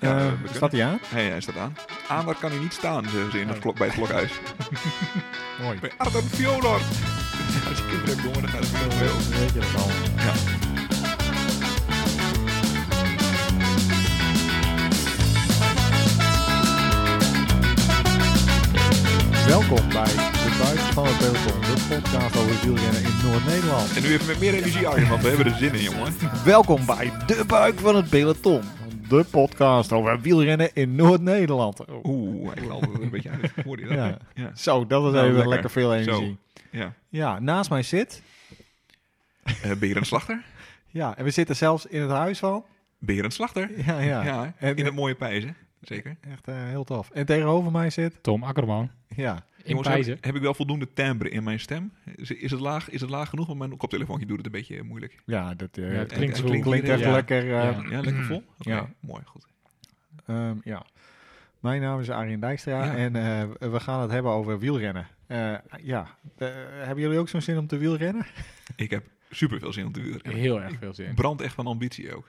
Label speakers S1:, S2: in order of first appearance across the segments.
S1: Ja, we- we
S2: Eh, staat
S1: kunnen.
S2: hij aan?
S1: Hey, hij staat aan. Aanwer kan hij niet staan, zeggen ze in het
S2: Oh.
S1: klok, bij het klokhuis.
S2: Mooi.
S1: bij Adam Fjodor. Als je kinderen hebt, jongen, dan gaat het heel veel.
S2: Weet je dat al?
S1: Ja.
S2: Welkom bij de Buis van het Peloton, de podcast over wielrennen in Noord-Nederland.
S1: En nu even met meer energie, Arjen, want we hebben er zin in, jongen.
S2: Welkom bij de buik van het peloton. De podcast over wielrennen in Noord-Nederland. Oh,
S1: Oeh, hij knalde er een beetje uit. Hoorde je dat?
S2: Ja.
S1: Ja.
S2: Zo, dat is
S1: Nou,
S2: even
S1: lekker.
S2: lekker. veel energie.
S1: ja.
S2: Ja, naast mij zit.
S1: Eh, Berend Slachter.
S2: Ja, en we zitten zelfs in het huis van.
S1: Berend Slachter.
S2: Ja, ja.
S1: Ja,
S2: En-
S1: in het mooie pijzen. Zeker.
S2: Echt eh, heel tof. En tegenover mij zit.
S3: Tom Akkerman.
S2: Ja.
S3: In
S1: heb,
S3: Pijzen.
S1: ik- heb ik wel voldoende timbre in mijn stem? Is, is, het, laag, is het laag genoeg? Want mijn koptelefoontje doet het een beetje moeilijk.
S2: Ja, dat eh,
S3: Ja, het klinkt,
S1: het
S3: zo-
S1: klinkt
S2: klinkt echt
S3: ja.
S2: lekker. eh,
S3: Ja.
S1: Ja, lekker vol? Oké,
S2: Ja.
S1: mooi. Goed.
S2: Ehm, ja. Mijn naam is Arjen Dijkstra
S1: Ja.
S2: en eh, we gaan het hebben over wielrennen. Eh, ja, Eh, hebben jullie ook zo'n zin om te wielrennen?
S1: Ik heb super veel zin om te huren.
S3: Heel erg veel zin.
S1: Brand echt van ambitie ook.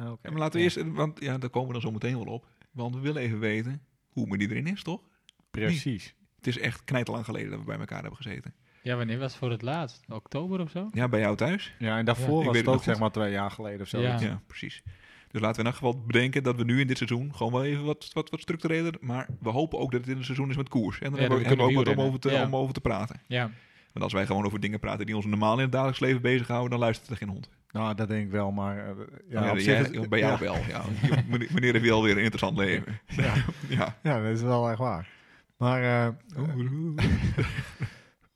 S2: Oké.
S1: En laten we
S2: Ja,
S1: eerst, want ja, daar komen we dan zo meteen wel op. Want we willen even weten hoe men die erin is, toch?
S2: Precies.
S1: Het is echt knijterlang geleden dat we bij elkaar hebben gezeten.
S3: Ja, wanneer was het voor het laatst? Oktober of zo?
S1: Ja, bij jou thuis?
S2: Ja, en daarvoor
S1: ik
S2: was
S1: weet het
S2: het
S1: nog
S2: ook
S1: goed.
S2: zeg maar twee jaar geleden of zo.
S3: Ja.
S1: Ja, precies. Dus laten we in elk geval bedenken dat we nu in dit seizoen gewoon wel even wat, wat, wat structureler. Maar we hopen ook dat het in een seizoen is met koers. En dan
S3: Ja,
S1: hebben we,
S3: dan kunnen
S1: hebben we ook wat om
S3: wielrennen.
S1: over, te,
S3: Ja.
S1: om over te praten.
S3: Ja.
S1: Want als wij gewoon over dingen praten die ons normaal in het dagelijks leven bezighouden, dan luistert er geen hond.
S2: Nou, dat denk ik wel, maar eh, ja,
S1: Oh, Ja,
S2: op
S1: jij-
S2: zich is-
S1: bij jou
S2: ja,
S1: wel. Ja. Je- meneer meneer heeft wel weer een interessant leven. Ja. ja.
S2: Ja, dat is wel echt waar. Maar, eh,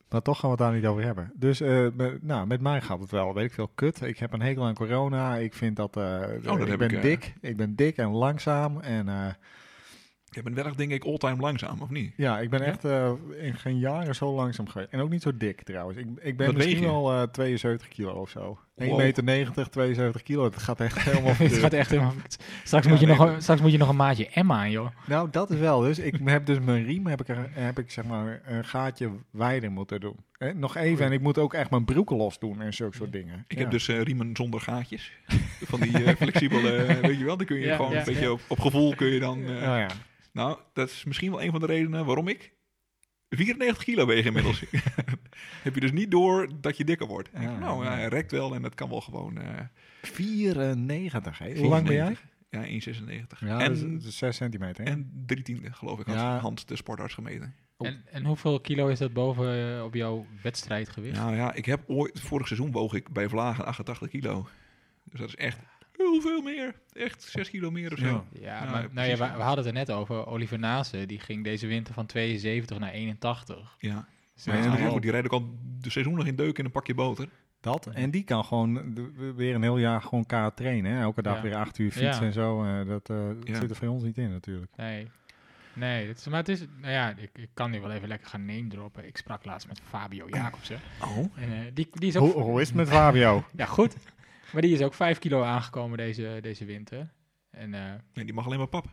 S2: maar toch gaan we het daar niet over hebben. Dus eh, me- nou, met mij gaat het wel, weet ik veel, kut. Ik heb een hekel aan corona. Ik vind dat, eh,
S1: dat
S2: ik
S1: heb
S2: ben
S1: ik, eh.
S2: dik. Ik ben dik en langzaam en... eh,
S1: Je bent wel echt, denk ik, all-time langzaam, of niet?
S2: Ja, ik ben
S1: Ja?
S2: echt eh, in geen jaren zo langzaam geweest. En ook niet zo dik trouwens. Ik, ik ben
S1: Wat weeg
S2: misschien
S1: je?
S2: al eh, 72 kilo of zo. 1,90
S1: Wow.
S2: meter, 90, 72 kilo. Het gaat echt helemaal
S3: Het gaat
S2: verkeerd.
S3: echt helemaal... Straks,
S1: Ja,
S3: moet je
S1: nee,
S3: nog,
S1: dat-
S3: een- straks moet je nog een maatje Emma aan, joh.
S2: Nou, dat is wel. Dus ik heb dus mijn riem, heb ik, er- heb ik zeg maar een gaatje wijder moeten doen. Eh, nog even. En ik moet ook echt mijn broeken los doen en zulke soort dingen.
S1: Ik
S2: Ja.
S1: heb dus eh, riemen zonder gaatjes. Van die eh, flexibele, eh, weet je wel, dan kun je
S3: Ja,
S1: gewoon
S3: ja,
S1: een beetje
S3: ja.
S1: op, op gevoel kun je dan... eh,
S2: Nou ja.
S1: Nou, dat is misschien wel een van de redenen waarom ik 94 kilo weeg inmiddels. Heb je dus niet door dat je dikker wordt. En ik
S2: Ja,
S1: denk, nou,
S2: Ah, ja.
S1: hij rekt wel en dat kan wel gewoon. eh,
S2: 94, hè? Hoe lang ben jij?
S1: 94. Ja, 1,96.
S2: Ja,
S1: en,
S2: dat is- dat is 6 centimeter. hè?
S1: en drie tiende, geloof ik, had
S2: Ja.
S1: Hans, de sportarts, gemeten.
S2: Oh.
S3: En, en hoeveel kilo is dat boven eh, op jouw wedstrijdgewicht?
S1: Nou ja, ik heb ooit, vorig seizoen woog ik bij Vlagen 88 kilo. Dus dat is echt heel veel meer. Echt 6 kilo meer of zo.
S2: Ja.
S3: Ja,
S1: Nou,
S3: maar
S1: ja,
S3: nou ja,
S1: precies,
S3: we,
S1: ja.
S3: we hadden het er net over. Oliver Nase, die ging deze winter van 72 naar 81.
S1: Ja.
S3: Dus
S1: Maar ja,
S3: dat is
S1: die
S3: nogal-
S1: jongen, die rijdt ook al de seizoen nog in deuk in een pakje boter.
S2: Dat. En die kan gewoon eh, de- weer een heel jaar gewoon kaart trainen. Hè? Elke dag
S3: Ja.
S2: weer 8 uur fietsen
S3: Ja.
S2: en zo. eh, dat eh, dat
S1: Ja.
S2: zit er voor ons niet in natuurlijk.
S3: Nee. Nee, dat is, maar het is... Nou ja, ik, ik kan nu wel even lekker gaan name droppen. Ik sprak laatst met Fabio Jacobsen.
S1: Oh.
S3: En, eh, die, die is ook...
S2: Hoe, hoe is het met Fabio?
S3: Ja, goed. Maar die is ook 5 kilo aangekomen deze, deze winter. En eh,
S1: Nee, die mag alleen maar pap.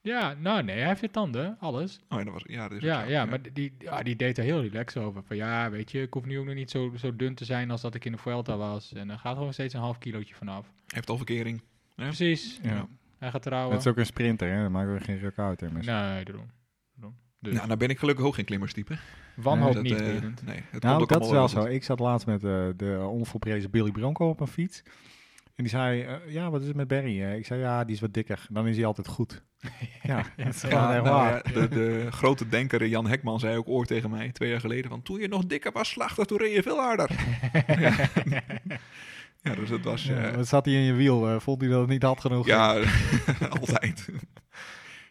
S3: ja, nou nee, hij heeft weer tanden, alles.
S1: Oh, ja, dat was, ja, dat is ook
S3: Ja,
S1: zo.
S3: ja, maar die, ja, die deed er heel relaxed over. Van ja, weet je, ik hoef nu ook nog niet zo, zo dun te zijn als dat ik in de Vuelta was. En er gaat gewoon steeds een half kilootje vanaf.
S1: Hij heeft al verkering. Ja.
S3: Precies.
S2: Ja.
S3: Hij gaat trouwen.
S2: Het is ook een sprinter, hè? Daar maken we geen ruk uit. Hè, mensen.
S3: Nee, daarom. daarom. Dus
S1: Nou, nou ben ik gelukkig ook geen klimmerstype.
S3: wanhoop
S1: Dat,
S3: niet,
S1: eh,
S3: Berend.
S1: nee, dat
S2: nou,
S1: komt ook
S2: dat is
S1: allemaal
S2: wel zo. Ik zat laatst met eh, de onvolprezen Billy Bronco op een fiets. En die zei, eh, ja, wat is het met Barry? hè? ik zei, ja, die is wat dikker. Dan is hij altijd goed. ja, dat is
S3: ja.
S2: gewoon
S1: Ja,
S2: echt
S1: nou
S2: waar.
S1: ja, de, de grote denker Jan Hekman zei ook ooit tegen mij twee jaar geleden: van, Toen je nog dikker was, slachter, toen reed je veel harder. ja. ja, dus dat was.
S2: Ja,
S1: eh,
S2: wat zat hij in je wiel? eh, vond hij dat het niet hard genoeg?
S1: Ja, altijd.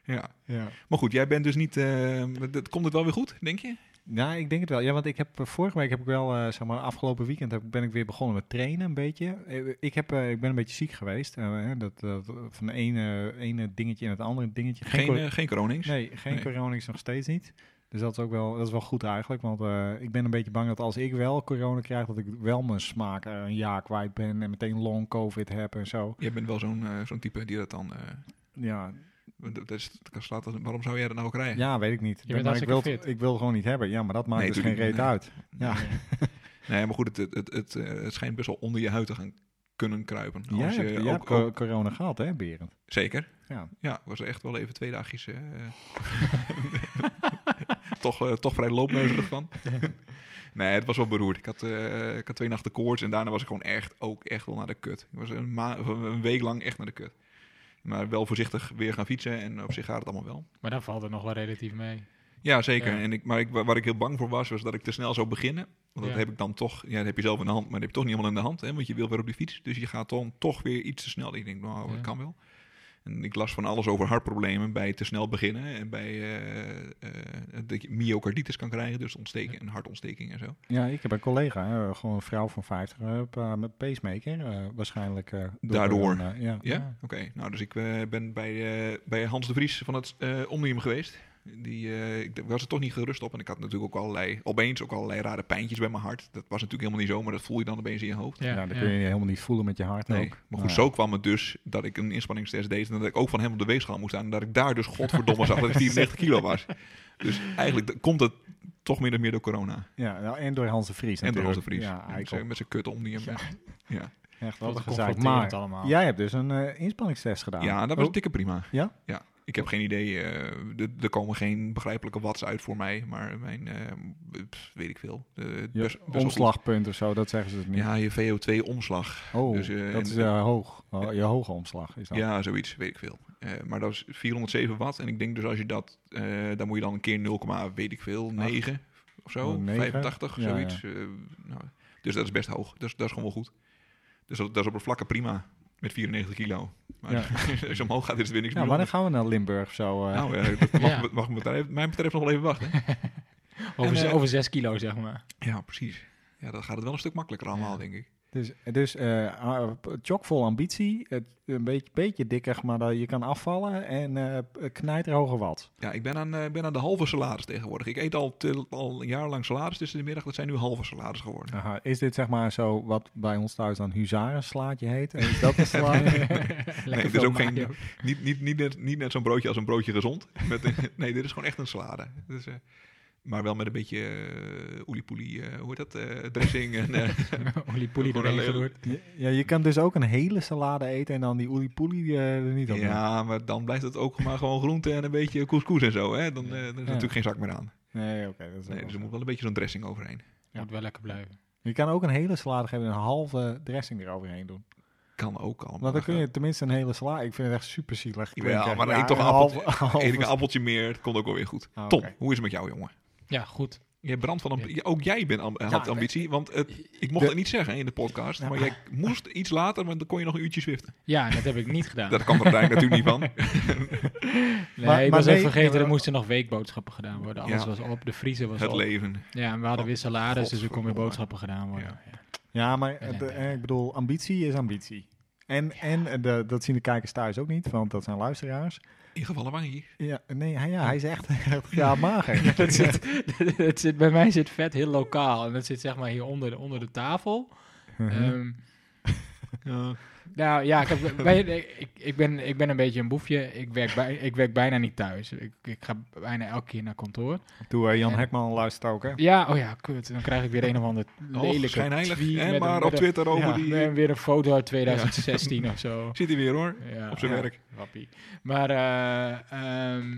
S1: ja.
S2: ja.
S1: Maar goed, jij bent dus niet. eh, dat, komt het wel weer goed, denk je?
S2: Nou, ik denk het wel. Ja, want ik heb eh, vorige week heb ik wel, eh, zeg maar, afgelopen weekend heb, ben ik weer begonnen met trainen een beetje. Eh, Ik, heb, eh, ik ben een beetje ziek geweest. eh, hè, dat, dat, van de ene, ene dingetje in het andere dingetje.
S1: Geen,
S2: cor-
S1: eh, geen coronings.
S2: nee, geen
S1: nee.
S2: coronings nog steeds niet. Dus dat is ook wel, dat is wel goed eigenlijk. Want eh, ik ben een beetje bang dat als ik wel corona krijg, dat ik wel mijn smaak eh, een jaar kwijt ben en meteen long covid heb en zo.
S1: Jij bent wel zo'n eh, zo'n type die dat dan. eh,
S2: Ja,
S1: dat, dat is- dat slaat als- waarom zou jij dat nou ook rijden?
S2: ja weet ik niet.
S3: bent
S2: maar ik wil,
S3: hartstikke
S2: het- ik wil het gewoon niet hebben. Ja, maar dat maakt
S1: Nee,
S2: dus geen
S1: tuurlijk
S2: reet
S1: niet. Nee.
S2: uit. Ja.
S1: Nee, maar goed, het, het, het, het, eh, het schijnt best wel onder je huid te gaan kunnen kruipen.
S2: Jij
S1: Als je
S2: hebt, jij
S1: ook,
S2: hebt co-
S1: ook-
S2: corona gehad, hè, Berend?
S1: zeker.
S2: Ja.
S1: Ja, was er echt wel even twee dagjes. eh, toch, eh, toch vrij loopneuzerig van. nee, het was wel beroerd. Ik had, eh, ik had twee nachten koorts en daarna was ik gewoon echt ook echt wel naar de kut. Ik was een, ma- of een week lang echt naar de kut. Maar wel voorzichtig weer gaan fietsen en op zich gaat het allemaal wel.
S3: Maar dan valt het nog wel relatief mee.
S1: Ja, zeker.
S3: Ja.
S1: En ik, maar ik, wa- waar ik heel bang voor was, was dat ik te snel zou beginnen. Want dat
S3: Ja.
S1: heb ik dan toch, ja, dat heb je zelf in de hand, maar dat heb je toch niet helemaal in de hand. Hè? Want je wil weer op de fiets, dus je gaat dan toch weer iets te snel. Ik denk, nou,
S3: Ja.
S1: dat kan wel. En ik las van alles over hartproblemen bij te snel beginnen. En bij eh, eh, dat je myocarditis kan krijgen, dus ontsteking, een hartontsteking en zo.
S2: Ja, ik heb een collega, hè, gewoon een vrouw van 50, eh, pa- met pacemaker, eh, waarschijnlijk. eh, door
S1: Daardoor.
S2: corona, ja.
S1: Ja?
S3: Ja.
S1: Oké. Nou, dus ik eh, ben bij, eh, bij Hans de Vries van het eh Omnium geweest. Die, eh, ik d- was er toch niet gerust op. En ik had natuurlijk ook allerlei, opeens ook allerlei rare pijntjes bij mijn hart. Dat was natuurlijk helemaal niet zo, maar dat voel je dan opeens in je hoofd.
S3: Ja,
S2: nou, dat
S3: ja.
S2: kun je helemaal niet voelen met je hart
S1: Nee,
S2: ook.
S1: maar goed,
S2: Nou,
S1: zo kwam het dus dat ik een inspanningstest deed en dat ik ook van hem op de weegschaal moest staan en dat ik daar dus godverdomme zag dat ik 94 kilo was. Dus eigenlijk d- komt het toch min of meer door corona.
S2: Ja, nou, en door Hans de Vries
S1: en door Hans de
S2: natuurlijk.
S1: Vries.
S2: Ja,
S1: Met zijn-
S2: eikel.
S1: met zijn kut om die hem...
S2: Ja.
S1: Ja.
S2: Echt
S3: Dat
S2: wat
S3: is
S2: een gezeik.
S3: confronterend
S2: Maar
S3: allemaal.
S2: jij hebt dus een eh, inspanningstest gedaan.
S1: ja, dat was
S2: Oh,
S1: dikke prima.
S2: Ja? Oh.
S1: Ja. Ik heb geen idee, eh, d- er komen geen begrijpelijke watts uit voor mij, maar mijn, eh, pff, weet ik veel. eh, best-
S2: je
S1: best wel goed.
S2: omslagpunt of zo, dat zeggen ze het niet.
S1: Ja, je VO2-omslag.
S2: oh,
S1: dus, eh,
S2: dat
S1: en-
S2: is eh, hoog. Oh, je hoge omslag is dat.
S1: Ja, zoiets, weet ik veel. Eh, maar dat was 407 watt. En ik denk dus als je dat, eh dan moet je dan een keer 0, weet ik veel, 9 of zo.
S2: Oh, 9.
S1: 85,
S2: Ja,
S1: zoiets.
S2: ja.
S1: Eh, nou, dus dat is best hoog. Dat is, dat is gewoon wel goed. Dus dat, dat is op een vlakke prima. Met 94 kilo. Maar als je omhoog gaat, is het weer niks
S2: Ja,
S1: meer.
S2: Nou, wanneer gaan we naar Limburg of zo? eh?
S1: Nou, eh, dat mag,
S3: Ja.
S1: mag me betreft- mij betreft nog wel even wachten.
S3: Over,
S1: En,
S3: ze-
S1: eh,
S3: over zes kilo, zeg maar.
S1: Ja, precies. Ja, dan gaat het wel een stuk makkelijker allemaal, denk ik.
S2: Dus, dus eh, ah, chockvol ambitie, het, een beetje, beetje dikker, maar dat je kan afvallen en eh knijterhoge wat.
S1: Ja, ik ben aan, eh, ik ben aan de halve salaris tegenwoordig. Ik eet al, te- al een jaar lang salaris tussen de middag. Dat zijn nu halve salaris geworden.
S2: Aha, is dit zeg maar zo wat bij ons thuis dan huzarenslaatje heet? Is dat een sla?
S1: Nee,
S3: Lekker
S1: dit is
S3: veel
S1: ook geen,
S3: mayo.
S1: niet, niet, niet, net, niet net zo'n broodje als een broodje gezond. Met, een- nee, dit is gewoon echt een salade. Dit is, eh, maar wel met een beetje eh oeliepoelie, eh, hoe heet dat, eh, dressing. En, eh,
S3: Oliepoelie
S1: Gewoon
S3: erin
S1: alleen-
S3: gegooid.
S2: ja, je kan dus ook een hele salade eten en dan die oeliepoelie eh, er niet op doen.
S1: ja, maar dan blijft het ook maar gewoon groente en een beetje couscous en zo. Hè? Dan, eh, dan is er natuurlijk geen zak meer aan.
S2: Nee, oké. dat is ook
S1: Nee,
S2: wel
S1: dus
S2: zo.
S1: er moet wel een beetje zo'n dressing overheen.
S2: Ja.
S3: Moet wel lekker blijven.
S2: Je kan ook een hele salade geven en een halve dressing eroverheen doen.
S1: Kan ook allemaal.
S2: Want dan kun je tenminste een hele salade... Ik vind het echt super zielig.
S1: Ja, maar dan eet toch Eet ik een appeltje meer, het komt ook wel weer goed.
S2: Ah,
S1: Tom,
S2: oké.
S1: hoe is het met jou, jongen?
S3: Ja, goed.
S1: Je brandt van ambitie. Ook jij bent am- had
S3: Ja,
S1: ambitie, want het, ik mocht
S2: de-
S1: het niet zeggen in de podcast.
S2: Ja,
S1: maar jij moest iets later, maar dan kon je nog een uurtje zwiften.
S3: Ja, en dat heb ik niet gedaan.
S1: Dat kan er eigenlijk natuurlijk niet van.
S3: Nee,
S2: Maar- maar
S3: ik was
S2: nee,
S3: even vergeten,
S2: eh,
S3: er moesten nog weekboodschappen gedaan worden. Alles
S1: Ja.
S3: was op, de vriezer was
S1: Het
S3: op.
S1: leven.
S3: Ja, en we hadden weer salaris, dus er kon weer
S1: Godverdomme.
S3: boodschappen gedaan worden. Ja.
S2: Ja, maar eh,
S3: nee,
S2: de-
S3: nee,
S2: eh, ik bedoel, ambitie is ambitie. En, en eh, de, dat zien de kijkers thuis ook niet, want dat zijn luisteraars.
S1: Ingevallen waren hier.
S2: Ja, nee, hij, ja, hij is echt, echt ja, mager.
S3: Dat zit, dat zit, bij mij zit vet heel lokaal. En dat zit zeg maar hier onder de, onder de tafel.
S2: Mhm.
S3: Ehm, nou ja, ik, heb, bij- ik, ik, ben, ik ben een beetje een boefje. Ik werk, bij, ik werk bijna niet thuis. Ik, ik ga bijna elke keer naar kantoor.
S2: Doe eh, Jan Hekman luistert ook, hè?
S3: Ja, oh ja, kut. Dan krijg ik weer een of ander lelijke
S1: Eh, Och, schijnheilig.
S3: tweet
S1: En
S3: met
S1: maar
S3: een-
S1: op
S3: met een-
S1: Twitter over
S2: Ja.
S1: die...
S3: met weer een foto uit 2016 of zo.
S1: Zit hij weer hoor.
S3: Ja,
S1: Op zijn
S3: ja,
S1: werk.
S3: Wappie. Maar eh, ehm,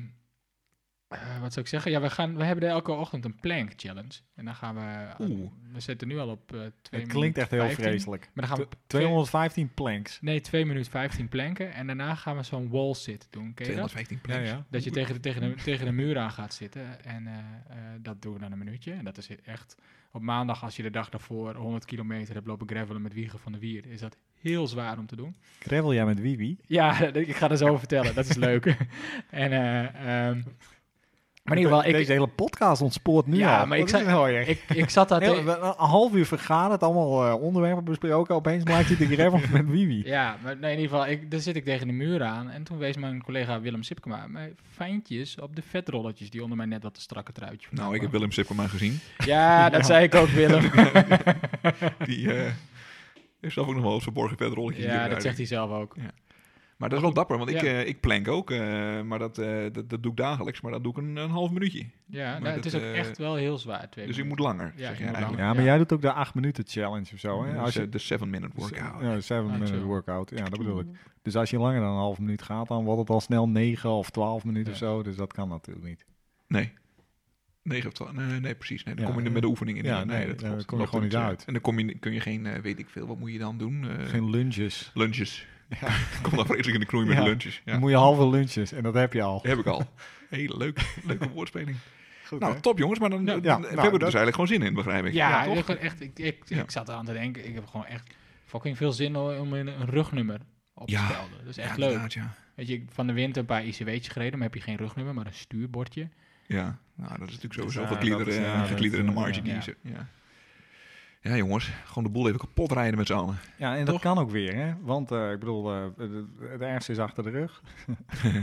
S3: eh, wat zou ik zeggen? Ja, we, gaan, we hebben elke ochtend een plank challenge. En dan gaan we... eh,
S1: Oeh.
S3: We zitten nu al op eh 2
S2: Het klinkt echt heel vreselijk.
S3: Maar dan gaan we...
S2: T- 215 planks.
S3: Nee, 2 minuten 15 planken. En daarna gaan we zo'n wall sit doen. Ken je dat?
S1: 215
S2: Ja,
S1: plekken.
S2: ja.
S3: Dat je tegen de, tegen, de, tegen de muur aan gaat zitten. En eh, eh, dat doen we dan een minuutje. En dat is echt... Op maandag, als je de dag daarvoor 100 kilometer hebt lopen gravelen met wiegen van de wier, is dat heel zwaar om te doen.
S2: Gravel jij met Wiwi?
S3: Ja, dat- ik ga er zo over vertellen. Dat is leuk. en, eh, ehm, maar in ieder geval,
S2: Deze
S3: ik,
S2: hele podcast ontspoort nu
S3: Ja,
S2: al. Wat
S3: maar ik
S2: is
S3: zei-
S2: het nou echt?
S3: ik, ik zat daar
S2: Heel-
S3: tegen-
S2: we- een half uur vergaderd, allemaal eh, onderwerpen besproken. Opeens maakt hij de gravel met Wiwi.
S3: Ja, maar nee, in ieder geval, ik, daar zit ik tegen de muur aan. En toen wees mijn collega Willem Sipkema mij fijntjes op de vetrolletjes die onder mij net wat te strakke truitje vandaan
S1: Nou, ik heb
S3: kwamen.
S1: Willem Sipperman gezien.
S3: Ja, dat zei ik ook, Willem.
S1: Die eh, heeft zelf ook nog wel eens verborgen verder rolletjes.
S3: ja, dat zegt hij zelf ook.
S1: Ja. Maar dat is wel dapper, want ik,
S3: Ja.
S1: eh, ik plank ook. eh, maar dat, eh, dat, dat doe ik dagelijks, maar dat doe ik een, een half minuutje.
S3: Ja, nou,
S1: dat,
S3: het is ook
S1: eh,
S3: echt wel heel zwaar. Twee
S1: Dus ik
S3: minuten.
S1: moet langer,
S3: Ja,
S1: zeg
S3: je
S1: je
S3: moet
S1: eigenlijk.
S3: langer.
S2: Ja, maar
S3: Ja. dus
S2: jij doet ook de 8 minuten challenge of zo. Hè?
S1: Ja,
S2: Als Dus je, dus,
S1: de 7 minute workout.
S2: Ja, 7
S3: Ah, Mm.
S2: minuten
S3: zo.
S2: workout. Ja, dat bedoel ik. Dus als je langer dan een half minuut gaat, dan wordt het al snel 9 of 12 minuten of
S3: Ja.
S2: zo. Dus dat kan natuurlijk niet.
S1: Nee. 9 of 12. Nee, nee, precies. Nee, dan
S2: Ja,
S1: kom je er
S2: eh,
S1: met de oefening in.
S2: ja,
S1: Nee,
S2: nee,
S1: dat
S2: dan
S1: klopt.
S2: kom je
S1: Dat
S2: gewoon
S1: klopt,
S2: niet
S1: ja.
S2: uit.
S1: En dan kom je, kun je geen, eh, weet ik veel, wat moet je dan doen? Eh,
S2: Geen lunges.
S1: Lunches. ik kom daar vreselijk in de knoei met
S2: Ja.
S1: lunches. Ja.
S2: Dan moet je halve lunches en dat heb je al.
S1: Heb ik al. Heel leuk. Leuke woordspeling.
S2: Goed,
S1: nou,
S2: hè?
S1: top jongens. Maar dan,
S3: Ja,
S1: dan-
S2: ja,
S1: we
S2: nou,
S1: hebben er
S2: dat-
S1: dus eigenlijk gewoon zin in, begrijp ik.
S3: Ja,
S1: toch?
S3: ik, gewoon echt, ik, ik,
S1: Ja.
S3: ik zat eraan te denken, ik heb gewoon echt fucking veel zin om in een rugnummer op te
S1: Ja.
S3: spelden. Dat is echt
S1: Ja,
S3: leuk.
S1: inderdaad, Ja,
S3: Weet je, ik- van de winter een paar ICW'tjes gereden, maar heb je geen rugnummer, maar een stuurbordje.
S1: ja. Nou, dat is natuurlijk sowieso
S2: Ja,
S1: wat klieder,
S2: dat is,
S1: eh,
S2: ja, dat
S1: geklieder in de
S2: is,
S1: marge.
S3: ja.
S1: die ze- Ja. ja jongens, gewoon de boel even kapot rijden met z'n allen.
S2: Ja, en dat
S1: Toch?
S2: kan ook weer, hè? Want eh, ik bedoel, eh, het, het ergste is achter de rug.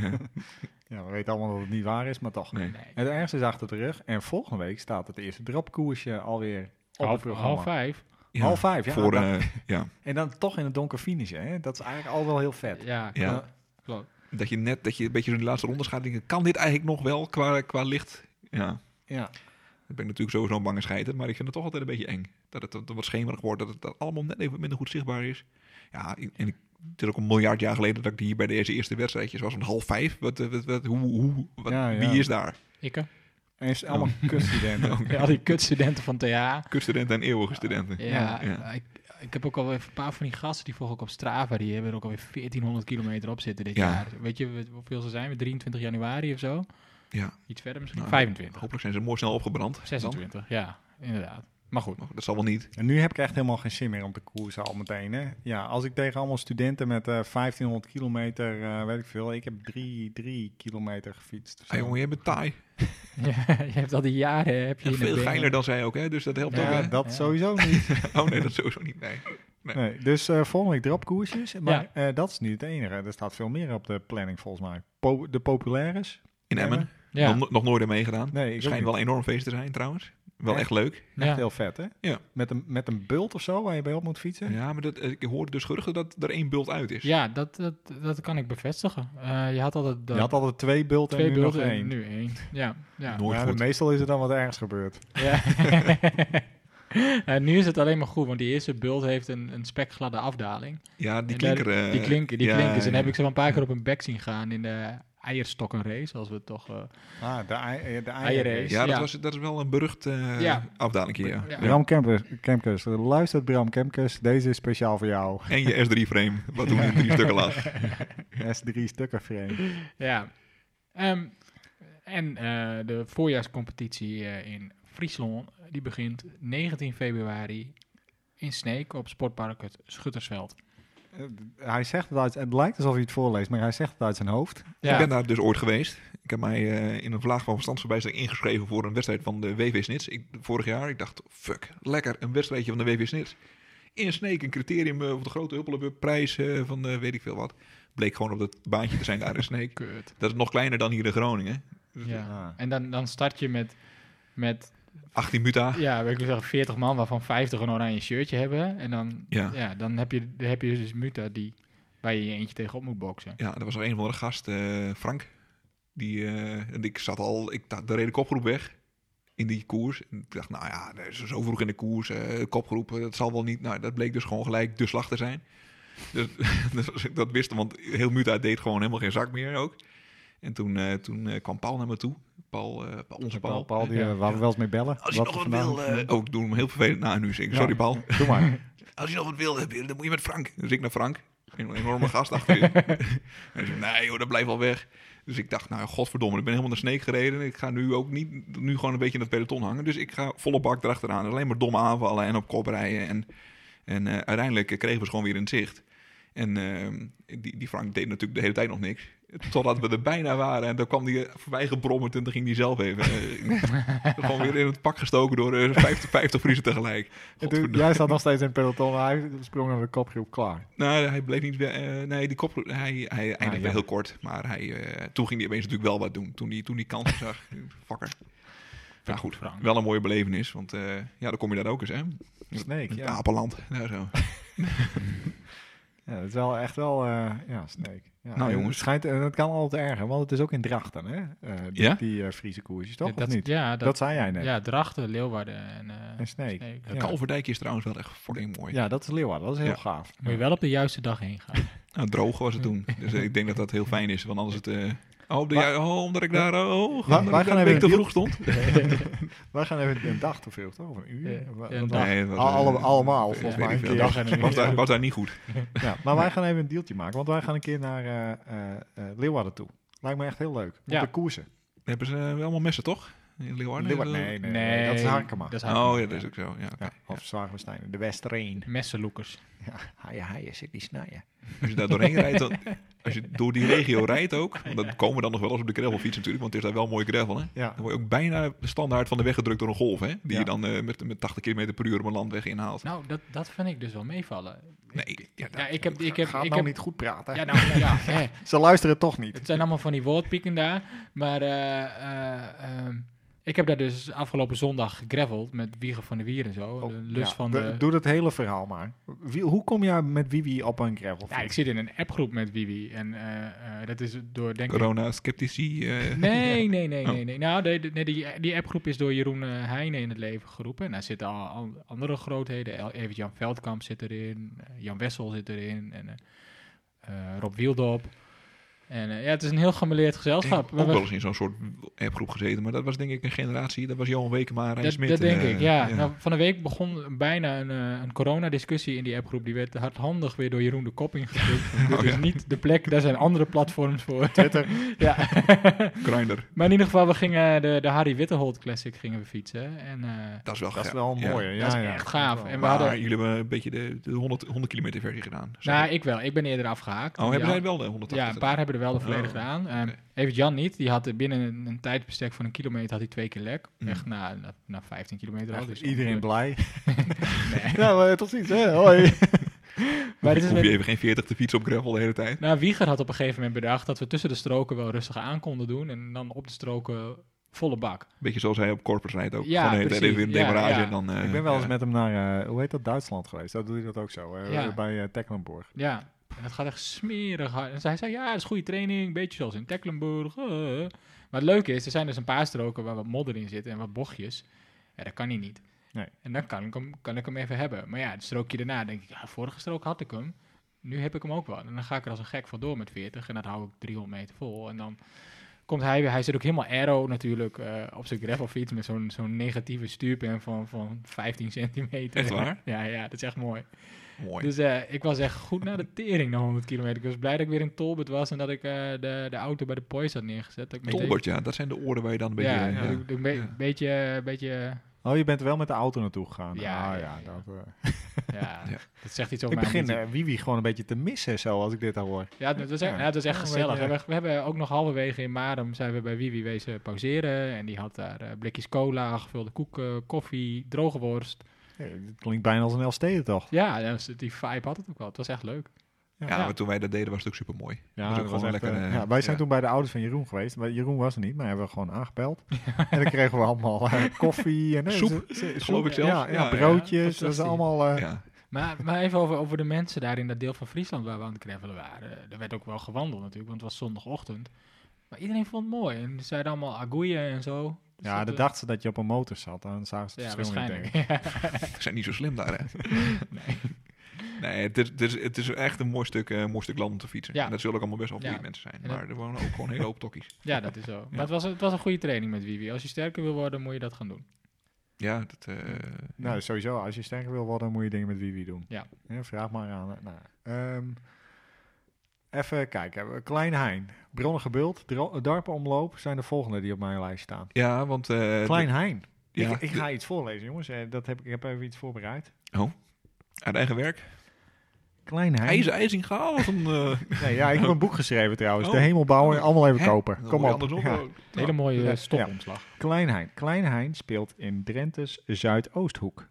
S2: ja, we weten allemaal dat het niet waar is, maar toch.
S1: Nee.
S3: Nee.
S2: Het ergste is achter de rug. En volgende week staat het eerste dropkoersje alweer op
S3: Half,
S2: het programma.
S3: half vijf.
S1: Ja,
S2: Half vijf, ja.
S1: Voor,
S2: dan-
S1: eh, ja.
S2: En dan toch in het donker finishen, hè? Dat is eigenlijk al wel heel vet.
S3: Ja,
S1: Ja.
S2: Maar-
S3: klopt.
S1: Dat je net, dat je een beetje in de laatste rondes gaat denken, kan dit eigenlijk nog wel qua, qua licht? Ja,
S2: ja.
S1: dan ben ik natuurlijk sowieso een bange scheiter, maar ik vind het toch altijd een beetje eng. Dat het, dat het wat schemerig wordt, dat het dat allemaal net even minder goed zichtbaar is. Ja, ik- en ik, het is ook een miljard jaar geleden dat ik hier bij deze eerste wedstrijdjes was, om half vijf. Wat, eh, wat, wat, hoe, hoe, wat-
S2: Ja, ja.
S1: Wie is daar?
S3: Ikke.
S2: En is allemaal
S1: Oh.
S2: kutstudenten.
S1: Oké.
S3: Ja, eh, al die kutstudenten van TA.
S1: Kuststudenten en eeuwige studenten.
S3: Ja, Nou,
S1: Ja.
S3: Ik, ik heb ook alweer een paar van die gasten die volg ik op Strava. Die hebben er ook alweer 1400 kilometer op zitten dit
S1: Ja.
S3: jaar. Weet je wat- hoeveel ze zijn? we? 23 januari of zo?
S1: Ja.
S3: Iets verder misschien?
S1: Nou,
S3: 25.
S1: Hopelijk zijn ze mooi snel opgebrand. dan.
S3: 26, ja, inderdaad. Maar goed.
S1: Maar Dat zal wel niet.
S2: En nu heb ik echt helemaal geen zin meer om te koersen al meteen. Hè? Ja, als ik tegen allemaal studenten met eh 1500 kilometer, eh, weet ik veel, ik heb drie, drie kilometer gefietst. of zo.
S1: Ah, jongen, je bent taai.
S3: je hebt al die jaren. eh, Heb je
S1: En
S3: in de
S1: veel
S3: benen.
S1: geiler dan zij ook, hè? Dus dat helpt
S3: Ja,
S1: ook, hè?
S2: ja, dat
S3: Ja.
S2: sowieso niet.
S1: Oh nee, dat sowieso niet. Nee.
S2: Nee, dus eh, volgende week dropkoersjes. Maar eh, dat is niet het enige. Er staat veel meer op de planning volgens mij. Po- de populaires.
S1: In Emmen.
S3: Ja,
S1: Nog, nog nooit aan meegedaan.
S2: Nee, ik
S1: Schijnt
S2: ook
S1: wel een enorm feest te zijn trouwens. Wel
S2: Echt?
S1: echt leuk.
S2: niet. Echt
S3: ja.
S2: heel vet, hè?
S1: Ja.
S2: Met een, met een bult of zo waar je bij op moet fietsen.
S1: Ja, maar dat, eh, ik hoorde dus geruchten dat er één bult uit is.
S3: ja dat, dat, dat kan ik bevestigen. Eh, je had altijd dat
S2: Je had altijd twee bulten
S3: twee
S2: en nu
S3: beelden
S2: nog
S3: en
S2: één.
S3: nu één. Ja, ja.
S1: Nooit
S2: Ja,
S1: goed.
S2: meestal is er dan wat ergs gebeurd.
S3: Ja. En nu is het alleen maar goed, want die eerste bult heeft een, een spekgladde afdaling.
S1: Ja, die
S3: En daar-
S1: klinker. eh,
S3: die klinken, die
S1: ja,
S3: klinken. En dan
S1: ja.
S3: heb ik ze wel een paar keer op een bek zien gaan in de eierstokkenrace, als we het toch... eh,
S2: Ah, de, ei- eh, de
S3: Eierrace.
S2: eierrace.
S1: Ja, dat,
S3: Ja.
S1: Was, dat is wel een berucht eh
S3: Ja.
S1: afdalingje, ja.
S3: Ja.
S2: Bram Kemkes, Kemkes, luistert Bram Kemkes. Deze is speciaal voor jou.
S1: En je S3-frame, wat toen in drie stukken las.
S2: S3 stukken frame.
S3: ja. Ehm, en eh, de voorjaarscompetitie eh, in Friesland, die begint 19 februari in Sneek op Sportpark het Schuttersveld.
S2: Eh, Hij zegt het uit, het lijkt alsof hij het voorleest, maar hij zegt het uit zijn hoofd.
S1: Ik ben daar dus ooit geweest. Ik heb mij eh, in een vlaag van verstandsverbijstering ingeschreven voor een wedstrijd van de WV Snits. Ik, vorig jaar, ik dacht, fuck, lekker, een wedstrijdje van de WV Snits. In Sneek, een criterium eh, op de grote Huppelenbub prijs eh, van eh, weet ik veel wat. Bleek gewoon op dat baantje te zijn daar in Sneek.
S3: Kut.
S1: Dat is nog kleiner dan hier in Groningen.
S3: Ja.
S2: Ah.
S3: En dan, dan start je met, met
S1: 18 muta.
S3: Ja, wil ik wil zeggen 40 man, waarvan 50 een oranje shirtje hebben. En dan,
S1: Ja.
S3: ja. dan, heb, je, dan heb je dus Muta die, waar je je eentje tegenop moet boksen.
S1: Ja, er was er een van de gast, eh, Frank. Die, eh, en ik zat al, ik dacht, daar reed de kopgroep weg in die koers. En ik dacht, nou ja, er is zo vroeg in de koers, eh, kopgroep, eh, dat zal wel niet. Nou, dat bleek dus gewoon gelijk de slag te zijn. Dus, dus als ik dat wist, want heel Muta deed gewoon helemaal geen zak meer ook. En toen, eh, toen eh, kwam Paul naar me toe. Paul, eh, onze Paul.
S2: Paul, Paul die, eh,
S3: Ja.
S2: waar we wel eens mee bellen.
S1: Als je nog wat wil... eh, oh, ik doe hem heel vervelend na nu, zeg ik.
S2: Ja.
S1: Sorry, Paul.
S2: Doe maar.
S1: Als je nog wat wil, hebben, dan moet je met Frank. Dus ik naar Frank. Een enorme gast achterin. en hij zei, nee joh, dat blijft wel weg. Dus ik dacht, nou godverdomme, ik ben helemaal naar Sneek gereden. Ik ga nu ook niet, nu gewoon een beetje in het peloton hangen. Dus ik ga volle bak erachteraan. Alleen maar domme aanvallen en op kop rijden. En, en eh, uiteindelijk eh, kregen we ze gewoon weer in het zicht. En ehm, die, die Frank deed natuurlijk de hele tijd nog niks. Totdat we er bijna waren. En dan kwam die eh, voorbij gebrommerd en toen ging die zelf even. eh, gewoon weer in het pak gestoken door eh, 50, 50 Friesen tegelijk.
S2: Dude, jij staat nog steeds in het peloton, maar hij sprong naar de kopgroep klaar.
S1: Nou, hij bleef niet. eh, nee, die kop, hij, hij eindigde
S2: Ah, ja.
S1: heel kort. Maar hij, eh, toen ging hij opeens natuurlijk wel wat doen. Toen hij, toen die kansen zag. Fucker. Nou goed,
S3: Frank.
S1: wel een mooie belevenis. Want eh, ja, dan kom je daar ook eens, hè?
S2: Snake,
S1: Ja.
S2: ja.
S1: Apeland. Nou, zo.
S2: ja. Dat is wel echt wel, eh, ja, Snake. Ja,
S1: Nou,
S2: en
S1: jongens.
S2: Het, schijnt, en het kan altijd erger, want het is ook in Drachten, hè? eh, die,
S1: Ja?
S2: Die eh, Friese koersjes, toch?
S3: Ja,
S2: of niet?
S3: Ja,
S2: dat,
S3: dat,
S2: zei jij net.
S3: ja, Drachten, Leeuwarden en, eh
S2: En Sneek.
S3: Sneek.
S2: Ja.
S1: Kalverdijk is trouwens wel echt fucking mooi.
S2: Ja, dat is Leeuwarden. Dat is heel
S1: Ja.
S2: gaaf.
S3: Moet je wel op de juiste dag heen gaan.
S1: Nou, droog was het toen. Dus eh, ik denk dat dat heel fijn is. Want anders het... eh, oh, de,
S2: Maar-
S1: ja, oh, omdat ik daar... Oh,
S2: wij
S1: omdat ik
S2: gaan
S1: daar een
S2: even
S1: week te
S2: een
S1: vroeg stond.
S2: Wij gaan even een dag te veel, toch? Of een uur?
S3: Ja,
S2: Wa-
S3: ja, nou.
S2: wat-
S3: dag.
S1: Nee, het was,
S2: Al- alle-
S1: eh,
S2: allemaal,
S1: weet-
S2: volgens
S1: weet
S2: mij
S1: ik
S2: een
S1: veel.
S2: keer.
S1: Was daar- Was daar, was daar niet goed.
S2: Ja, maar wij gaan even een deeltje maken, want wij gaan een keer naar eh, eh, eh, Leeuwarden toe. Lijkt me echt heel leuk. Om
S3: Ja.
S2: te koersen.
S1: Dan hebben ze eh, wel allemaal messen, toch? In Leeuwarden?
S2: Leeuwarden, Oh, nee, nee, nee, dat is Harkema.
S3: Dat is Harkema,
S1: Oh, ja, dat is ook zo. Ja, oké.
S2: Ja, of Zwagenstein, de Westreen.
S3: Messenloekers.
S2: Ja, haaien, haaien, zit die snijden.
S1: Als je daar doorheen rijdt, dan, als je door die regio rijdt ook, want dan komen we dan nog wel eens op de gravelfiets natuurlijk, want het is daar wel mooi gravel, hè?
S2: Ja,
S1: Dan word je ook bijna standaard van de weg gedrukt door een golf, hè? Die
S2: Ja.
S1: je dan eh, met, met 80 km per uur op een landweg inhaalt.
S3: Nou, dat, dat vind ik dus wel meevallen.
S1: Nee, ja, dat-
S3: Ja, ik heb... Ik heb,
S2: gaat
S3: ik
S2: nou
S3: heb
S2: niet goed praten.
S3: ja, nou, ja, hè.
S2: Ze luisteren toch niet.
S3: Het zijn allemaal van die woordpieken daar. Maar eh, eh, ehm, ik heb daar dus afgelopen zondag gegraveld met Wieger van de Wier en zo.
S2: Oh,
S3: de lus
S2: ja,
S3: van
S2: do-
S3: de...
S2: Doe dat hele verhaal maar. Wie- hoe kom jij met Wiwi op een gravel?
S3: Ja, ik zit in een appgroep met Wiwi. En eh, eh, dat is door, denk ik...
S1: Corona-sceptici. eh,
S3: Nee, nee, nee,
S1: Oh.
S3: nee. nee. Nou, de- de- nee, die, die appgroep is door Jeroen eh, Heijnen in het leven geroepen. En daar zitten al, al andere grootheden. El- Evert Jan Veldkamp zit erin. eh, Jan Wessel zit erin. En eh, eh, Rob Wieldop. En eh, ja, het is een heel gemeleerd
S1: ik heb
S3: gezelschap.
S1: ook wel eens in zo'n soort appgroep gezeten, maar dat was denk ik een generatie, dat was Johan Wekema, Rijn
S3: Dat,
S1: Smit.
S3: dat denk
S1: eh,
S3: ik, ja. Nou, van de week begon bijna een, eh, een coronadiscussie in die appgroep. Die werd hardhandig weer door Jeroen de Kop ingedrukt. Dit
S1: Oh,
S3: is
S1: ja.
S3: niet de plek, daar zijn andere platforms voor.
S2: Twitter.
S3: ja.
S1: Grindr.
S3: maar in ieder geval, we gingen de, de Harry Wittehold Classic gingen we fietsen. En eh,
S1: Dat is wel
S2: Dat is
S1: gaaf.
S2: wel
S1: Ja.
S2: mooi. Ja,
S3: dat is
S2: ja.
S3: echt gaaf. En we
S1: Maar
S3: hadden,
S1: jullie hebben een beetje de, de 100, 100 kilometer versie gedaan. zag
S3: nou,
S1: ik.
S3: ik wel. Ik ben eerder afgehaakt.
S1: oh, hebben
S3: Ja.
S1: zij wel de 180?
S3: Ja, een paar hebben er wel de volledige
S1: Oh.
S3: gedaan. Ehm
S1: Oké.
S3: Even Jan niet. Die had er binnen een, een tijdsbestek van een kilometer had hij twee keer lek.
S1: Mm.
S3: Echt na, na, na 15 kilometer. al,
S2: Echt
S3: dus
S2: iedereen
S3: ongeveer.
S2: blij. Nou, eh, tot ziens. Hè? Hoi.
S3: Maar dit is
S1: Hoef
S3: met-
S1: je even geen 40 te fietsen op gravel de hele tijd?
S3: Nou, Wieger had op een gegeven moment bedacht dat we tussen de stroken wel rustig aan konden doen. En dan op de stroken volle bak.
S1: Beetje zoals hij op corpus rijdt ook.
S3: Ja,
S1: Gewoon de hele tijd
S3: precies.
S1: even in de
S3: Ja,
S1: demarrage
S3: ja.
S1: en dan... eh,
S2: ik ben wel eens
S1: ja.
S2: met hem naar, eh, hoe heet dat, Duitsland geweest. Daar doe je dat ook zo, eh,
S3: Ja.
S2: bij eh, Tecklenburg.
S3: Ja, en dat gaat echt smerig hard. En zij zei, ja, dat is goede training. Een beetje zoals in Tecklenburg. eh. Maar het leuke is, er zijn dus een paar stroken waar wat modder in zit en wat bochtjes. Ja, dat kan hij niet.
S2: Nee.
S3: En dan kan ik, hem, kan ik hem even hebben. Maar ja, het strookje daarna denk ik, ja, vorige strook had ik hem. Nu heb ik hem ook wel. En dan ga ik er als een gek van door met 40. En dat hou ik 300 meter vol. En dan komt hij weer. Hij zit ook helemaal aero natuurlijk eh, op zijn gravelfiets. Met zo'n zo'n negatieve stuurpen van, van 15 centimeter.
S1: Echt waar?
S3: Ja, ja, dat is echt mooi.
S1: Mooi.
S3: Dus eh, ik was echt goed naar de tering na 100 kilometer. Ik was blij dat ik weer in Tolbert was en dat ik eh, de, de auto bij de Poys had neergezet. Dat ik meteen-
S1: Tolbert, ja. Dat zijn de oren waar je dan een beetje...
S3: ja,
S1: eh,
S3: dat ik- dat ik be-
S1: ja.
S3: beetje, beetje,
S2: Oh, je bent wel met de auto naartoe gegaan.
S3: Ja,
S2: Ah,
S3: ja, ja.
S2: dat, eh.
S3: ja,
S1: Ja.
S3: dat zegt iets over
S2: Ik
S3: mijn
S2: begin
S3: ambitie.
S2: eh, Wiwi gewoon een beetje te missen, zo, als ik dit al hoor.
S3: Ja, dat was echt,
S2: Ja.
S3: ja, dat was echt
S2: Ja, een
S3: gezellig.
S2: beetje, ja.
S3: We, hebben- we hebben ook nog halverwege in Marum zijn we bij Wiwi wezen pauzeren. En die had daar eh, blikjes cola, gevulde koeken, koffie, droge worst.
S2: Ja, het klinkt bijna als een Elfstedentocht.
S3: Ja, dat was- die vibe had het ook wel. Het was echt leuk.
S1: Ja,
S3: Ja.
S1: maar toen wij dat deden was het ook supermooi.
S2: Ja,
S1: was ook
S2: dat
S1: gewoon
S2: echt,
S1: lekker,
S2: eh,
S1: eh,
S2: ja, wij zijn
S1: ja.
S2: toen bij de ouders van Jeroen geweest. Maar Jeroen was er niet, maar hebben we gewoon aangebeld. en dan kregen we allemaal eh, koffie en eh,
S1: Soep,
S2: ze- ze-
S1: geloof ik
S2: soep,
S1: zelfs.
S2: Ja, ja,
S1: Ja, ja.
S2: broodjes. dat is
S3: Fantastisch.
S2: allemaal. eh,
S1: Ja.
S3: Maar, maar even over, over de mensen daar in dat deel van Friesland waar we aan het gravelen waren. Er werd ook wel gewandeld natuurlijk, want het was zondagochtend. Maar iedereen vond het mooi. En ze zeiden allemaal agoeien en zo. Dus
S2: Ja, dan
S3: dat, eh,
S2: dachten ze dat je op een motor zat. Dan zagen ze het
S3: Ja,
S2: verschil niet
S3: waarschijnlijk.
S2: tegen.
S1: Ze zijn niet zo slim daar, hè? nee. het, is, het, is, het is echt een mooi stuk, eh, mooi stuk land om te fietsen.
S3: Ja.
S1: En dat zullen ook allemaal best wel goede
S3: Ja.
S1: mensen zijn.
S3: En
S1: Maar er wonen ook gewoon hele hoop tokkies.
S3: ja, dat is zo. Maar het was, het was een goede training met Wiwi. Als je sterker wil worden, moet je dat gaan doen.
S1: Ja, dat... eh,
S2: Nou, sowieso, als je sterker wil worden, moet je dingen met Wiwi doen.
S3: Ja.
S2: vraag maar aan. eh, Nou, ehm, even kijken. Eh, Klein Hein, Bronnige Bult, Dro- Darpenomloop zijn de volgende die op mijn lijst staan.
S1: ja, want... eh,
S2: Klein Hein.
S1: de- ja,
S2: ik, ik
S1: de-
S2: ga iets voorlezen, jongens. Eh, Dat heb, ik- ik heb even iets voorbereid.
S1: Uit eigen werk.
S2: Klein Hein.
S1: IJzer IJzinga was een... eh,
S2: Nee, ja, ik heb een boek geschreven trouwens.
S1: Oh.
S2: De hemelbouwer, allemaal even
S1: Hè?
S2: kopen. Kom op.
S1: Andersom,
S2: Ja.
S1: eh,
S3: Hele mooie
S2: ja.
S3: eh, stopomslag.
S2: Klein Hein. Klein Hein speelt in Drenthe's Zuidoosthoek.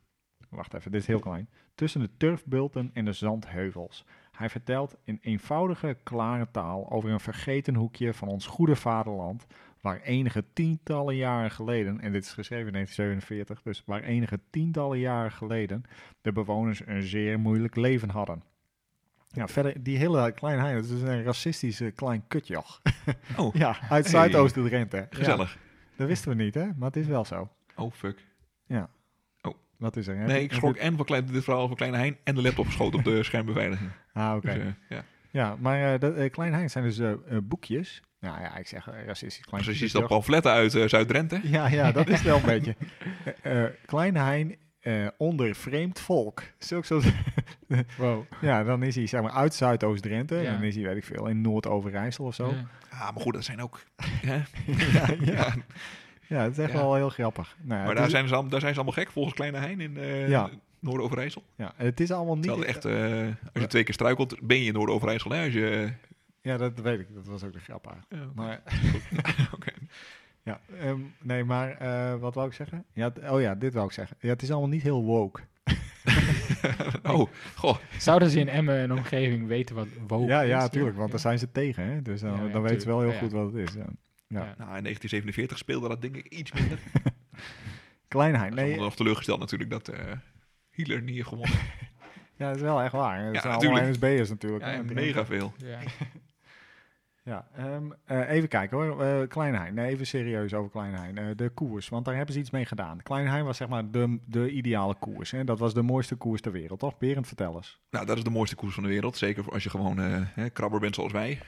S2: Wacht even, dit is heel klein. Tussen de turfbulten en de zandheuvels. Hij vertelt in eenvoudige, klare taal over een vergeten hoekje van ons goede vaderland, waar enige tientallen jaren geleden, en dit is geschreven in 1947, dus waar enige tientallen jaren geleden de bewoners een zeer moeilijk leven hadden. Ja, verder, die hele kleine heiland is dus een racistisch eh, klein kutjoch.
S1: Oh,
S2: ja,
S1: Hey.
S2: uit Zuidoost-Drenthe. Ja,
S1: gezellig.
S2: dat wisten we niet, hè? Maar het is wel zo.
S1: Oh, fuck.
S2: Wat is er? Heb
S1: Nee,
S2: je-
S1: ik
S2: heb
S1: schrok
S2: je-
S1: en van klein, dit verhaal van Kleine Hein en de laptop geschoten op de schermbeveiliging.
S2: Ah, oké.
S1: Dus, eh, ja.
S2: Ja, maar eh, dat, eh, Klein Hein zijn dus eh, eh, boekjes. Nou ja, ik zeg eh, racistisch klein
S1: Precies dat
S2: kutjoch.
S1: pamfletten uit eh, Zuid-Drenthe.
S2: Ja, ja, dat is het wel een beetje. Eh, eh, klein Hein eh, onder vreemd volk. Zulk soort
S3: Wow.
S2: Ja, dan is hij zeg maar uit Zuidoost-Drenthe.
S3: Ja.
S2: Dan is hij, weet ik veel, in Noord-Overijssel of zo.
S3: Ja.
S1: Ah, maar goed, dat zijn ook... hè?
S2: Ja, ja.
S1: Ja,
S2: ja, dat is echt
S1: Ja.
S2: wel heel grappig. Nou, ja,
S1: maar
S2: het
S1: daar
S2: is,
S1: zijn, ze, al- daar zijn ze allemaal gek, volgens Kleine Hein in eh
S2: Ja.
S1: Noord-Overijssel.
S2: ja, het is allemaal niet...
S1: Terwijl het echt, eh, als je twee keer struikelt, ben je in Noord-Overijssel. Hè? Als je, eh,
S2: Ja, dat weet ik. Dat was ook de grap eigenlijk. Maar,
S1: Oké.
S2: ja, ehm, nee, maar eh, wat wou ik zeggen? Ja, t- oh ja, dit wou ik zeggen. Ja, het is allemaal niet heel woke.
S1: Oh, goh.
S3: Zouden ze in Emmen en omgeving weten wat woke
S2: ja, ja,
S3: is?
S2: tuurlijk, want daar zijn ze tegen, hè? Dus dan,
S3: Ja, ja,
S2: dan weten ze wel heel
S3: tuurlijk.
S2: goed wat het is. Ja. Ja.
S3: Ja.
S1: Nou, in 1947 speelde dat denk ik iets minder.
S2: Kleinheid,
S1: Nee. Ik
S2: nee,
S1: ben nog teleurgesteld natuurlijk dat eh Hitler niet heeft gewonnen.
S2: ja, dat is wel echt waar. hè. Dat
S1: Ja,
S2: zijn allemaal
S1: natuurlijk.
S2: NSB'ers natuurlijk.
S1: Ja,
S2: hè,
S1: en
S2: drinken.
S1: mega veel.
S3: Ja.
S2: Ja, ehm, eh, even kijken hoor. Eh Kleinheijn, nee, even serieus over Kleinheijn. Eh de koers, want daar hebben ze iets mee gedaan. Kleinheijn was zeg maar de, de ideale koers. Hè? Dat was de mooiste koers ter wereld, toch? Berend, vertel eens.
S1: Nou, dat is de mooiste koers van de wereld. Zeker voor als je gewoon eh, hè, krabber bent zoals wij.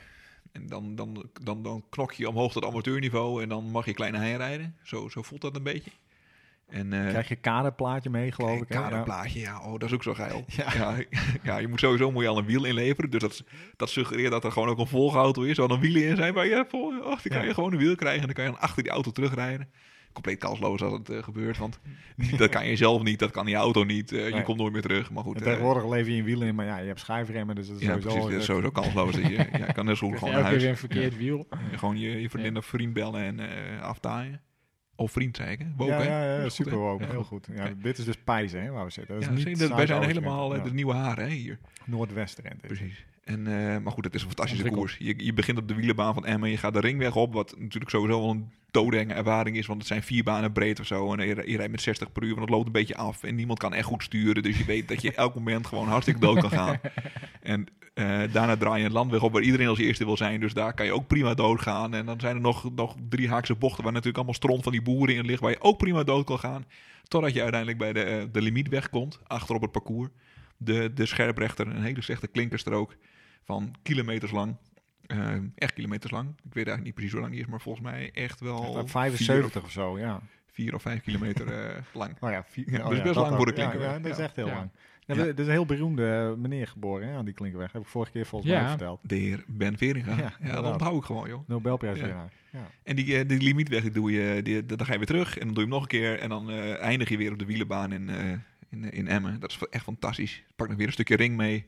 S1: En dan, dan, dan, dan knok je omhoog tot amateurniveau en dan mag je kleine hei rijden. Zo, zo voelt dat een beetje. En, eh,
S2: Krijg je kaderplaatje mee, geloof ik. hè? Ja.
S1: Kaderplaatje, ja, oh, dat is ook zo geil.
S2: Ja.
S1: Ja. Ja, je moet sowieso moet je al een wiel inleveren. Dus dat, dat suggereert dat er gewoon ook een volgauto is. Waar een wielen in zijn. Maar ja, vol, ach, die kan
S2: Ja.
S1: je gewoon een wiel krijgen. En dan kan je dan achter die auto terugrijden. Compleet kansloos als het eh, gebeurt. Want dat kan je zelf niet. Dat kan die auto niet. eh,
S2: Nee.
S1: Je komt nooit meer terug. Maar goed,
S2: En
S1: eh,
S2: tegenwoordig lever je in wielen in, maar ja, je hebt schijfremmen, dus dat is
S1: ja,
S2: sowieso...
S1: precies. Dat is sowieso kansloos. Dat je, ja, je kan net zo goed
S3: Krijg je
S1: gewoon
S3: elke
S1: naar
S3: keer
S1: huis.
S3: weer een verkeerd wiel.
S1: Ja, gewoon je, je vriendin
S3: Ja.
S1: of vriend bellen en eh aftaaien. Of vriend, zei ik. Hè? Woke,
S2: ja,
S1: hè?
S2: ja,
S1: Dat
S2: ja,
S1: is goed, hè?
S2: super woke,
S1: Ja.
S2: heel goed. Ja,
S1: Ja.
S2: Dit is dus Pijzen, hè, waar we zitten. Dat is
S1: Ja,
S2: niet
S1: zie je, dat- wij zijn
S2: Zuidoost-Drenthe,
S1: helemaal eh,
S2: ja.
S1: de nieuwe haren hè, hier.
S2: Noordwest-Drenthe.
S1: Precies. En, eh, maar goed, het is een fantastische
S3: Ontwikkeld.
S1: koers. Je, je begint op de wielenbaan van Emmen, je gaat de ringweg op, wat natuurlijk sowieso wel een dodenge ervaring is, want het zijn vier banen breed of zo. En je, je rijdt met 60 per uur, want het loopt een beetje af en niemand kan echt goed sturen. Dus je weet dat je elk moment gewoon hartstikke dood kan gaan. En eh, daarna draai je een landweg op waar iedereen als eerste wil zijn, dus daar kan je ook prima dood gaan. En dan zijn er nog, nog drie haakse bochten waar natuurlijk allemaal stront van die boeren in ligt, waar je ook prima dood kan gaan. Totdat je uiteindelijk bij de, eh, de limiet wegkomt, achter op het parcours. De, de scherprechter, een hele slechte klinkerstrook van kilometers lang. Eh, echt kilometers lang. Ik weet eigenlijk niet precies hoe lang die is, maar volgens mij echt wel...
S2: Ja,
S1: Oh, vier of-
S2: 75 of zo, ja.
S1: vier of vijf kilometer eh, lang.
S2: Oh ja, vier,
S1: Ja,
S2: oh
S1: dat is
S2: ja,
S1: best lang
S2: ook.
S1: voor de
S2: Ja,
S1: klinkerweg.
S2: Ja, dat is
S1: Ja.
S2: echt heel
S3: Ja.
S2: lang. Ja,
S1: Ja.
S2: Er is een heel beroemde eh, meneer geboren hè, aan die klinkerweg. Heb ik vorige keer volgens mij
S3: Ja.
S2: verteld.
S1: De heer Ben Veringa.
S2: Ja,
S1: Ja, dat
S2: inderdaad.
S1: onthoud ik gewoon, joh.
S2: Nobelprijswinnaar. Ja.
S1: En die, eh, die limietweg, die doe je, die, dan ga je weer terug en dan doe je hem nog een keer. En dan eh, eindig je weer op de wielenbaan in, eh, in, eh, in Emmen. Dat is echt fantastisch. Pak nog weer een stukje ring mee.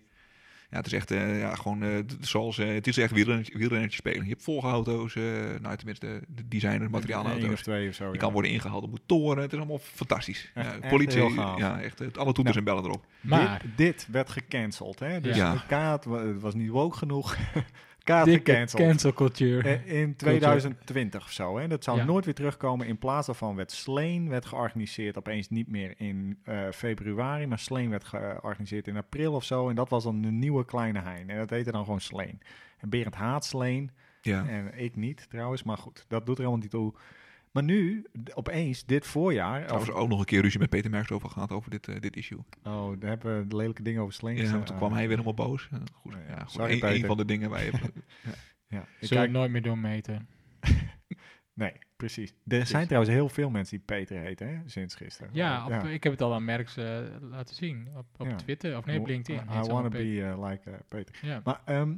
S1: Ja, het is echt eh, ja, gewoon, eh, d- zoals, eh, het is echt wielrennertje, wielrennertje spelen. Je hebt volgauto's, eh nou tenminste de designer,
S2: Eén of
S1: materiaalauto's.
S2: twee of zo.
S1: Je
S2: ja.
S1: kan worden ingehaald op toren. Het is allemaal fantastisch.
S2: Echt-
S1: Ja,
S2: echt
S1: politie,
S2: heel gaaf.
S1: ja, echt, eh, alle toeters
S2: Ja.
S1: en bellen erop.
S3: Maar,
S2: Dit, dit werd gecanceld. Hè? Dus
S1: Ja.
S2: de kaart wa- het was niet woke genoeg. kaart
S3: dikke
S2: gecanceld.
S3: cancel culture.
S2: Eh, In 2020 of zo. Hè? Dat zou
S3: Ja.
S2: nooit weer terugkomen. In plaats daarvan werd Sleen werd georganiseerd opeens niet meer in eh, februari. Maar Sleen werd georganiseerd in april of zo. En dat was dan de nieuwe Kleine Hein. En dat heette dan gewoon Sleen. En Berend haat Sleen.
S1: Ja.
S2: En ik niet trouwens, maar goed, dat doet er helemaal niet toe. Maar nu, d- opeens, dit voorjaar.
S1: Trouwens ook nog een keer ruzie met Peter Merks over gehad, over dit, eh, dit issue.
S2: oh, daar hebben we de lelijke dingen over Ah, slings.
S1: Ja, want toen kwam hij weer helemaal boos. Eh, Goed,
S2: Nee,
S1: ja, goed.
S2: sorry,
S1: Eén- één
S2: Peter.
S1: van de dingen waar je...
S2: Ja, ik
S3: Zul je
S2: kijk,
S3: nooit meer doormeten.
S2: nee, precies. Er zijn trouwens heel veel mensen die Peter heten, hè, sinds gisteren.
S3: Ja, op, ik heb het al aan Merks eh, laten zien. Op, op
S2: Ja.
S3: Twitter, of nee, op LinkedIn.
S2: I,
S3: heet ze
S2: wanna
S3: allemaal
S2: be
S3: Peter.
S2: eh, like eh, Peter.
S3: Ja.
S2: Maar ehm,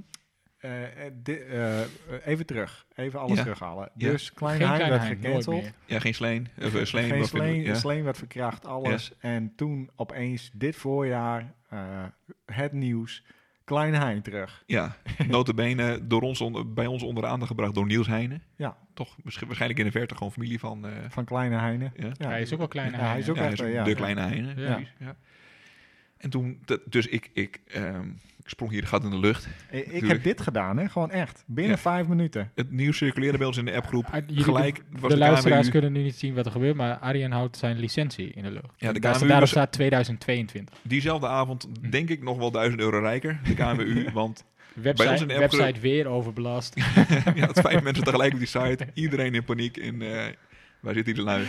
S2: eh, eh, di- eh, even terug, even alles
S1: Ja.
S2: terughalen.
S1: Ja.
S2: Dus Klein
S3: Geen
S2: Hein
S3: kleine
S2: werd
S3: hein, nooit
S2: gecanceld.
S3: meer.
S1: Ja, geen sleen. Of, eh, sleen,
S2: geen
S1: wat vinden we-
S2: sleen,
S1: ja.
S2: sleen werd verkracht, alles. En toen opeens dit voorjaar eh, het nieuws, Klein Hein terug.
S1: Ja, notabene door ons on- bij ons onder de aandacht gebracht door Niels Heijnen.
S2: Ja.
S1: Toch waarsch- waarschijnlijk in de verte gewoon familie van... eh,
S2: Van Kleine Heine.
S1: ja.
S2: Ja,
S3: hij is ook wel klein.
S2: Ja, hij is ook
S1: Ja,
S2: echt,
S1: dus
S2: eh, ja.
S1: de kleine Heijnen.
S3: Ja.
S1: precies, Ja. En toen, dat- dus ik, ik ehm, Ik sprong hier de gat in de lucht.
S2: Ik, ik heb
S1: Tuurlijk.
S2: dit gedaan, hè? Gewoon echt. Binnen
S1: Ja.
S2: vijf minuten.
S1: Het nieuws circuleerde bij ons in de appgroep.
S3: Ah, jullie-
S1: Gelijk was
S3: de
S1: de,
S3: luisteraars
S1: KNWU
S3: kunnen nu niet zien wat er gebeurt, maar Arjen houdt zijn licentie in de lucht.
S1: Ja, de
S3: Daar-
S1: KNWU
S3: Daarop
S1: was-
S3: staat 2022.
S1: diezelfde
S2: Hm.
S1: avond, denk ik, nog wel 1000 euro rijker. De KNWU, want ons
S3: Website,
S1: in de app-
S3: website weer overbelast.
S1: ja, het vijf mensen tegelijk op die site. Iedereen in paniek. En eh, waar zit die lui?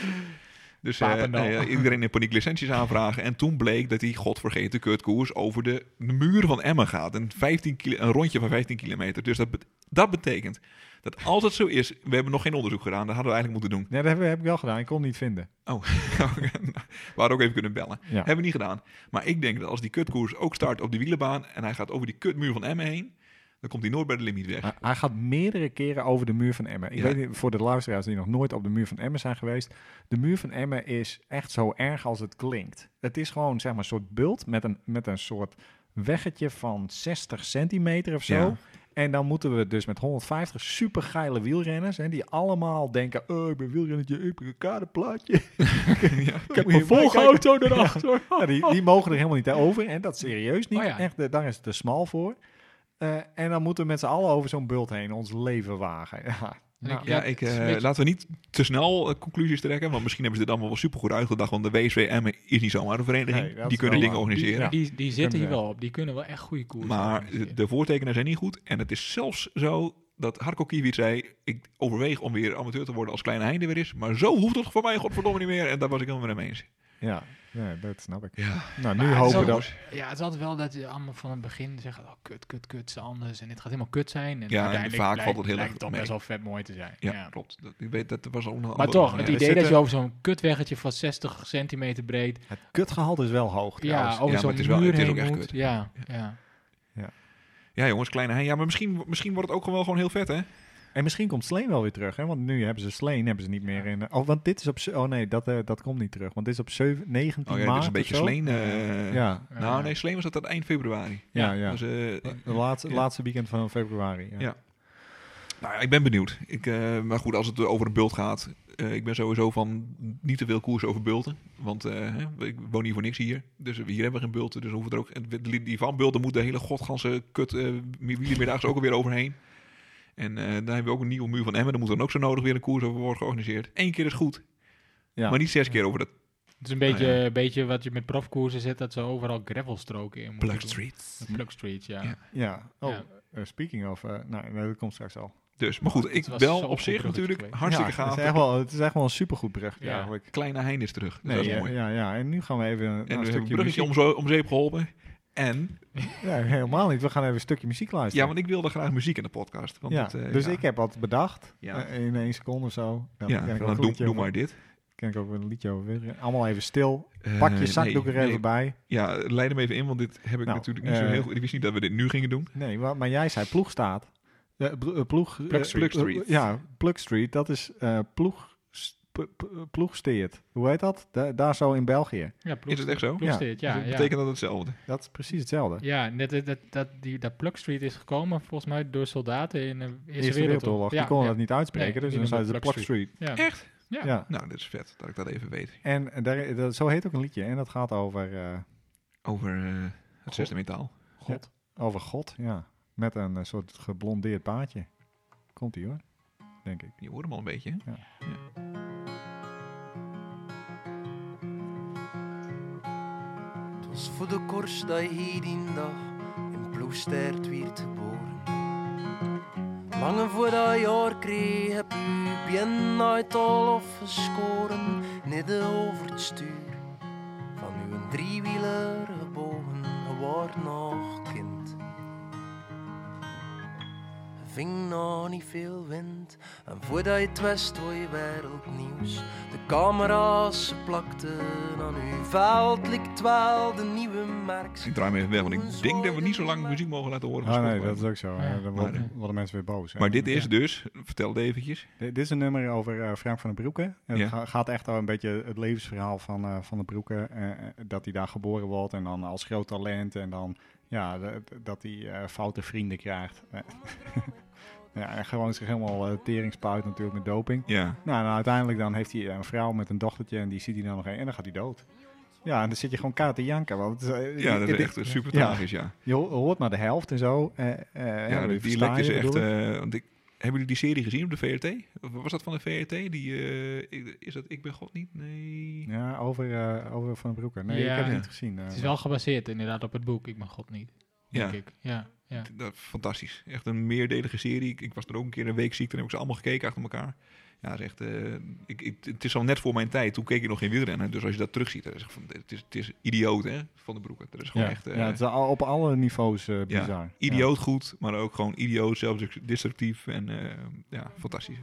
S1: Dus eh,
S3: Papendal.
S1: nee, eh, iedereen in paniek licenties aanvragen. En toen bleek dat die godvergeten kutkoers over de, de muur van Emmen gaat. Een, 15 kilo, een rondje van 15 kilometer. Dus dat, bet- dat betekent dat als het zo is... We hebben nog geen onderzoek gedaan. Dat hadden we eigenlijk moeten doen. Oh,
S2: Ja, dat heb, heb ik wel gedaan. Ik kon het niet vinden.
S1: we hadden ook even kunnen bellen.
S2: Ja.
S1: Hebben we niet gedaan. Maar ik denk dat als die kutkoers ook start op die wielenbaan... en hij gaat over die kutmuur van Emmen heen... dan komt hij nooit bij de limiet weg.
S2: Hij, hij gaat meerdere keren over de muur van Emmen. Ik
S1: Ja.
S2: weet niet, voor de luisteraars die nog nooit op de muur van Emmen zijn geweest. De muur van Emmen is echt zo erg als het klinkt. Het is gewoon zeg maar een soort bult met een, met een soort weggetje van 60 centimeter of zo.
S1: Ja.
S2: En dan moeten we dus met 150 supergeile wielrenners... Hè, die allemaal denken, oh, ik ben wielrennertje, ik ben een kaderplaatje.
S1: ja.
S2: Ik
S3: Kijk, mijn volgauto erachter.
S2: Ja, die, die mogen er helemaal niet over. En dat serieus niet.
S3: Oh ja.
S2: Echt, eh, daar is het te smal voor. Eh, en dan moeten we met z'n allen over zo'n bult heen ons leven wagen. Ja, nou,
S1: Ja,
S3: Ja,
S1: ik,
S3: het is een
S1: eh,
S3: beetje-
S1: laten we niet te snel eh, conclusies trekken, want misschien hebben ze dit allemaal wel supergoed uitgedacht, want de WSWM is niet zomaar een vereniging.
S2: Nee, dat
S1: die
S2: is
S1: kunnen
S2: wel
S1: dingen
S2: waar.
S1: organiseren.
S3: Die, die, die zitten hier
S2: Kunnen we-
S3: wel op. Die kunnen wel echt goede koers.
S1: maar de- de voortekenen zijn niet goed. En het is zelfs zo dat Harko Kiewit zei, ik overweeg om weer amateur te worden als Kleine Heinde weer is, maar zo hoeft het voor mij godverdomme niet meer. En daar was ik helemaal mee eens.
S2: ja nee, dat snap ik.
S1: Ja.
S2: Nou, nu
S3: Maar het is
S2: hopen
S3: ook-
S2: dat...
S3: Ja, het is altijd wel dat je allemaal van het begin zegt, oh, kut, kut, kut, het is anders. En dit gaat helemaal kut zijn.
S1: Ja,
S3: En
S1: en
S3: uiteindelijk
S1: vaak
S3: blijkt-
S1: valt het heel
S3: lijkt
S1: erg
S3: toch
S1: mee.
S3: best wel vet mooi te zijn.
S1: Ja,
S3: Ja.
S1: klopt. Dat, ik weet, dat was al een
S3: Maar
S1: andere-
S3: toch, het
S1: ja.
S2: er
S3: idee dat je
S2: zitten-
S3: over zo'n kutweggetje van 60 centimeter breed...
S2: Het kutgehalte is wel hoog trouwens.
S3: Ja, over
S1: maar
S3: zo'n
S1: het is wel-
S3: muur
S1: het is
S3: heen
S1: ook echt
S3: moet.
S1: kut.
S3: Ja, ja.
S1: ja, jongens, Kleine Heinde. Ja, maar misschien, misschien wordt het ook gewoon, gewoon heel vet, hè?
S2: En misschien komt Sleen wel weer terug. Hè? Want nu hebben ze Sleen hebben ze niet meer in... Oh, want dit is op... ze- Oh nee, dat, eh, dat komt niet terug. Want dit is op zeven- 19
S1: Oh ja,
S2: maart
S1: dit is een beetje
S2: of zo.
S1: sleen. eh,
S2: Ja,
S1: Nou,
S3: Eh,
S1: nee, sleen was dat aan het eind februari.
S2: ja, ja.
S1: Dus, eh,
S2: De laatste,
S1: Ja.
S2: laatste weekend van februari. Ja.
S1: Ja. Nou ja, ik ben benieuwd. Ik, eh, maar goed, als het over een bult gaat. eh, ik ben sowieso van niet te veel koers over bulten. Want eh, hè, ik woon hier voor niks hier. Dus hier hebben we geen bulten. Dus hoeven we er ook. en die- Die van bulten moet de hele godganse kut eh wielermiddags ook alweer overheen. En eh, daar hebben we ook een nieuwe muur van Emmen. Daar moet dan ook zo nodig weer een koers over worden georganiseerd. Eén keer is goed.
S2: Ja.
S1: Maar niet zes keer over dat
S3: Het is een beetje,
S1: Nou ja.
S3: een beetje wat je met profkoersen zit, dat ze overal gravelstroken in moeten
S1: Black
S3: doen.
S1: Street.
S3: Plug Street, ja.
S1: Ja.
S2: Ja. Oh,
S3: Ja.
S2: eh, speaking of... eh, nou, nee, dat komt straks al.
S1: Dus, maar goed, ik
S3: was
S1: wel
S3: zo'n
S1: op zich
S3: goed bruggetje
S1: natuurlijk
S3: geweest.
S1: hartstikke
S2: ja,
S1: gaaf.
S2: Het is echt wel, het is echt wel een supergoed brug
S3: Ja.
S2: eigenlijk.
S1: Kleine Hein is terug. Dus
S2: Nee,
S1: dat is
S2: ja,
S1: mooi.
S2: ja, ja, en nu gaan we even naar
S1: En
S2: een
S1: we hebben een
S2: stukje
S1: bruggetje
S2: muziek.
S1: om, zo, om zeep geholpen. En
S2: Ja, helemaal niet. We gaan even een stukje muziek luisteren.
S1: Ja, want ik wilde graag muziek in de podcast. Want
S2: Ja,
S1: het, eh,
S2: dus
S1: ja.
S2: ik heb wat bedacht
S1: Ja.
S2: eh, in één seconde of zo. Ja,
S1: Ja,
S2: ken ik
S1: van,
S2: ook een
S1: doe,
S2: liedje
S1: doe
S2: over-
S1: maar dit.
S2: ken ik ook een liedje over. wielrennen. Allemaal even stil. Pak je
S1: Eh,
S2: zakdoek
S1: nee,
S2: er even
S1: nee.
S2: bij.
S1: Ja, leid hem even in, want dit heb ik
S2: Nou,
S1: natuurlijk niet zo
S2: eh,
S1: heel goed. Ik wist niet dat we dit nu gingen doen.
S2: Nee, wa- maar jij zei ploeg staat. Ja, pl- eh, ploeg, eh,
S1: Plug Street.
S2: eh, eh, ja, Plug Street. Dat is eh ploeg, ploegsteert. Hoe heet dat? Da- daar zo in België.
S3: Ja, Plug-
S1: Is het echt zo?
S3: Plug
S2: Ja.
S3: Street,
S1: Dus
S3: ja.
S1: dat
S3: ja.
S1: betekent dat hetzelfde.
S2: Dat is precies hetzelfde.
S3: Ja, net, dat, dat, dat, die, dat Plug Street is gekomen volgens mij door soldaten in de Eerste,
S2: Eerste Wereldoorlog. Die
S3: Ja,
S2: konden
S3: ja.
S2: dat niet uitspreken,
S3: Nee,
S2: dus
S3: die
S2: dan zeiden
S3: noemen
S2: ze
S3: het
S2: Plug
S3: Plug
S2: Street.
S3: Ja.
S1: Echt?
S3: Ja.
S2: Ja.
S1: Nou, dit is vet dat ik dat even weet.
S2: En eh, daar, dat, zo heet ook een liedje. En dat gaat over, eh,
S1: Over eh, het zesde metaal.
S3: God.
S2: over God, ja. Met een eh, soort geblondeerd paadje. Komt-ie hoor, denk ik.
S1: Je hoort hem al een beetje. hè?
S4: Het was voor de korst dat je hier in dag in Ploegstert werd geboren. Lange voor dat jaar kreeg heb je bien uit al afgeschoren, midden over het stuur. Van uw driewieler gebogen, je was nog kind. Je ving nog niet veel wind, en voordat je het wist hoor je wereldnieuws. De camera's ze plakten aan uw veld, ligt wel de nieuwe merks.
S1: Ik draai me even weg, want ik denk dat we niet zo lang muziek mogen laten horen. van
S2: Ah nee,
S1: Spotify.
S2: dat is ook zo.
S3: Ja.
S2: hè. Dan worden,
S1: Maar-
S2: worden mensen weer boos. hè.
S1: Maar dit
S2: Ja.
S1: is dus, vertel het eventjes.
S2: Dit dit is een nummer over eh, Frank van den Broeke. En
S1: Ja.
S2: Het ga- gaat echt al een beetje het levensverhaal van eh, Van den Broeke. eh, eh, dat hij daar geboren wordt en dan als groot talent. En dan ja, de- dat hij eh, foute vrienden krijgt. ja, en gewoon zich helemaal eh, tering spuit natuurlijk met doping.
S1: Ja,
S2: Nou, en uiteindelijk dan heeft hij een vrouw met een dochtertje en die ziet hij dan nog een en dan gaat hij dood. Ja, en dan zit je gewoon kaart te janken. Want het is-
S1: Ja, dat
S2: dit-
S1: is echt eh, super
S2: Ja.
S1: tragisch, ja.
S2: Je ho- hoort maar de helft en zo. eh, eh, hè,
S1: Ja,
S2: maar
S1: die
S2: je
S1: dialect
S2: versta
S1: is
S2: je,
S1: echt...
S2: bedoel ik.
S1: eh, want ik, hebben jullie die serie gezien op de VRT? Of was dat van de VRT? Die, eh, ik- is dat Ik ben God niet? Nee.
S2: Ja, over, eh, over Van den Broeke. Nee,
S3: Ja.
S2: ik heb het
S1: Ja.
S2: niet gezien. eh,
S3: Het is wel gebaseerd inderdaad op het boek. Ik ben God niet,
S1: Ja,
S3: denk ik. Ja, ja.
S1: d- dat, fantastisch. Echt een meerdelige serie. Ik, ik was er ook een keer een week ziek. Toen heb ik ze allemaal gekeken achter elkaar. Ja, dat is echt, eh, ik, ik- het is al net voor mijn tijd. Toen keek ik nog geen wielrennen. Dus als je dat terugziet, dat is echt van, het, is, het is idioot, hè? Van de broeken. Dat is gewoon
S2: ja.
S1: echt... eh,
S2: ja, het is al- op alle niveaus eh, bizar.
S1: idioot goed, maar ook gewoon idioot, zelfdestructief en eh, ja, fantastisch.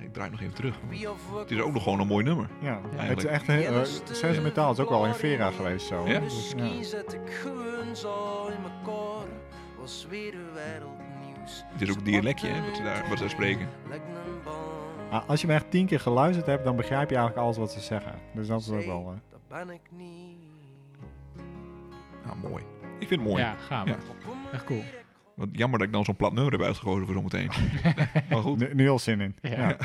S1: Ik draai nog even terug. want
S4: Wie of we
S1: Het is ook nog gewoon een mooi nummer.
S2: Ja, ja, het is
S1: eigenlijk.
S2: echt... heel- eh, Zijn ze metaal is ook wel in Vera geweest zo.
S1: Ja.
S2: Dus, ja.
S4: Misschien zet ik gewoon zo in mekaar. Was weer een wereldnieuws.
S1: Het is ook een dialectje hè, wat, ze daar, wat ze daar spreken.
S4: Lijkt een baan.
S2: Ah, Als je me echt tien keer geluisterd hebt, dan begrijp je eigenlijk alles wat ze zeggen. Dus dat is ook wel... eh,
S4: Dat ben ik niet.
S1: Ja, Nou, mooi. Ik vind het mooi.
S3: Ja, gaaf.
S1: Ja.
S3: Echt cool.
S1: Want jammer dat ik dan zo'n plat nummer heb uitgekozen voor zometeen. maar goed,
S2: Nu, nu al zin in.
S3: Ja.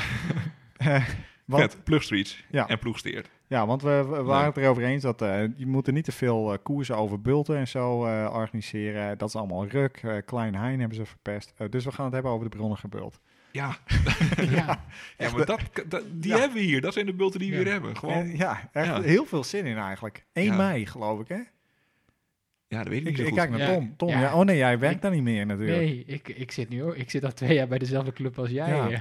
S2: Ja. Eh, want,
S1: vet. Plugstreets
S2: Ja.
S1: en ploegsteert.
S2: ja, want we, we waren het erover eens dat eh, je moet er niet te veel eh, koersen over bulten en zo eh, organiseren. Dat is allemaal ruk. Eh, Klein Hein hebben ze verpest. Eh, dus we gaan het hebben over de bronnen gebult.
S1: Ja,
S3: Ja,
S1: ja maar dat, dat- die
S2: Ja.
S1: hebben we hier. Dat zijn de bulten die we
S3: Ja.
S1: hier hebben. Gewoon,
S2: En ja, echt
S1: Ja.
S2: heel veel zin in eigenlijk. 1
S1: Ja.
S2: mei geloof ik hè?
S1: ja, dat weet ik
S2: Ik,
S1: niet zo
S2: ik
S1: goed.
S2: kijk naar
S3: Ja.
S2: Tom. Tom
S3: Ja.
S2: ja. Oh nee, jij werkt
S3: Ik-
S2: daar niet meer natuurlijk.
S3: nee, ik, ik zit nu ook. Ik zit al twee jaar bij dezelfde club als jij.
S2: Ja.
S3: eh.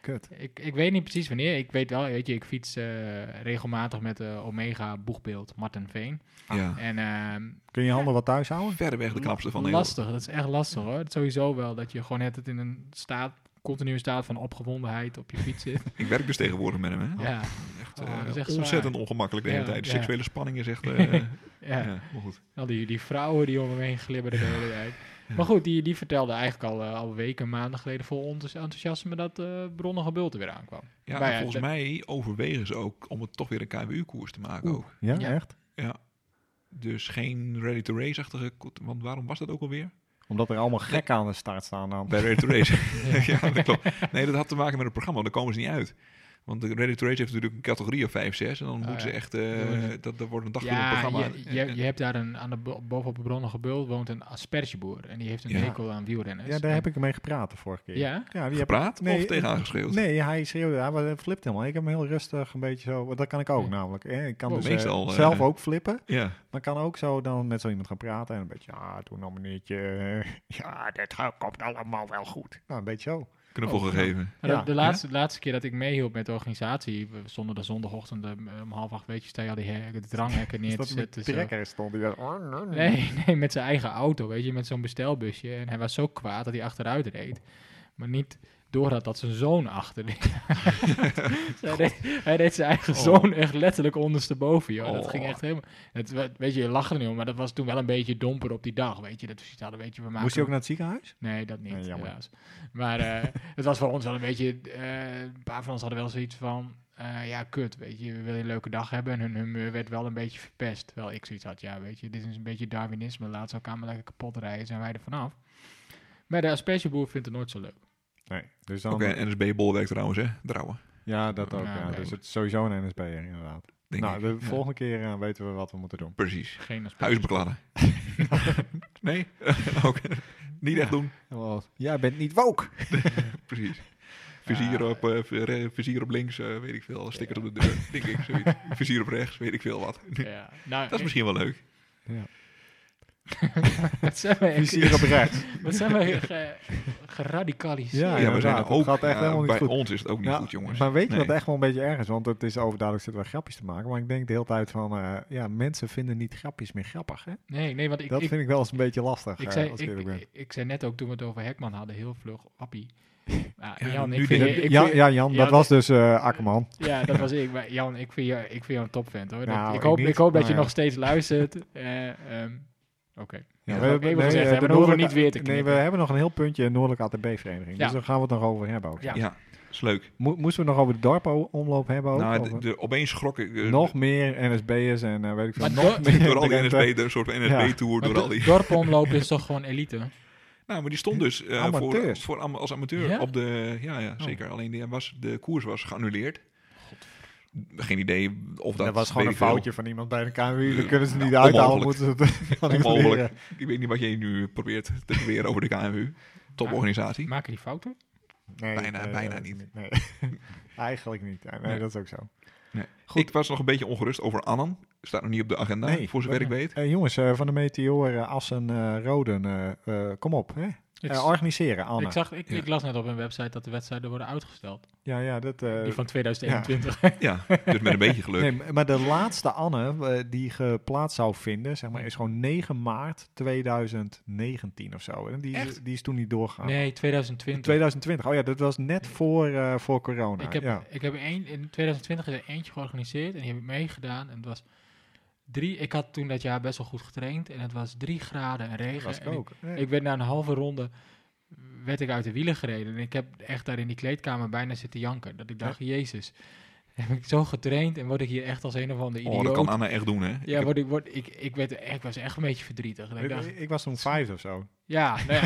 S2: Kut.
S3: Ik, ik weet niet precies wanneer. Ik weet wel, weet je, ik fiets eh, regelmatig met eh, Omega boegbeeld Martin Veen.
S1: ja.
S3: En ehm,
S2: Kun je je handen wat thuis houden?
S1: Verreweg de knapste van Nederland.
S3: lastig, dat is echt lastig hoor. Het is sowieso wel dat je gewoon net het in een staat, continue staat van opgewondenheid op je fiets zit.
S1: Ik werk dus tegenwoordig met hem. Hè.
S3: ja,
S1: Echt,
S3: Oh,
S1: eh,
S3: dat is echt zwaar.
S1: ontzettend ongemakkelijk de hele
S3: Ja,
S1: tijd. De
S3: ja.
S1: seksuele spanning is echt... eh,
S3: ja.
S1: ja, maar goed.
S3: Al die, die vrouwen die om hem heen glibberden de hele tijd. Maar goed, die, die vertelde eigenlijk al, eh, al weken, maanden geleden vol ons enthousiasme dat eh bronnen gebulten weer aankwam.
S1: Ja,
S3: Maar
S1: en
S3: ja,
S1: volgens
S3: dat-
S1: mij overwegen ze ook om het toch weer een KWU-koers te maken
S2: Oeh.
S1: ook.
S2: Ja,
S3: Ja.
S2: echt?
S1: Ja. Dus geen ready-to-race-achtige... ko- Want waarom was dat ook alweer?
S2: Omdat er allemaal gekken aan de start staan dan.
S1: Bij ready-to-race. ja, dat klopt. Nee, dat had te maken met het programma, want daar komen ze niet uit. Want de ready-to-race heeft natuurlijk een categorie of 5, 6. En dan
S3: Oh,
S1: moeten ze
S3: ja.
S1: echt... eh, dat, dat wordt een dagje een
S3: Ja,
S1: programma.
S3: je, je, je hebt daar een, aan de, bo- bovenop de bronnen gebult woont een aspergeboer. En die heeft een
S1: Ja.
S3: hekel aan wielrenners.
S2: Ja, daar heb ik mee gepraat de vorige keer.
S3: Ja?
S2: ja die heb-
S1: Gepraat
S2: Nee,
S1: of tegen aangeschreeuwd?
S2: Nee, hij schreeuwde, hij was- hij flipt helemaal. Ik heb hem heel rustig een beetje zo, want dat kan ik ook
S3: Ja.
S2: namelijk. hè. Ik kan
S3: Wow.
S2: dus eh,
S1: Meestal, eh,
S2: zelf ook flippen,
S1: Ja.
S2: maar kan ook zo dan met zo iemand gaan praten en een beetje, ja, doe nou meneertje, eh, ja, dit gaat- komt allemaal wel goed. Nou, een beetje zo.
S1: Knuffel
S3: Oh,
S1: gegeven.
S3: Maar de-
S2: Ja.
S3: de, laatste, de laatste keer dat ik meehielp met de organisatie, we stonden de zondagochtend eh, om half acht, weet je, sta je al die he- de dranghekken
S2: Dus
S3: neer te
S2: dat met
S3: zetten. zo.
S2: trekker stond, die dacht, oh, nee, nee.
S3: Nee, nee, met zijn eigen auto, weet je, met zo'n bestelbusje. En hij was zo kwaad dat hij achteruit reed. Maar niet doordat dat zijn zoon achter reed. Dus hij, reed hij reed zijn eigen
S1: Oh.
S3: zoon echt letterlijk ondersteboven, joh. Dat
S1: Oh.
S3: ging echt helemaal... Het, werd- weet je, je lacht er niet om, maar dat was toen wel een beetje domper op die dag, weet je. Dat we hadden, weet je, we maken...
S2: Moest hij ook naar het ziekenhuis?
S3: Nee, dat niet,
S2: Nee, jammer.
S3: helaas. Maar eh, het was voor ons wel een beetje... eh, een paar van ons hadden wel zoiets van... eh, ja, kut, weet je, we willen een leuke dag hebben. En hun humeur werd wel een beetje verpest. Terwijl ik zoiets had, ja, weet je, dit is een beetje Darwinisme. Laat ze elkaar maar lekker kapot rijden, zijn wij er vanaf. Maar de aspergeboer vindt het nooit zo leuk.
S2: Nee. Dus dan,
S1: Oké,
S3: Nou,
S1: NSB-bolwerk trouwens, hè? Drouwen.
S2: ja, dat ook,
S3: Ja,
S2: ja.
S3: oké.
S2: Dus het is sowieso een NSB'er inderdaad.
S1: Denk
S2: nou,
S1: ik.
S2: de
S1: Ja,
S2: volgende keer eh, weten we wat we moeten doen.
S1: Precies.
S3: Geen asperge.
S1: Huisbekladden. nee? Oké. Niet echt doen.
S2: Jij bent niet woke!
S1: Precies. Vizier,
S3: Ja.
S1: op, eh, v- re- vizier op links, eh, weet ik veel. Sticker op de deur, denk ik. Zoiets. Vizier op rechts, weet ik veel wat.
S3: Ja, nou,
S1: Dat is misschien wel leuk.
S3: wat zijn wij,
S2: Vizier op rechts.
S3: wat zijn wij ge- geradicaliseerd.
S2: Nou Ja,
S1: Ja, we zijn
S2: inderdaad.
S1: ook,
S2: Het gaat echt
S1: ja,
S2: helemaal niet
S1: bij
S2: goed.
S1: ons is het ook niet
S2: Ja,
S1: goed, jongens.
S2: Maar weet je
S1: Nee.
S2: wat echt wel een beetje erg is? Want het is overduidelijk zitten we grapjes te maken. Maar ik denk de hele tijd van, eh, ja, mensen vinden niet grapjes meer grappig. Hè?
S3: Nee, nee, want ik,
S2: dat
S3: ik,
S2: vind ik wel eens een beetje lastig.
S3: Ik
S2: eh,
S3: zei,
S2: als ik, eerlijk
S3: ik,
S2: ben.
S3: ik, ik zei net ook toen we het over Hekman hadden, heel vlug, appie. Ja,
S1: Ja,
S3: Jan,
S1: nu
S3: ik vind
S1: denk
S3: je,
S1: ik-
S3: ik
S2: ja,
S3: vind-
S2: ja, Jan, dat
S3: Jan-
S2: was dus eh Akkerman.
S3: ja, dat was ik. Maar Jan, ik vind jou, ik vind jou een topvent hoor. Dat-
S2: Nou,
S3: ik
S2: ik
S3: hoop, ik
S2: niet,
S3: hoop dat
S2: maar
S3: je
S2: ja.
S3: nog steeds luistert. Eh, ehm, Oké.
S1: Ja,
S3: dat heb ik even gezegd,
S2: eh,
S3: hè, maar dat hoeven we niet weer te
S2: Nee, we
S3: knippen.
S2: hebben nog een heel puntje een Noordelijke ATB-vereniging.
S3: Ja.
S2: Dus daar gaan we het nog over hebben ook.
S3: Ja.
S1: Ja, is leuk.
S2: Mo- moesten we nog over de dorpomloop hebben ook?
S1: nou,
S2: Of-
S1: de, de- opeens schrok ik eh,
S2: nog meer NSB'ers en eh, weet ik veel.
S3: Maar
S2: nog
S3: do-
S2: meer
S1: door al die
S2: Drenthe.
S1: NSB, een soort NSB-tour, door al die...
S3: Dorpomloop is toch gewoon elite?
S1: Nou, maar die stond dus eh, voor,
S2: Amateurs. Oh.
S1: voor, am- als amateur
S3: Ja?
S1: op de... Ja, ja zeker. Alleen die was, de koers was geannuleerd. Geen idee of dat...
S2: Dat, was gewoon
S1: weet
S2: een
S1: ik veel.
S2: foutje van iemand bij de KMU. Dat
S1: Eh,
S2: kunnen ze niet
S1: nou,
S2: uithalen.
S1: onmogelijk.
S2: Moeten ze het van iemand
S1: Onmogelijk.
S2: leren.
S1: Ik weet niet wat jij nu probeert te beweren over de KMU. Toporganisatie.
S3: Maken die fouten?
S2: Nee,
S1: Bijna-
S2: nee,
S1: bijna
S2: dat is
S1: niet.
S2: Nee. Eigenlijk niet. Nee,
S1: Nee.
S2: dat is ook zo.
S1: Goed. Ik was nog een beetje ongerust over Annan. Staat nog niet op de agenda,
S2: Nee,
S1: voor zover ik
S3: wat-
S1: weet.
S2: Eh, jongens, eh, van de Meteor, eh, Assen, eh, Roden, eh, eh, kom op. Hè?
S3: Ik,
S2: Eh, organiseren, Anne.
S3: ik zag, ik,
S1: Ja.
S3: ik las net op een website dat de wedstrijden worden uitgesteld.
S2: Ja, ja, dat... eh,
S3: die van 2021.
S1: Ja, dus met een beetje geluk.
S2: nee, maar de laatste Anne eh, die geplaatst zou vinden, zeg maar, is gewoon 9 maart 2019 of zo. En die, is,
S1: Echt?
S2: die is toen niet doorgegaan.
S3: Nee, 2020.
S2: 2020. Oh ja, dat was net voor, eh, voor corona.
S3: Ik heb,
S2: ja.
S3: ik heb één in 2020 is er eentje georganiseerd en die heb ik meegedaan. En het was drie, ik had toen dat jaar best wel goed getraind en het was drie graden en regen.
S2: Dat was ik
S3: En
S2: ook.
S3: ik, ik werd na een halve ronde, werd ik uit de wielen gereden. En ik heb echt daar in die kleedkamer bijna zitten janken. Dat ik dacht, jezus, heb ik zo getraind en word ik hier echt als een of ander
S1: Oh,
S3: idioot.
S1: dat kan Anna echt doen, hè?
S3: ja, word ik, word, ik, ik, werd, ik was echt een beetje verdrietig. En ik
S2: ik,
S3: dacht,
S2: ik was toen vijf of zo.
S3: ja, nee.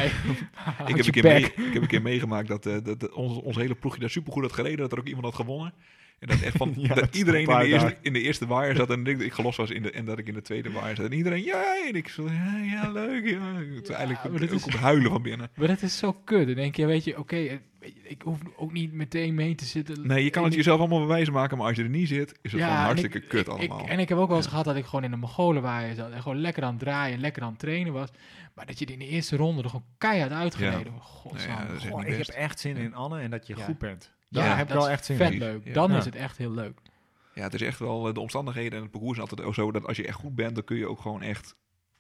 S1: Ik heb, een keer mee- ik heb een keer meegemaakt dat, eh, dat, dat ons, ons hele ploegje daar supergoed had gereden. Dat er ook iemand had gewonnen. En dat, echt van,
S2: Ja,
S1: dat
S2: dat is
S1: iedereen
S2: een
S1: in
S2: paar
S1: de, eerste,
S2: dagen.
S1: in de eerste waaier zat. En ik, ik gelost was in de, en dat ik in de tweede waaier zat. En iedereen, ja, en ik zo, ja, ja, leuk. Ja. Het
S3: Ja,
S1: eigenlijk
S3: maar dat
S1: ook
S3: is-
S1: op huilen van binnen.
S3: Maar dat is zo kut. Dan denk je, weet je, oké, eh, ik hoef ook niet meteen mee te zitten.
S1: Nee, je kan het
S3: In-
S1: jezelf allemaal bewijs maken. Maar als je er niet zit, is het
S3: Ja,
S1: gewoon
S3: en
S1: hartstikke
S3: ik-
S1: kut
S3: ik-
S1: allemaal.
S3: Ik, en ik heb ook wel eens gehad dat ik gewoon in de Mongolenwaaier zat. En gewoon lekker aan het draaien, lekker aan het trainen was. Maar dat je er in de eerste ronde er gewoon keihard uitgereden wordt. Godsnaam.
S1: Nee, ja, dat is echt
S2: Goh,
S1: niet
S2: ik
S1: best.
S2: heb echt zin in Anne en dat je
S3: Ja.
S2: goed bent.
S3: Ja,
S2: Daar heb ik
S3: dat
S2: wel
S3: is
S2: echt zin
S3: vet
S2: in.
S1: Ja.
S3: leuk. Dan
S2: Ja.
S3: is het echt heel leuk.
S1: Ja, het is echt wel eh, de omstandigheden en het parcours is altijd ook zo dat als je echt goed bent, dan kun je ook gewoon echt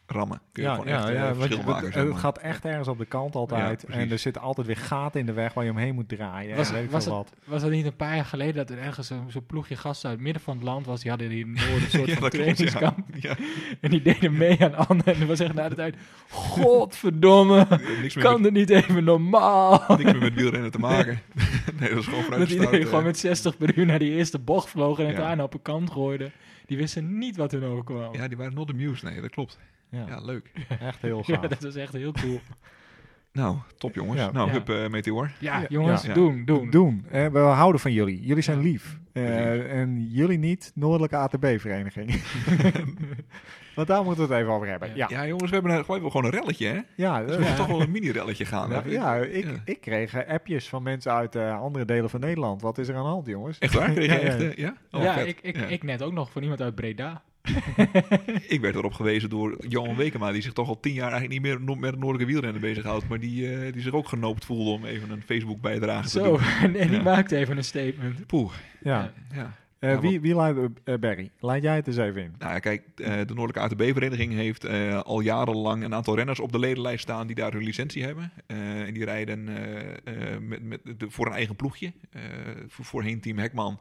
S1: rammen. Kun je gewoon echt eh,
S2: want
S1: verschil
S2: het-
S1: maken.
S2: Het,
S1: zeg maar.
S2: gaat echt ergens op de kant altijd.
S1: Ja, precies.
S2: en er zitten altijd weer gaten in de weg waar je omheen moet draaien.
S3: Was-
S2: en weet ik
S3: was
S2: veel wat.
S3: Was dat niet een paar jaar geleden dat er ergens zo'n zo'n ploegje gasten uit het midden van het land was? Die hadden hier in het noorden een soort
S1: Ja,
S3: van
S1: dat klopt, ja.
S3: trainingskamp.
S1: Ja,
S3: En die deden mee aan Anne. En er was echt na de tijd, godverdomme,
S1: niks, meer
S3: kan
S1: met,
S3: er niet even normaal?
S1: niks meer met wielrennen te maken. nee, dat is gewoon
S3: Dat
S1: vanuit de
S3: iedereen
S1: start,
S3: gewoon
S1: eh.
S3: met 60 per uur naar die eerste bocht vlogen en
S1: Ja.
S3: het daarna op een kant gooiden. Die wisten niet wat hun overkwam. Ja,
S1: Ja, die waren not amused. Nee, dat klopt.
S2: Ja,
S1: Ja, leuk.
S2: echt heel gaaf.
S3: dat was echt heel cool.
S1: Nou, top jongens.
S2: Ja.
S1: Nou,
S3: Ja.
S1: hup eh, Meteor.
S3: Ja,
S2: Ja.
S3: jongens,
S1: Ja.
S3: doen, doen.
S2: doen. Eh, we houden van jullie. Jullie zijn lief. Eh,
S1: Precies.
S2: en jullie niet, Noordelijke ATB-vereniging. Want daar moeten we het even over hebben. Ja,
S1: Ja. jongens, we hebben een- we hebben gewoon een relletje, hè?
S2: ja,
S1: Dus
S2: dat-
S1: we hebben toch wel een mini-relletje gaan.
S2: ja,
S1: hè?
S2: ja, ik,
S1: Ja.
S2: ik kreeg eh, appjes van mensen uit eh, andere delen van Nederland. Wat is er aan de hand, jongens?
S1: Echt waar? Kreeg jij
S2: Ja, ja.
S1: echt, eh, ja? Oh,
S3: ja,
S1: vet.
S3: ik, ik,
S1: Ja.
S3: ik net ook nog van iemand uit Breda.
S1: Ik werd erop gewezen door Johan Wekema, die zich toch al tien jaar eigenlijk niet meer no- met het noordelijke wielrennen bezighoudt, maar die, eh, die zich ook genoopt voelde om even een Facebook-bijdrage te
S3: Zo,
S1: doen.
S3: en, en die
S1: Ja.
S3: maakte even een statement.
S1: Poeh,
S2: Ja.
S3: Ja.
S1: ja.
S2: Eh,
S1: Ja,
S2: wie, wie leidt, eh, Barry, leid jij het eens even in?
S1: Nou ja, kijk, eh, de Noordelijke ATB-vereniging heeft eh, al jarenlang een aantal renners op de ledenlijst staan die daar hun licentie hebben. Eh, en die rijden eh, eh, met, met de- voor een eigen ploegje. Eh, voor, voorheen Team Hekman.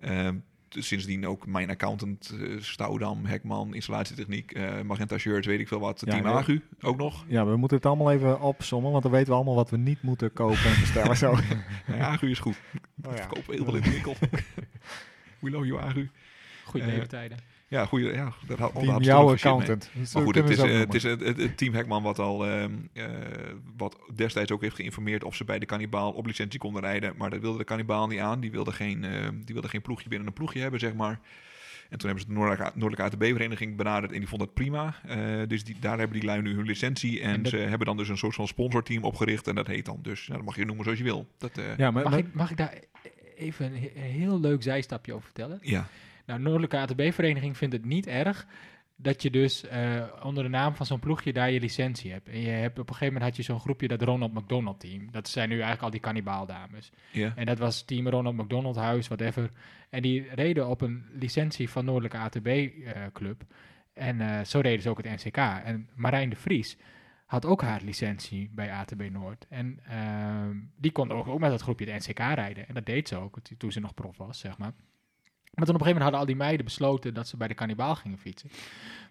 S1: Eh, t- sindsdien ook mijn accountant, eh, Stoudam, Hekman, installatietechniek, eh, Magenta Shirts, weet ik veel wat.
S2: Ja,
S1: Team
S2: ja.
S1: Agu ook nog.
S2: Ja, we moeten het allemaal even opsommen, want dan weten we allemaal wat we niet moeten kopen en bestellen. Zo.
S1: Nou ja, Agu is goed.
S2: Oh ja.
S1: Verkopen heel veel in de winkel. We love you, Agu.
S3: Goede
S1: Eh,
S3: leeftijden.
S1: Ja, goeie, ja dat had
S2: Team
S1: had
S2: jouw
S1: gezicht mee.
S2: accountant. Zo
S1: Maar goed, het
S2: kunnen
S1: is,
S2: we
S1: eh,
S2: ze ook
S1: het is het, het- het team Hekman wat al ehm, eh, wat destijds ook heeft geïnformeerd of ze bij de kannibaal op licentie konden rijden. Maar dat wilde de kannibaal niet aan. Die wilde geen, ehm, die wilde geen ploegje binnen een ploegje hebben, zeg maar. En toen hebben ze de Noordelijke, Noordelijke ATB-vereniging benaderd en die vond dat prima. Eh, dus die, daar hebben die lui nu hun licentie. En,
S3: En dat-
S1: ze hebben dan dus een soort van sponsorteam opgericht. En dat heet dan dus, nou, dat mag je noemen zoals je wil. Dat, eh,
S2: noemen. Ja, maar,
S3: Mag
S2: maar-
S3: ik, mag ik daar even een he- een heel leuk zijstapje over vertellen?
S1: ja.
S3: Nou, Noordelijke ATB-vereniging vindt het niet erg dat je dus eh, onder de naam van zo'n ploegje daar je licentie hebt. En je hebt op een gegeven moment had je zo'n groepje, dat Ronald McDonald team. Dat zijn nu eigenlijk al die kannibaaldames.
S1: ja.
S3: En dat was team Ronald McDonald Huis, whatever. En die reden op een licentie van Noordelijke ATB-club. eh, en eh, zo reden ze ook het NCK. En Marijn de Vries had ook haar licentie bij ATB Noord. En ehm, die kon ook, ook met dat groepje het NCK rijden. En dat deed ze ook, t- toen ze nog prof was, zeg maar. Maar toen op een gegeven moment hadden al die meiden besloten dat ze bij de kannibaal gingen fietsen.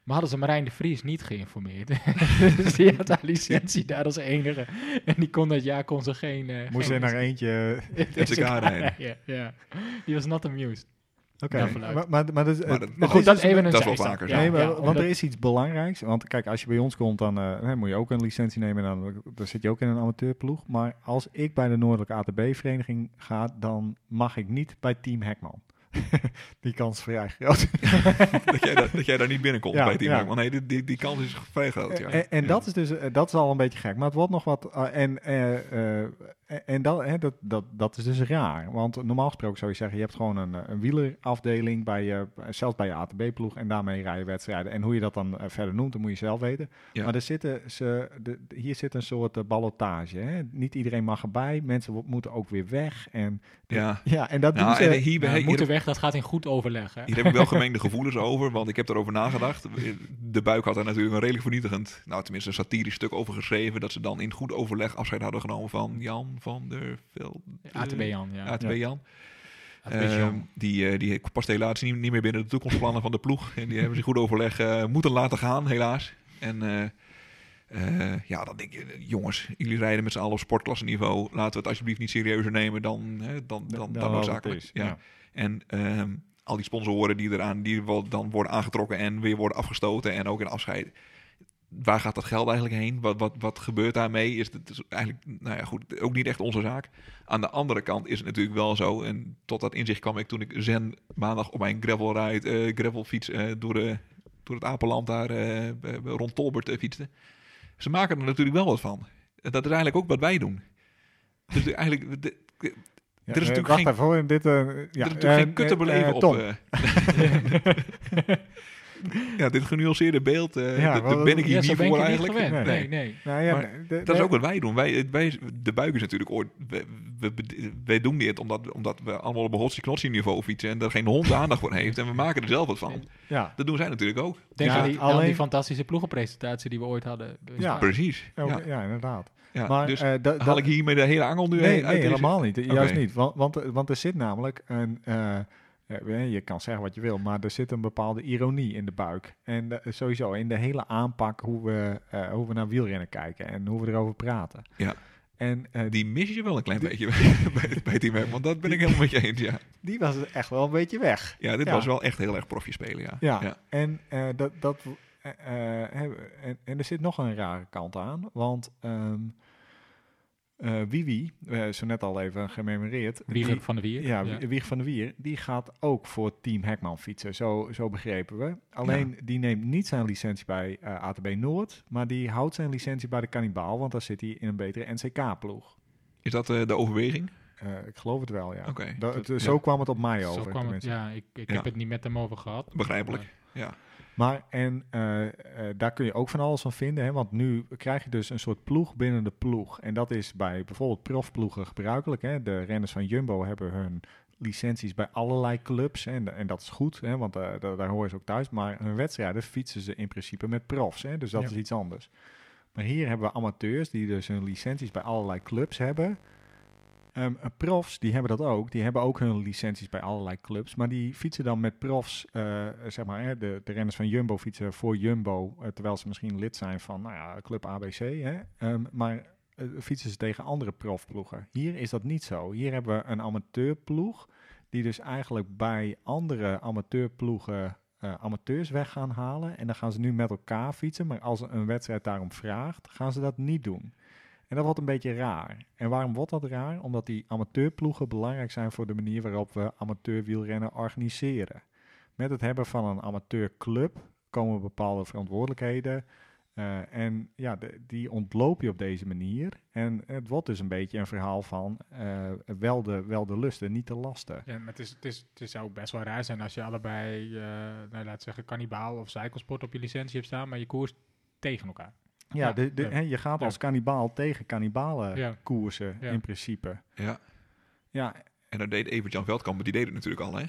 S3: Maar hadden ze Marijn de Vries niet geïnformeerd. dus die had haar licentie daar als enige. En die kon dat jaar kon ze geen... eh,
S2: moest
S3: geen
S2: er naar eentje... eh,
S1: Het is elkaar rijden.
S3: ja, ja. Die was not amused.
S2: Oké,
S3: Daarvan uit.
S2: maar, maar, maar, dat,
S1: Maar dat-
S2: het
S3: Maar
S2: is
S3: goed, dat
S2: dus-
S3: even een
S1: dat is wel
S3: zijstap.
S1: vaker
S3: Ja,
S1: zo.
S2: nee, maar,
S3: ja,
S2: want
S3: omdat-
S2: er is iets belangrijks. Want kijk, als je bij ons komt, dan eh, hè, moet je ook een licentie nemen. Dan, dan zit je ook in een amateurploeg. Maar als ik bij de Noordelijke ATB-vereniging ga, dan mag ik niet bij Team Hekman. Die kans voor vrij groot.
S1: dat, jij daar, dat jij daar niet binnenkomt
S2: Ja,
S1: bij het team.
S2: ja.
S1: Want nee, die, die, die kans is vrij groot, ja.
S2: En, en
S1: Ja.
S2: dat is dus eh, dat is al een beetje gek. Maar het wordt nog wat. ah, en eh, eh, en dan, hè, dat, dat, dat is dus raar. Want normaal gesproken zou je zeggen: je hebt gewoon een, eh, een wielerafdeling, bij je, zelfs bij je ATB-ploeg. En daarmee rij je wedstrijden. En hoe je dat dan eh, verder noemt, dat moet je zelf weten.
S1: Ja.
S2: Maar er zitten ze, de, de- hier zit een soort eh, ballotage. Hè? Niet iedereen mag erbij. Mensen wo- moeten ook weer weg. En,
S1: ja.
S2: ja, en dat doen
S1: Nou,
S2: ze.
S1: en hier,
S3: We
S1: ben- hier,
S3: moeten weg, dat gaat in goed overleg. Hè?
S1: Hier heb ik wel gemengde gevoelens over, want ik heb erover nagedacht. De buik had daar natuurlijk een redelijk vernietigend, nou tenminste een satirisch stuk over geschreven, dat ze dan in goed overleg afscheid hadden genomen van Jan van der Velde.
S3: ATB Jan, ja.
S1: ATB
S2: Ja.
S1: Jan.
S3: ATB Jan.
S1: Ehm, die, eh, die past helaas niet, niet meer binnen de toekomstplannen van de ploeg. En die hebben ze goed overleg eh, moeten laten gaan, helaas. En eh, eh, ja, dan denk je, eh, jongens, jullie rijden met z'n allen op sportklasseniveau. Laten we het alsjeblieft niet serieuzer nemen dan, hè, dan, dan, dan,
S2: dan wat het
S1: noodzakelijk.
S2: Nou, is,
S1: Ja.
S2: ja.
S1: En ehm, al die sponsoren die eraan, die wel dan worden aangetrokken en weer worden afgestoten en ook in afscheid. Waar gaat dat geld eigenlijk heen? Wat, wat, wat gebeurt daarmee? Is het is eigenlijk, nou ja, goed, ook niet echt onze zaak. Aan de andere kant is het natuurlijk wel zo. En tot dat inzicht kwam ik toen ik zen maandag op mijn gravelride, eh gravelfiets eh, door, de, door het Apenland daar eh, bij- bij- rond Tolbert eh, fietste. Ze maken er natuurlijk wel wat van. Dat is eigenlijk ook wat wij doen. Dus de- eigenlijk, de-
S2: Ja,
S1: er is
S2: eh,
S1: natuurlijk
S2: wacht
S1: geen-
S2: even hoor. Dit, eh, ja, er
S1: ja, natuurlijk geen kut te beleven op. eh. ja, dit genuanceerde beeld, eh
S2: Ja,
S1: dat-
S2: wel,
S1: daar ben ik hier
S3: Ja, zo
S1: niet
S3: ben ik
S1: voor
S3: je niet
S1: eigenlijk.
S3: gewend.
S2: Nee.
S3: Nee, nee.
S2: nou, ja,
S1: maar
S2: de-
S1: Dat is
S2: de-
S1: ook wat wij doen. Wij, wij, de buik is natuurlijk ooit... We, we, wij doen dit omdat, omdat we allemaal op een hotsie niveau fietsen... en er geen hond aandacht voor heeft. En we maken er zelf wat van.
S2: Ja.
S1: Dat doen zij natuurlijk ook.
S3: Denk
S2: Ja,
S3: aan, die, aan
S2: alleen-
S3: die fantastische ploegenpresentatie die we ooit hadden.
S2: Ja.
S1: Precies.
S2: Oh,
S1: Ja.
S2: ja. inderdaad.
S1: Ja,
S2: maar
S1: dus
S2: eh, da-
S1: haal
S2: dat-
S1: ik hiermee de hele angel nu
S2: nee,
S1: uit
S2: nee
S1: deze-
S2: helemaal niet. Juist
S1: Oké.
S2: niet. Want, want, eh, want er zit namelijk een. eh, eh, je kan zeggen wat je wil, maar er zit een bepaalde ironie in de buik. En eh, sowieso in de hele aanpak hoe we, eh, hoe we naar wielrennen kijken en hoe we erover praten.
S1: Ja.
S2: En eh, die,
S1: Die mis je wel een klein beetje bij, bij het team. Werk, Want dat ben ik helemaal met je eens, ja.
S2: was het echt wel een beetje weg.
S1: Ja, dit
S2: Ja.
S1: was wel echt heel erg profje spelen, ja.
S2: Ja, en eh, dat. dat eh, eh, hè, en, en er zit nog een rare kant aan, want ehm eh, Wiwi, eh, zo net al even gememoreerd, die-
S3: Wieger van de Wier.
S2: Ja, Wie- Wieg van der Wier, die gaat ook voor Team Hekman fietsen, zo, zo begrepen we. Alleen, die neemt niet zijn licentie bij eh, ATB Noord, maar die houdt zijn licentie bij de Cannibaal, want daar zit hij in een betere NCK-ploeg.
S1: Is dat eh, de overweging?
S2: Eh, ik geloof het wel, ja.
S1: Oké.
S2: Dat, het-
S1: Ja.
S2: zo kwam het op mij
S3: Zo
S2: over.
S3: kwam het,
S2: tenminste.
S3: ja, ik, ik
S1: Ja.
S3: heb het niet met hem over gehad.
S1: Begrijpelijk.
S2: Maar en eh, eh, daar kun je ook van alles van vinden, hè, want nu krijg je dus een soort ploeg binnen de ploeg. En dat is bij bijvoorbeeld profploegen gebruikelijk. Hè. De renners van Jumbo hebben hun licenties bij allerlei clubs hè, en, en dat is goed, hè, want eh, da- daar horen ze ook thuis. Maar hun wedstrijden fietsen ze in principe met profs, hè, dus dat
S3: Ja.
S2: is iets anders. Maar hier hebben we amateurs die dus hun licenties bij allerlei clubs hebben. Ehm, eh, profs, die hebben dat ook. Die hebben ook hun licenties bij allerlei clubs. Maar die fietsen dan met profs, eh, zeg maar, hè, de, de renners van Jumbo fietsen voor Jumbo. eh, terwijl ze misschien lid zijn van, nou ja, club ABC. Hè? Ehm, maar eh, fietsen ze tegen andere profploegen. Hier is dat niet zo. Hier hebben we een amateurploeg. Die dus eigenlijk bij andere amateurploegen eh, amateurs weg gaan halen. En dan gaan ze nu met elkaar fietsen. Maar als een wedstrijd daarom vraagt, gaan ze dat niet doen. En dat wordt een beetje raar. En waarom wordt dat raar? Omdat die amateurploegen belangrijk zijn voor de manier waarop we amateurwielrennen organiseren. Met het hebben van een amateurclub komen bepaalde verantwoordelijkheden. eh, en ja, de- die ontloop je op deze manier. En het wordt dus een beetje een verhaal van eh, wel, de, wel de lusten, niet de lasten.
S3: Ja, maar het, is, het, is, het zou best wel raar zijn als je allebei, eh nou, laat zeggen, kannibaal of cyclesport op je licentie hebt staan, maar je koers tegen elkaar.
S2: Ja,
S3: Ja,
S2: de, de,
S3: ja.
S2: hè, je gaat als kannibaal tegen kannibalen
S3: Ja.
S2: koersen
S3: Ja.
S2: in principe.
S1: Ja.
S2: Ja,
S1: En dat deed Evert-Jan Veldkamp, maar die deed het natuurlijk al, hè?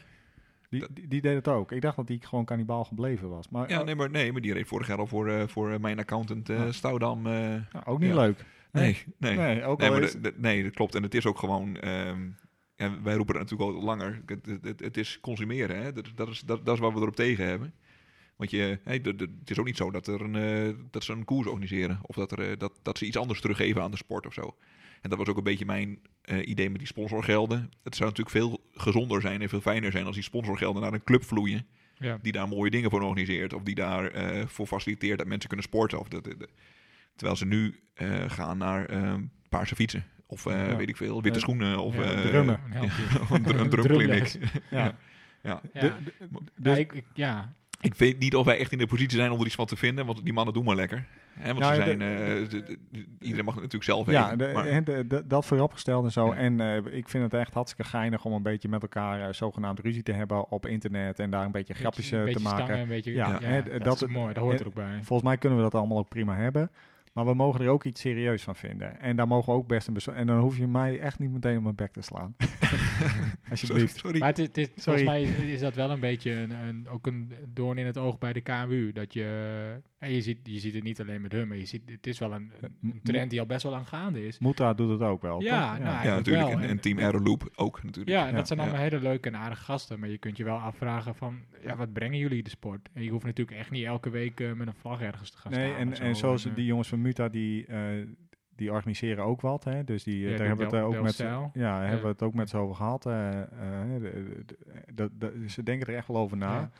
S2: die, die, die deed het ook. Ik dacht dat die gewoon kannibaal gebleven was. Maar
S1: Ja, nee, maar, nee, maar die reed vorig jaar al voor, eh, voor eh, mijn accountant eh,
S2: Ja.
S1: Stoudam. eh,
S2: Nou, ook niet
S1: Ja.
S2: leuk.
S1: nee, nee. Nee,
S2: Nee, ook al
S1: maar
S2: is-
S1: de- de- nee, dat klopt. En het is ook gewoon... ehm, ja, wij roepen het natuurlijk al langer. Het, het, het- het is consumeren, hè? Dat, dat, is, dat, dat is waar we erop tegen hebben. Want je, hey, de- de- het is ook niet zo dat, er een, eh, dat ze een koers organiseren. Of dat, er, eh, dat, dat ze iets anders teruggeven aan de sport of zo. En dat was ook een beetje mijn eh, idee met die sponsorgelden. Het zou natuurlijk veel gezonder zijn en veel fijner zijn... als die sponsorgelden naar een club vloeien
S3: Ja.
S1: die daar mooie dingen voor organiseert. Of die daar eh, voor faciliteert dat mensen kunnen sporten. Of dat, dat- dat- terwijl ze nu eh, gaan naar eh, paarse fietsen. Of eh,
S2: Ja.
S1: weet ik veel, witte
S2: Eh,
S1: schoenen. Of
S3: ja,
S1: eh,
S2: drummen.
S3: Een helpje.
S1: een drum- een drumkliniek.
S3: Drumles.
S2: Ja.
S1: Ja. Ja.
S3: Ja.
S2: De- de- de- dus
S3: Ja, ik, ik- ja.
S1: Ik weet niet of wij echt in de positie zijn om er iets van te vinden, want die mannen doen maar lekker. Hè, want
S2: Nou
S1: ze
S2: ja,
S1: zijn, eh, de- de- de- iedereen mag het natuurlijk zelf
S2: ja,
S1: weten,
S2: de-
S1: maar-
S2: hè, de- de- dat vooropgesteld en zo.
S1: Ja.
S2: En eh, ik vind het echt hartstikke geinig om een beetje met elkaar eh, zogenaamd ruzie te hebben op internet en daar een beetje grapjes eh,
S3: een
S2: te
S3: beetje
S2: maken.
S3: stangen, een beetje,
S2: Ja,
S3: ja,
S2: hè,
S3: dat,
S2: dat-
S3: is mooi, dat hoort
S2: hè,
S3: er ook bij.
S2: Volgens mij kunnen we dat allemaal ook prima hebben. Maar we mogen er ook iets serieus van vinden. En daar mogen we ook best een beso- En dan hoef je mij echt niet meteen op mijn bek te slaan. Alsjeblieft.
S1: Sorry.
S3: Maar het, is- het is,
S2: Sorry.
S3: volgens mij is dat wel een beetje een, een- ook een doorn in het oog bij de KMU. Dat je, en je, ziet, je ziet het niet alleen met hun, maar je ziet, het is wel een,
S2: Eh,
S3: een trend die al best wel lang gaande is.
S2: Moeta doet het ook wel.
S3: Ja,
S2: toch?
S3: nou,
S1: Ja,
S3: eigenlijk
S1: natuurlijk.
S3: wel.
S1: En, en Team Aeroloop ook natuurlijk.
S3: Ja, en dat zijn
S1: ja.
S3: allemaal hele leuke en aardige gasten. Maar je kunt je wel afvragen van, ja, wat brengen jullie de sport? En je hoeft natuurlijk echt niet elke week eh, met een vlag ergens te gaan
S2: Nee,
S3: staan.
S2: en,
S3: of zo.
S2: en zoals
S3: eh,
S2: die jongens van Muta, die, eh, die organiseren ook wat. Hè? Dus die, eh,
S3: Ja,
S2: daar
S3: die
S2: hebben we het
S3: Del-
S2: eh, ook met z'n-
S3: Delfzijl.
S2: ja, daar hebben we
S3: Ja.
S2: het ook met ze over gehad. eh, eh, de- de- de- de- ze denken er echt wel over na.
S3: Ja.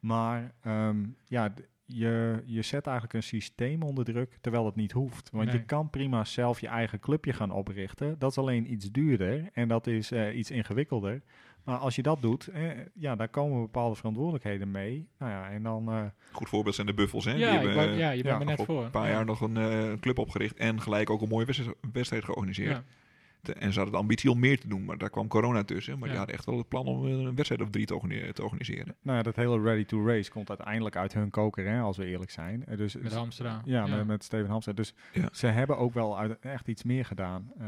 S2: Maar ehm, ja, d- je, je zet eigenlijk een systeem onder druk, terwijl het niet hoeft. Want je
S3: Nee.
S2: kan prima zelf je eigen clubje gaan oprichten. Dat is alleen iets duurder en dat is eh, iets ingewikkelder. Maar als je dat doet, eh, ja, daar komen bepaalde verantwoordelijkheden mee. Nou ja, en dan... eh,
S1: Goed voorbeeld zijn de Buffels. Hè? Die
S3: eh, Ja, ik
S1: hebben
S3: wou- ja, je
S2: ja,
S3: bent er net
S1: afgelopen
S3: voor.
S1: een paar jaar nog een eh, club opgericht en gelijk ook een mooie wedstrijd- wedstrijd georganiseerd.
S3: Ja.
S1: Te- En ze hadden de ambitie om meer te doen, maar daar kwam corona tussen. Maar die
S3: Ja.
S1: hadden echt wel het plan om eh, een wedstrijd of drie te organi- te organiseren.
S2: Nou ja, dat hele ready to race komt uiteindelijk uit hun koker, hè, als we eerlijk zijn. Eh, Dus,
S3: Met Hamstra.
S2: ja, Met, met Steven Hamster. Dus
S1: Ja.
S2: ze hebben ook wel uit- echt iets meer gedaan. Eh,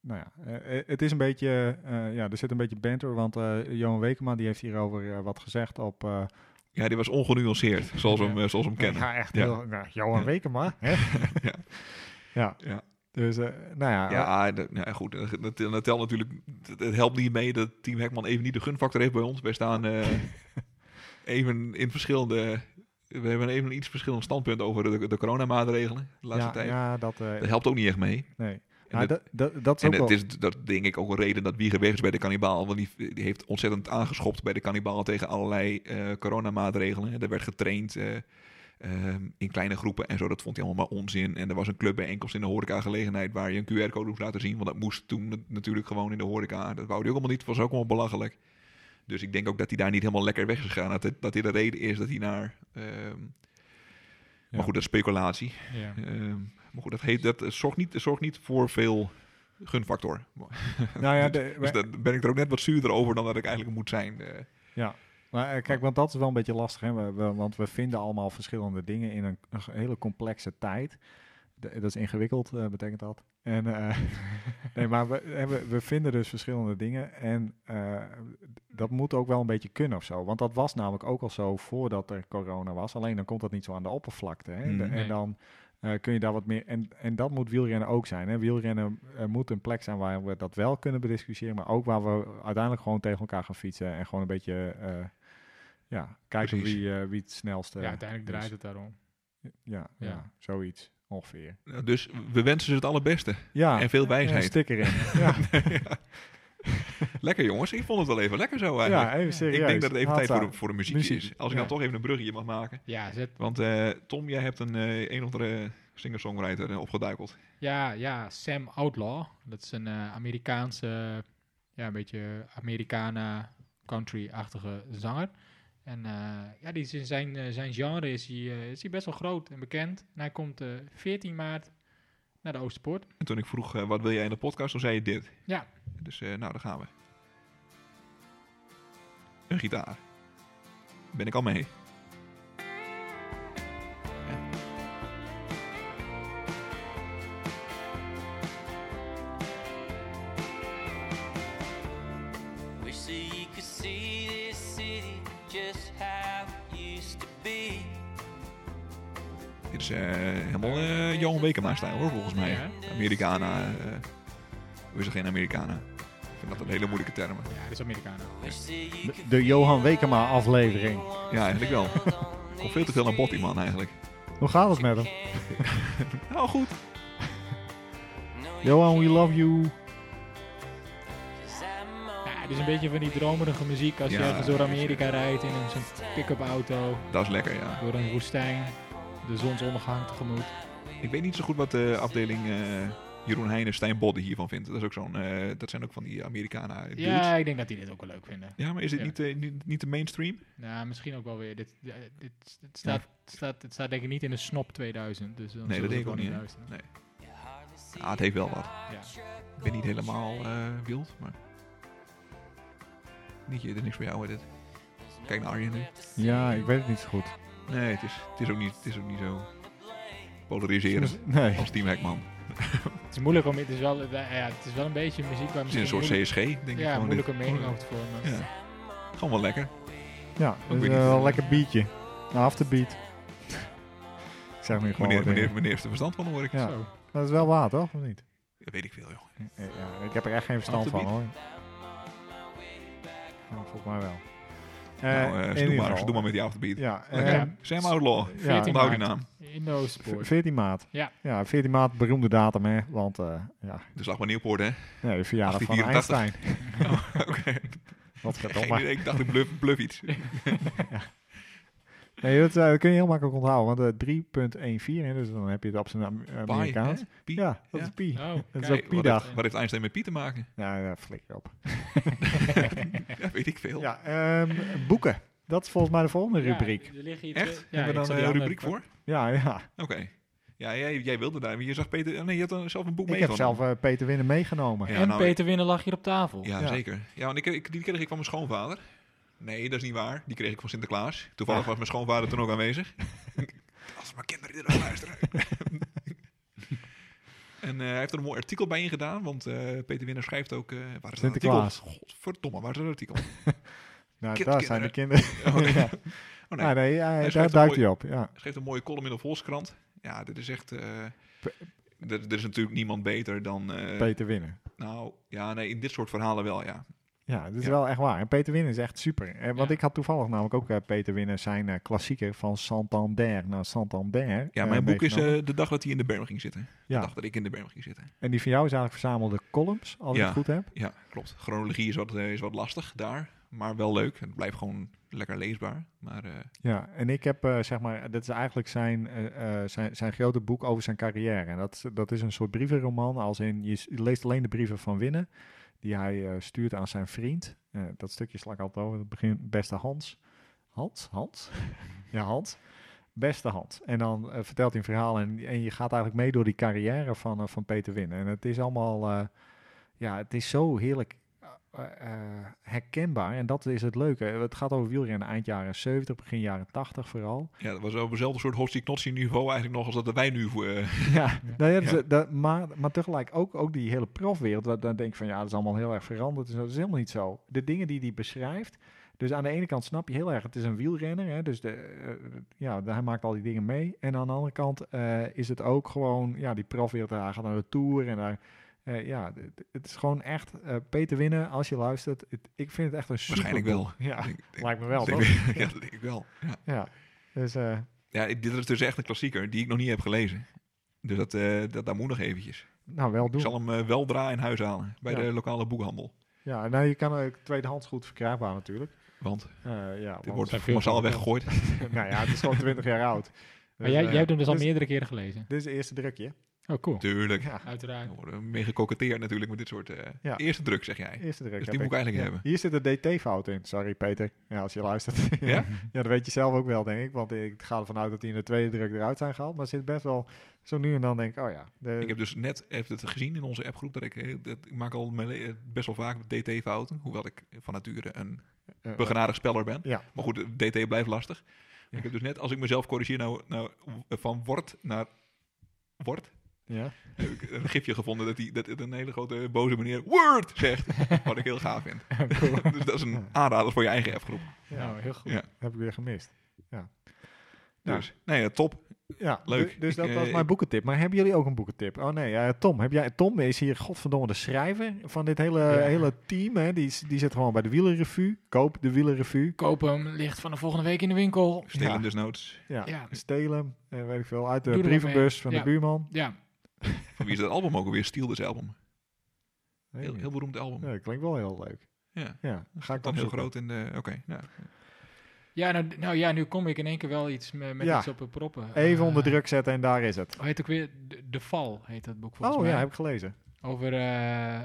S2: nou ja, eh, eh, het is een beetje, eh, ja, er zit een beetje banter, want eh, Johan Wekema die heeft hierover eh, wat gezegd op... eh,
S1: Ja, die was ongenuanceerd, zoals we hem, eh, zoals we hem kennen.
S2: ja, echt
S1: Ja.
S2: heel... Nou, Johan
S1: Ja.
S2: Wekema, hè?
S1: Ja.
S2: ja.
S1: Ja.
S2: Dus, eh, nou ja,
S1: Ja, dat- ja, goed. Dat, dat, dat telt natuurlijk. Het het helpt niet mee dat Team Hekman even niet de gunfactor heeft bij ons. Wij staan eh, even in verschillende. We hebben even een iets verschillend standpunt over de, de coronamaatregelen de laatste
S2: ja,
S1: tijd.
S2: ja, dat... eh,
S1: Dat helpt ook niet echt mee.
S2: nee.
S1: En
S2: Maar
S1: dat-
S2: dat, dat, dat is
S1: En
S2: ook
S1: het
S2: wel...
S1: is dat denk ik ook een reden dat Wieger weg is bij de kannibaal. Want die, die heeft ontzettend aangeschopt bij de kannibaal tegen allerlei eh, coronamaatregelen. Er werd getraind eh, ehm, in kleine groepen en zo. Dat vond hij allemaal maar onzin. En er was een clubbijeenkomst in de horecagelegenheid waar je een QR-code moest laten zien. Want dat moest toen nat- natuurlijk gewoon in de horeca. Dat wou hij ook allemaal niet. Dat was ook allemaal belachelijk. Dus ik denk ook dat hij daar niet helemaal lekker weg is gegaan. Dat, dit- dat dit de reden is dat hij naar... ehm,
S2: Ja.
S1: Maar goed, dat is speculatie.
S3: Ja.
S1: Ehm, maar goed, dat, heet, dat eh, zorgt, niet, zorgt niet voor veel gunfactor.
S2: nou ja, de-
S1: Dus daar ben ik er ook net wat zuurder over dan dat ik eigenlijk moet zijn. eh.
S2: Maar eh, kijk, want dat is wel een beetje lastig, hè? We, we- want we vinden allemaal verschillende dingen in een, een hele complexe tijd. De- dat is ingewikkeld, eh, betekent dat. En, eh, nee, maar we, eh, we, we vinden dus verschillende dingen en eh, dat moet ook wel een beetje kunnen of zo. Want dat was namelijk ook al zo voordat er corona was, alleen dan komt dat niet zo aan de oppervlakte. Hè?
S1: Mm.
S2: De- En
S3: Nee.
S2: dan eh, kun je daar wat meer... En, en dat moet wielrennen ook zijn. Hè? Wielrennen eh, moet een plek zijn waar we dat wel kunnen bediscussiëren, maar ook waar we uiteindelijk gewoon tegen elkaar gaan fietsen en gewoon een beetje... eh, ja, kijken
S1: Precies.
S2: wie, eh, wie het snelste.
S3: Ja, uiteindelijk
S2: dus-
S3: draait het daarom.
S2: Ja, ja.
S3: Ja.
S2: zoiets ongeveer.
S1: Nou, Dus we wensen ze het allerbeste.
S2: Ah. Ja,
S1: en veel
S2: een
S1: wijsheid.
S2: sticker in. ja,
S1: lekker jongens, ik vond het wel even lekker zo eigenlijk.
S2: ja, even serieus.
S1: ik denk dat het even tijd voor de,
S2: Hatsa.
S1: voor de muziek,
S2: Muziek,
S1: is. Als ik
S2: ja.
S1: dan toch even een brugje mag maken.
S3: Ja, zet,
S1: Want eh, Tom, jij hebt een, eh, een of andere singer-songwriter eh, opgeduikeld.
S3: ja, ja, Sam Outlaw. Dat is een eh, Amerikaanse, eh, ja, een beetje Americana country-achtige zanger. En eh, ja, die is in zijn, eh, zijn genre is hij, eh, is hij best wel groot en bekend. En hij komt eh 14 maart naar de Oosterpoort.
S1: En toen ik vroeg, eh, wat wil jij in de podcast? Toen zei je dit.
S3: Ja.
S1: Dus eh, nou, daar gaan we. Een gitaar. Ben ik al mee.
S5: Wish that you could see this city just how it used to be.
S1: Dit is eh, helemaal eh, Johan Wekema-stijl hoor, volgens mij.
S3: Ja.
S1: Americana. eh hoe is het geen Americana? Ik vind dat een hele moeilijke term.
S3: Ja, dat is Americana.
S5: Wish that you
S2: De-
S5: could
S2: de Johan Wekema aflevering.
S1: Ja, eigenlijk wel. Komt veel te veel naar bod, die man eigenlijk.
S2: Hoe gaat het met hem?
S1: Nou goed.
S2: Johan, we love you.
S3: Ja, het is een beetje van die dromerige muziek als je
S1: Ja.
S3: ergens door Amerika rijdt in een- zo'n pick-up auto,
S1: Dat is lekker, ja.
S3: door een woestijn, de zonsondergang tegemoet.
S1: Ik weet niet zo goed wat de afdeling eh, Jeroen Heijnen, Stijn Bodde hiervan vindt. Dat, is ook zo'n, eh, dat zijn ook van die Amerikanen. dudes.
S3: Ja, ik denk dat die dit ook wel leuk vinden.
S1: ja, maar is dit
S3: Ja.
S1: niet, eh, niet, niet de mainstream?
S3: Nou, misschien ook wel weer. Dit, eh, dit, dit staat, staat, dit staat denk ik niet in de snop 2000. Dus dan
S1: Nee,
S3: zullen
S1: dat
S3: ze
S1: denk ik ook
S3: gewoon
S1: niet. hè.
S3: luisteren.
S1: Nee. Ah, het heeft wel wat.
S3: Ja.
S1: Ik ben niet helemaal eh, wild, maar... Niet, dit is niks voor jou, hè, dit. Kijk naar Arjen nu.
S2: Ja, ik weet het niet zo goed.
S1: Nee, het is, het is, ook, niet, het is ook niet zo polariserend
S2: Nee.
S1: als Team Hackman.
S3: Het is moeilijk om. Het is wel, eh, ja, het is wel een beetje muziek waar
S1: Het is een soort
S3: moeilijk-
S1: CSG, denk ik.
S3: Ja,
S1: gewoon
S3: moeilijke
S1: dit.
S3: mening over te vormen.
S1: Ja. Gewoon wel lekker.
S2: Ja,
S1: weet
S2: dat is
S1: niet.
S2: eh, wel een lekker beatje. Een afterbeat. ik zeg nu gewoon
S1: Meneer,
S2: wat
S1: meneer,
S2: dingen.
S1: meneer heeft er verstand van, hoor ik.
S2: Ja.
S3: Zo.
S2: Dat is wel waar, toch? Of niet?
S1: Dat weet ik veel, joh.
S2: Ja, ik heb er echt geen verstand van,
S1: Afterbeat.
S2: hoor. Ja, volgens mij wel. Eh,
S1: nou, eh,
S2: in
S1: doe,
S2: ieder
S1: maar,
S2: geval.
S1: doe maar met die afterbeat.
S2: Ja, eh,
S1: Lekker.
S3: Ja.
S1: Sam Outlaw.
S2: ja,
S3: 14
S1: Onthoud die
S3: maart.
S1: naam.
S3: Indo Sport.
S2: 14 maart.
S3: Ja.
S2: ja, 14 maart, beroemde datum, hè. Want, eh, ja,
S1: De slag bij Nieuwpoort, hè?
S2: nee, de verjaardag van
S1: 1884.
S2: Einstein.
S1: Oké.
S2: Wat
S1: Geen
S2: verdomme.
S1: idee, ik dacht ik bluff, bluff iets.
S2: Nee, dat, eh, dat kun je heel makkelijk onthouden. Want eh, 3.14, hè, dus dan heb je het op zijn Am-
S1: Pi, hè?
S2: Amerikaans.
S1: Pi.
S2: Ja, dat
S1: Ja.
S2: is pi.
S3: Oh,
S2: Dat is
S3: kijk.
S2: ook
S1: Wat heeft,
S2: Pi-dag.
S1: wat heeft Einstein met Pi te maken?
S2: Ja, ja, flikker op.
S1: Ja, weet ik veel.
S2: Ja, ehm, boeken. Dat is volgens mij de volgende
S3: Ja,
S2: rubriek.
S3: er liggen hier
S1: Echt?
S3: twee- Ja,
S1: Hebben
S3: ik
S1: we
S3: zal
S1: dan
S3: die
S1: een
S3: andere-
S1: rubriek voor?
S2: Ja, ja.
S1: Oké. Ja, jij, jij wilde daar. Je zag Peter... oh Nee, je had dan zelf een boek
S2: Ik heb zelf
S1: meegenomen.
S2: eh, Peter Winnen meegenomen.
S1: Ja,
S3: en
S1: nou,
S3: Peter Winnen lag hier op tafel.
S1: Ja,
S2: Ja.
S1: zeker. Ja, want ik, ik, die kreeg ik van mijn schoonvader. Nee, dat is niet waar. Die kreeg ik van Sinterklaas. Toevallig was mijn schoonvader toen ook aanwezig. Als mijn kinderen dit ook luisteren. en eh, hij heeft er een mooi artikel bij ingedaan, want eh, Peter Winner schrijft ook... eh waar is dat
S2: Sinterklaas.
S1: artikel? Godverdomme, waar is dat artikel? Oh,
S2: Nou,
S1: Kind-
S2: daar zijn de kinderen.
S1: Oh, nee.
S2: Ja.
S1: Oh, nee.
S2: Ja, nee, ja,
S1: schrijft
S2: daar
S1: een
S2: duikt
S1: mooi-
S2: hij op. Ja.
S1: Hij schreef een mooie column in de Volkskrant. Ja, dit is echt... eh, er, er is natuurlijk niemand beter dan... eh,
S2: Peter Winnen.
S1: nou, ja, nee, in dit soort verhalen wel, ja.
S2: Ja, dat is
S1: Ja.
S2: wel echt waar. En Peter Winnen is echt super. Eh, want
S3: Ja.
S2: ik had toevallig namelijk ook eh, Peter Winnen zijn eh, klassieker van Santander naar Santander.
S1: Ja,
S2: eh,
S1: mijn boek is
S2: meegenomen.
S1: eh, de dag dat hij in de berm ging zitten.
S2: Ja.
S1: De dag dat ik in de berm ging zitten.
S2: En die van jou is eigenlijk verzamelde columns, als
S1: Ja.
S2: ik het goed heb.
S1: Ja, klopt. Chronologie is wat, eh, is wat lastig daar, maar wel leuk. Het blijft gewoon lekker leesbaar. Maar eh,
S2: Ja, en ik heb eh, zeg maar, dat is eigenlijk zijn, eh, eh, zijn, zijn grote boek over zijn carrière. En dat, dat is een soort brievenroman, als in je s- je leest alleen de brieven van Winnen, die hij eh, stuurt aan zijn vriend. Eh, dat stukje sla ik altijd over, het begin, beste Hans. Hans? Hans? ja, Hans. Beste Hans. En dan eh, vertelt hij een verhaal en, en je gaat eigenlijk mee door die carrière van, eh, van Peter Winnen. En het is allemaal, eh, ja, het is zo heerlijk eh, eh, herkenbaar. En dat is het leuke. Het gaat over wielrennen eind jaren 70, begin jaren 80 vooral.
S1: ja, dat was op hetzelfde soort hostie niveau eigenlijk nog als dat wij nu... eh
S2: ja, nou ja, dus,
S1: Ja.
S2: eh, dat, maar, maar tegelijk ook, ook die hele profwereld. waar- Dan denk ik van ja, dat is allemaal heel erg veranderd. Dus dat is helemaal niet zo. De dingen die hij beschrijft. Dus aan de ene kant snap je heel erg, het is een wielrenner. Hè, dus de, eh, ja, hij maakt al die dingen mee. En aan de andere kant eh, is het ook gewoon, ja, die profwereld. Hij gaat naar de Tour en daar... eh, ja, d- d- het is gewoon echt eh, Peter Winnen, als je luistert. het- ik vind het echt een super
S1: Waarschijnlijk wel.
S2: Ja,
S1: Ik denk-
S2: lijkt me wel,
S1: denk-
S2: toch?
S1: ja, dat denk ik wel. Ja.
S2: Ja, dus eh,
S1: Ja, dit is dus echt een klassieker die ik nog niet heb gelezen. Dus dat, eh dat, daar moet nog eventjes.
S2: nou, wel
S1: Ik
S2: doen.
S1: zal hem eh, wel draaien in huis halen bij
S2: Ja.
S1: de lokale boekhandel.
S2: Ja, nou, je kan ook tweedehands goed verkrijgbaar natuurlijk.
S1: Want dit
S2: Eh, ja, want-
S3: zijn
S1: wordt
S3: veel
S1: massaal
S3: van-
S1: weggegooid.
S2: nou ja, het is gewoon 20 jaar oud.
S3: Maar jij,
S2: eh,
S3: jij hebt hem dus al
S2: dit is-
S3: meerdere keren gelezen.
S2: Dit is het eerste drukje.
S3: Oh, cool.
S1: Tuurlijk.
S2: Ja,
S3: Uiteraard.
S1: Er worden mee gecoketteerd natuurlijk met dit soort... eh,
S2: Ja.
S1: Eerste druk, zeg jij.
S2: eerste druk.
S1: Dus die
S2: heb
S1: moet ik eigenlijk
S2: Ja.
S1: hebben.
S2: Hier zit een dt-fout in. Sorry, Peter. Ja, als je luistert.
S1: Ja?
S2: ja, dat weet je zelf ook wel, denk ik. Want ik ga ervan uit dat die in de tweede druk eruit zijn gehaald. Maar er zit best wel zo nu en dan denk ik, oh ja. de-
S1: Ik heb dus net even het gezien in onze appgroep dat ik, eh, dat, ik maak al mijn le- eh, best wel vaak DT-fouten, hoewel ik van nature een
S2: eh,
S1: begenadigd speler ben.
S2: ja.
S1: Maar goed, eh, DT blijft lastig.
S2: Ja.
S1: Ik heb dus net, als ik mezelf corrigeer, nou, nou eh, van wordt naar wordt,
S2: ja.
S1: heb ik een gifje gevonden dat, die, dat het een hele grote boze meneer word zegt, wat ik heel gaaf vind. dus dat is een aanrader voor je eigen appgroep.
S2: Ja.
S3: Nou, heel goed.
S1: Ja.
S2: Heb ik weer gemist. Ja.
S1: Dus, nee, ja, top.
S2: Ja,
S1: Leuk.
S2: du- Dus
S1: Ik,
S2: dat was
S1: eh,
S2: mijn boekentip. Maar hebben jullie ook een boekentip? Oh nee, ja, Tom. Heb jij, Tom is hier, godverdomme, de schrijver van dit hele,
S3: Ja.
S2: hele team. Hè? Die, is- die zit gewoon bij de Wielerrevue. Koop de Wielerrevue.
S3: Koop hem, ligt vanaf volgende week in de winkel.
S1: Stelen
S2: Ja.
S1: dus noods.
S2: Ja.
S3: Ja.
S2: Stelen, eh, weet ik veel. Uit de
S3: Doe er wat
S2: brievenbus
S3: mee.
S2: van
S3: Ja.
S2: de buurman.
S3: Ja,
S1: Van wie is dat album ook alweer? Steel this album.
S2: Nee,
S1: Heel, heel beroemd album.
S2: ja, dat klinkt wel heel leuk.
S1: Ja.
S2: Ja, ga ik
S1: Dan heel
S2: opzoeken.
S1: groot in de... Oké, ja.
S3: Ja, nou, nou ja, nu kom ik in één keer wel iets me- met
S2: Ja.
S3: iets op de proppen.
S2: Even
S3: Eh,
S2: onder druk zetten en daar is het.
S3: Hoe heet ook weer? De, De Val heet dat boek volgens
S2: Oh
S3: mij.
S2: ja, heb ik gelezen.
S3: Over eh eh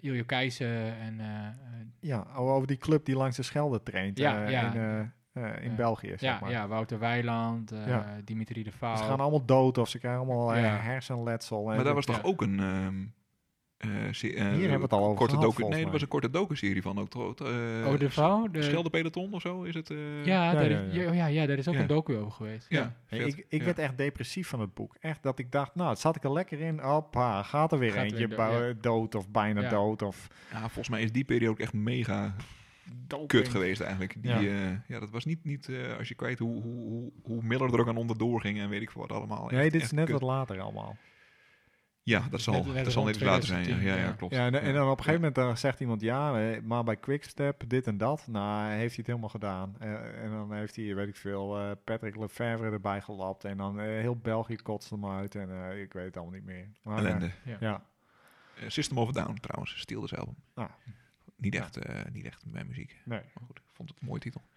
S3: Iljo Keijzer en... eh, eh,
S2: Ja, o- over die club die langs de Schelde traint
S3: Ja,
S2: eh,
S3: ja.
S2: in, eh, eh, in
S3: Ja.
S2: België, zeg
S3: ja,
S2: maar.
S3: ja, Wouter Weiland, eh,
S2: Ja.
S3: Dimitri de
S2: Ze
S3: Vaal.
S2: gaan allemaal dood of ze krijgen allemaal eh,
S3: Ja.
S2: hersenletsel.
S1: Maar daar was toch
S3: Ja.
S1: ook een... ehm, eh, se- eh,
S2: Hier hebben we het al over
S1: korte
S2: gehad,
S1: docu-
S2: volgens
S1: Nee,
S2: mij.
S1: er was een korte docu-serie van ook. toch? eh,
S3: oh, De Vaal? De,
S1: Schelde Peloton of zo is het? eh,
S3: ja,
S2: Ja,
S3: daar
S2: ja,
S3: is-
S2: ja.
S3: ja, ja, ja, daar is ook
S1: Ja.
S3: een docu over geweest.
S1: ja,
S2: Nee,
S1: vet.
S2: ik ik
S1: Ja.
S2: werd echt depressief van het boek. Echt dat ik dacht, nou, het zat ik er lekker in. Hoppa, gaat er weer
S3: Gaat er
S2: eentje
S3: weer dood,
S2: bou- dood of bijna
S3: Ja.
S2: dood. Of,
S1: Ja, volgens mij is die periode ook echt mega kut geweest eigenlijk. Die,
S2: Ja.
S1: ja. ja, dat was niet, niet eh, als je kwijt hoe, hoe, hoe, hoe Miller er ook aan onderdoor ging en weet ik veel wat allemaal.
S2: nee,
S1: Echt-
S2: dit is
S1: echt
S2: net
S1: kut.
S2: wat later allemaal.
S1: Ja, dat zal
S3: Net-
S1: net,
S3: net
S1: dat zal net
S3: rond
S1: iets later zijn. Ja,
S3: 2010,
S1: ja, ja,
S3: ja.
S1: klopt.
S2: Ja, en, en dan op een gegeven moment dan zegt iemand, ja, eh, maar bij Quickstep dit en dat. Nou, heeft hij het helemaal gedaan. Eh, en dan heeft hij, weet ik veel, eh, Patrick Lefevre erbij gelapt. En dan eh, heel België kotst hem uit. En eh, ik weet het allemaal niet meer. Maar, eh,
S1: Ellende.
S2: ja.
S1: Eh, System of a Down trouwens, Steel is album.
S2: Ah.
S1: Niet, echt, eh, niet echt mijn muziek.
S2: Nee.
S1: Maar goed, ik vond het een mooie titel. Ja,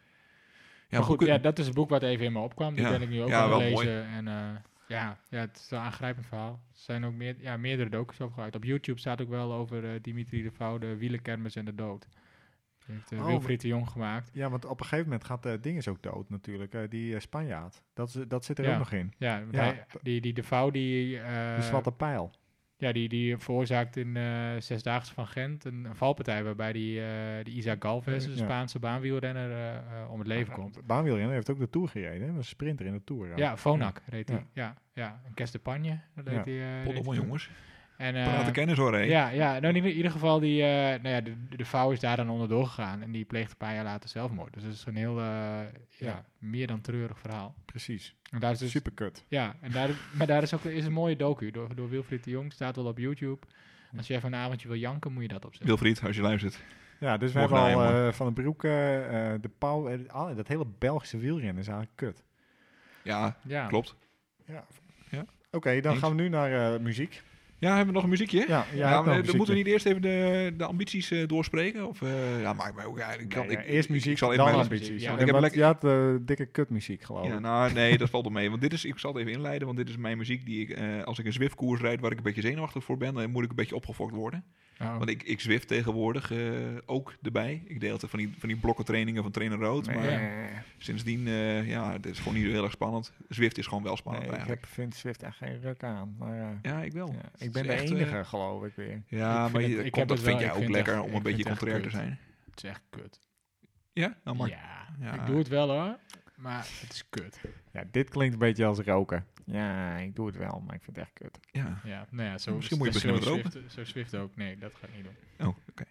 S3: maar goed,
S1: hoe kun-
S3: ja, dat is het boek wat even in me opkwam. Die
S1: Ja.
S3: ben ik nu ook
S1: Ja,
S3: aan het
S1: wel mooi.
S3: lezen. En, eh, ja, ja, het is wel een aangrijpend verhaal. Er zijn ook meer, ja, meerdere docus opgehaald. Op YouTube staat ook wel over eh, Dimitri de Vouw, de wielenkermis en de dood. Die heeft eh,
S2: Oh.
S3: Wilfried de Jong gemaakt.
S2: Ja, want op een gegeven moment gaat eh Dinges ook dood natuurlijk. eh, die eh, Spanjaard. Dat, is- dat zit er
S3: Ja.
S2: ook nog in.
S3: Ja, want
S2: Ja.
S3: hij- die, die de Vouw die...
S2: De
S3: eh,
S2: zwarte pijl.
S3: Ja, die, die veroorzaakt in eh Zesdaagse van Gent een, een valpartij waarbij die, eh die Isaac Galvez, de
S2: Ja. Ah,
S3: Spaanse baanwielrenner, eh, eh, om het leven komt.
S2: Baanwielrenner heeft ook de Tour gereden. hè? Een sprinter in de Tour.
S3: Ja,
S2: ook.
S3: Vonak reed hij.
S2: Ja.
S3: Ja, ja. En Kes de Pagne dat
S2: Ja.
S3: deed hij. eh, reed
S1: Potdomme,
S3: hij.
S1: jongens.
S3: En, eh,
S1: Praten kennis hoor, hé.
S3: ja, ja, nou in ieder geval, die, eh, nou ja, de, de vrouw is daar dan onderdoor gegaan en die pleegt een paar jaar later zelfmoord. Dus het is een heel, eh, ja, meer dan treurig verhaal.
S2: precies.
S3: En daar is dus,
S2: Super kut.
S3: Ja, en daar, maar daar is ook is een mooie docu door, door Wilfried de Jong, staat wel op YouTube.
S1: Hm.
S3: Als je even een avondje wil janken, moet je dat opzetten.
S1: Wilfried, als je luistert.
S2: Ja, dus we
S1: Mocht
S2: hebben al
S1: nou,
S2: eh, Van den Broeke, eh, De Pauw. eh, al- dat hele Belgische wielrennen is eigenlijk kut.
S1: Ja,
S3: Ja.
S1: klopt.
S2: Oké, dan
S1: Eens.
S2: gaan we nu naar eh, muziek.
S1: Ja, hebben we nog een muziekje?
S2: Ja, jij
S1: Ja,
S2: hebt dus-
S1: maar,
S2: wel
S1: eh,
S2: muziekje.
S1: moeten we niet eerst even de, de ambities eh, doorspreken? Of, eh, ja, maakt mij ook eigenlijk.
S2: Nee, ja,
S1: ik,
S2: eerst muziek,
S1: ik zal even
S2: dan
S1: mijn-
S3: ambitie.
S2: ambities.
S3: Ja,
S2: Ja,
S1: ik heb
S2: want
S1: lekker-
S2: Je had eh, dikke kutmuziek, geloof ik.
S1: Ja, nou, nee, dat valt wel mee. Want dit is, ik zal het even inleiden, want dit is mijn muziek die ik, eh, als ik een Zwift-koers rijd waar ik een beetje zenuwachtig voor ben, dan moet ik een beetje opgefokt worden.
S3: Oh.
S1: Want ik, ik Zwift tegenwoordig eh, ook erbij. Ik deel altijd van die, van die blokken trainingen van trainer Rood.
S2: Nee,
S1: Maar
S3: ja.
S1: sindsdien, eh ja, het is gewoon niet zo heel erg spannend. Zwift is gewoon wel
S2: nee,
S1: spannend
S2: ik
S1: eigenlijk.
S2: heb, vind Swift echt geen ruk aan. Maar, eh,
S1: Ja, ik wel.
S2: ja,
S1: Het
S2: ik
S1: is
S2: ben de
S1: echt, eh,
S2: enige, geloof ik weer.
S1: ja,
S3: Ik
S1: maar
S3: vind
S1: je,
S3: het- ik
S1: komt,
S3: heb
S1: dat
S3: het wel-
S1: vind jij
S3: ik
S1: ook
S3: vind het
S1: lekker
S3: echt-
S1: om
S3: ik
S1: een beetje
S3: vind het echt
S1: contrair te
S3: kut.
S1: zijn.
S3: Het is echt kut.
S1: Ja, dan mag.
S3: Ja,
S1: Oh, Ja.
S3: ik doe het wel hoor, maar het is kut.
S2: Ja, dit klinkt een beetje als roken. Ja, ik doe het wel, maar ik vind het echt kut.
S1: Ja.
S3: Ja, nou ja, zo,
S1: Misschien moet je
S3: zo
S1: beginnen met
S3: Zwift, zo Zwift ook. Nee, dat ga ik niet doen.
S1: Oh, oké.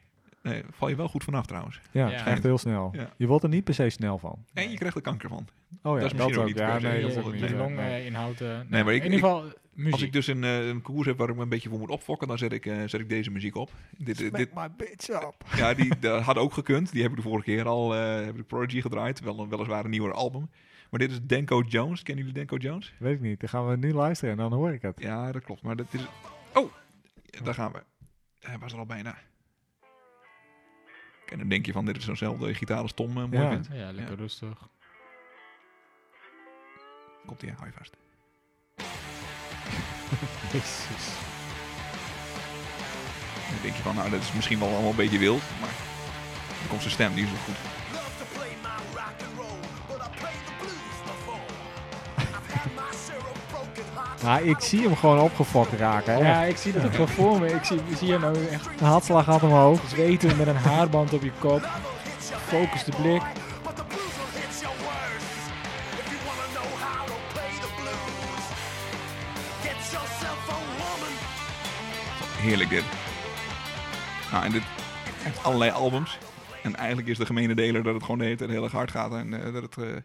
S1: Nee, val je wel goed vanaf trouwens.
S2: Ja,
S3: Ja.
S2: echt heel snel.
S1: Ja.
S2: Je wordt er niet per se snel van.
S1: En je krijgt er kanker van.
S2: Oh ja,
S1: Dat is misschien ook niet
S2: Ja,
S1: per se
S2: nee,
S1: heel
S2: dat
S1: veel.
S2: ook
S3: je,
S2: niet.
S1: Nee,
S3: je
S2: Nee.
S3: longinhoud. eh, nee,
S1: maar ik-
S3: in ieder geval eh, muziek.
S1: Als ik dus een, eh, een koers heb waar ik me een beetje voor moet opfokken, dan zet ik, eh, zet ik deze muziek op. Dit, dit, dit-
S2: Smack my bitch up.
S1: ja, die dat had ook gekund. Die heb ik de vorige keer al, eh, heb ik Prodigy gedraaid. Wel, een- weliswaar een nieuwer album. Maar dit is Denko Jones. Kennen jullie Denko Jones?
S2: Weet ik niet. Dan gaan we nu luisteren en dan hoor ik het.
S1: Ja, dat klopt. Maar dat is... Oh, daar gaan we. Hij was er al bijna. En dan denk je van, dit is zo'nzelfde gitaar als Tom eh, mooi
S2: Ja.
S1: vindt.
S3: ja, lekker rustig.
S1: Komt hij, hou je vast. Dan denk je van, nou, dat is misschien wel allemaal een beetje wild. Maar dan komt zijn stem, die is wel goed.
S6: Love to play my rock and roll, but I played the blues before. I've had my share of broken hearts.
S2: Nou, ik zie hem gewoon opgefokt raken. hè.
S3: Ja, ik zie dat ook wel voor me. Ik zie, zie je nou echt
S2: De hartslag gaat omhoog.
S3: zweten met een haarband op je kop.
S6: Love will hit your
S3: Focus de
S6: bad
S3: blik.
S6: boy, But the blues will hit your worst. If you wanna know how to play the blues, get yourself a woman.
S1: Heerlijk dit. Nou, en dit heeft allerlei albums. En eigenlijk is de gemene deler dat het gewoon de hele tijd heel erg hard gaat. En eh, dat het... eh,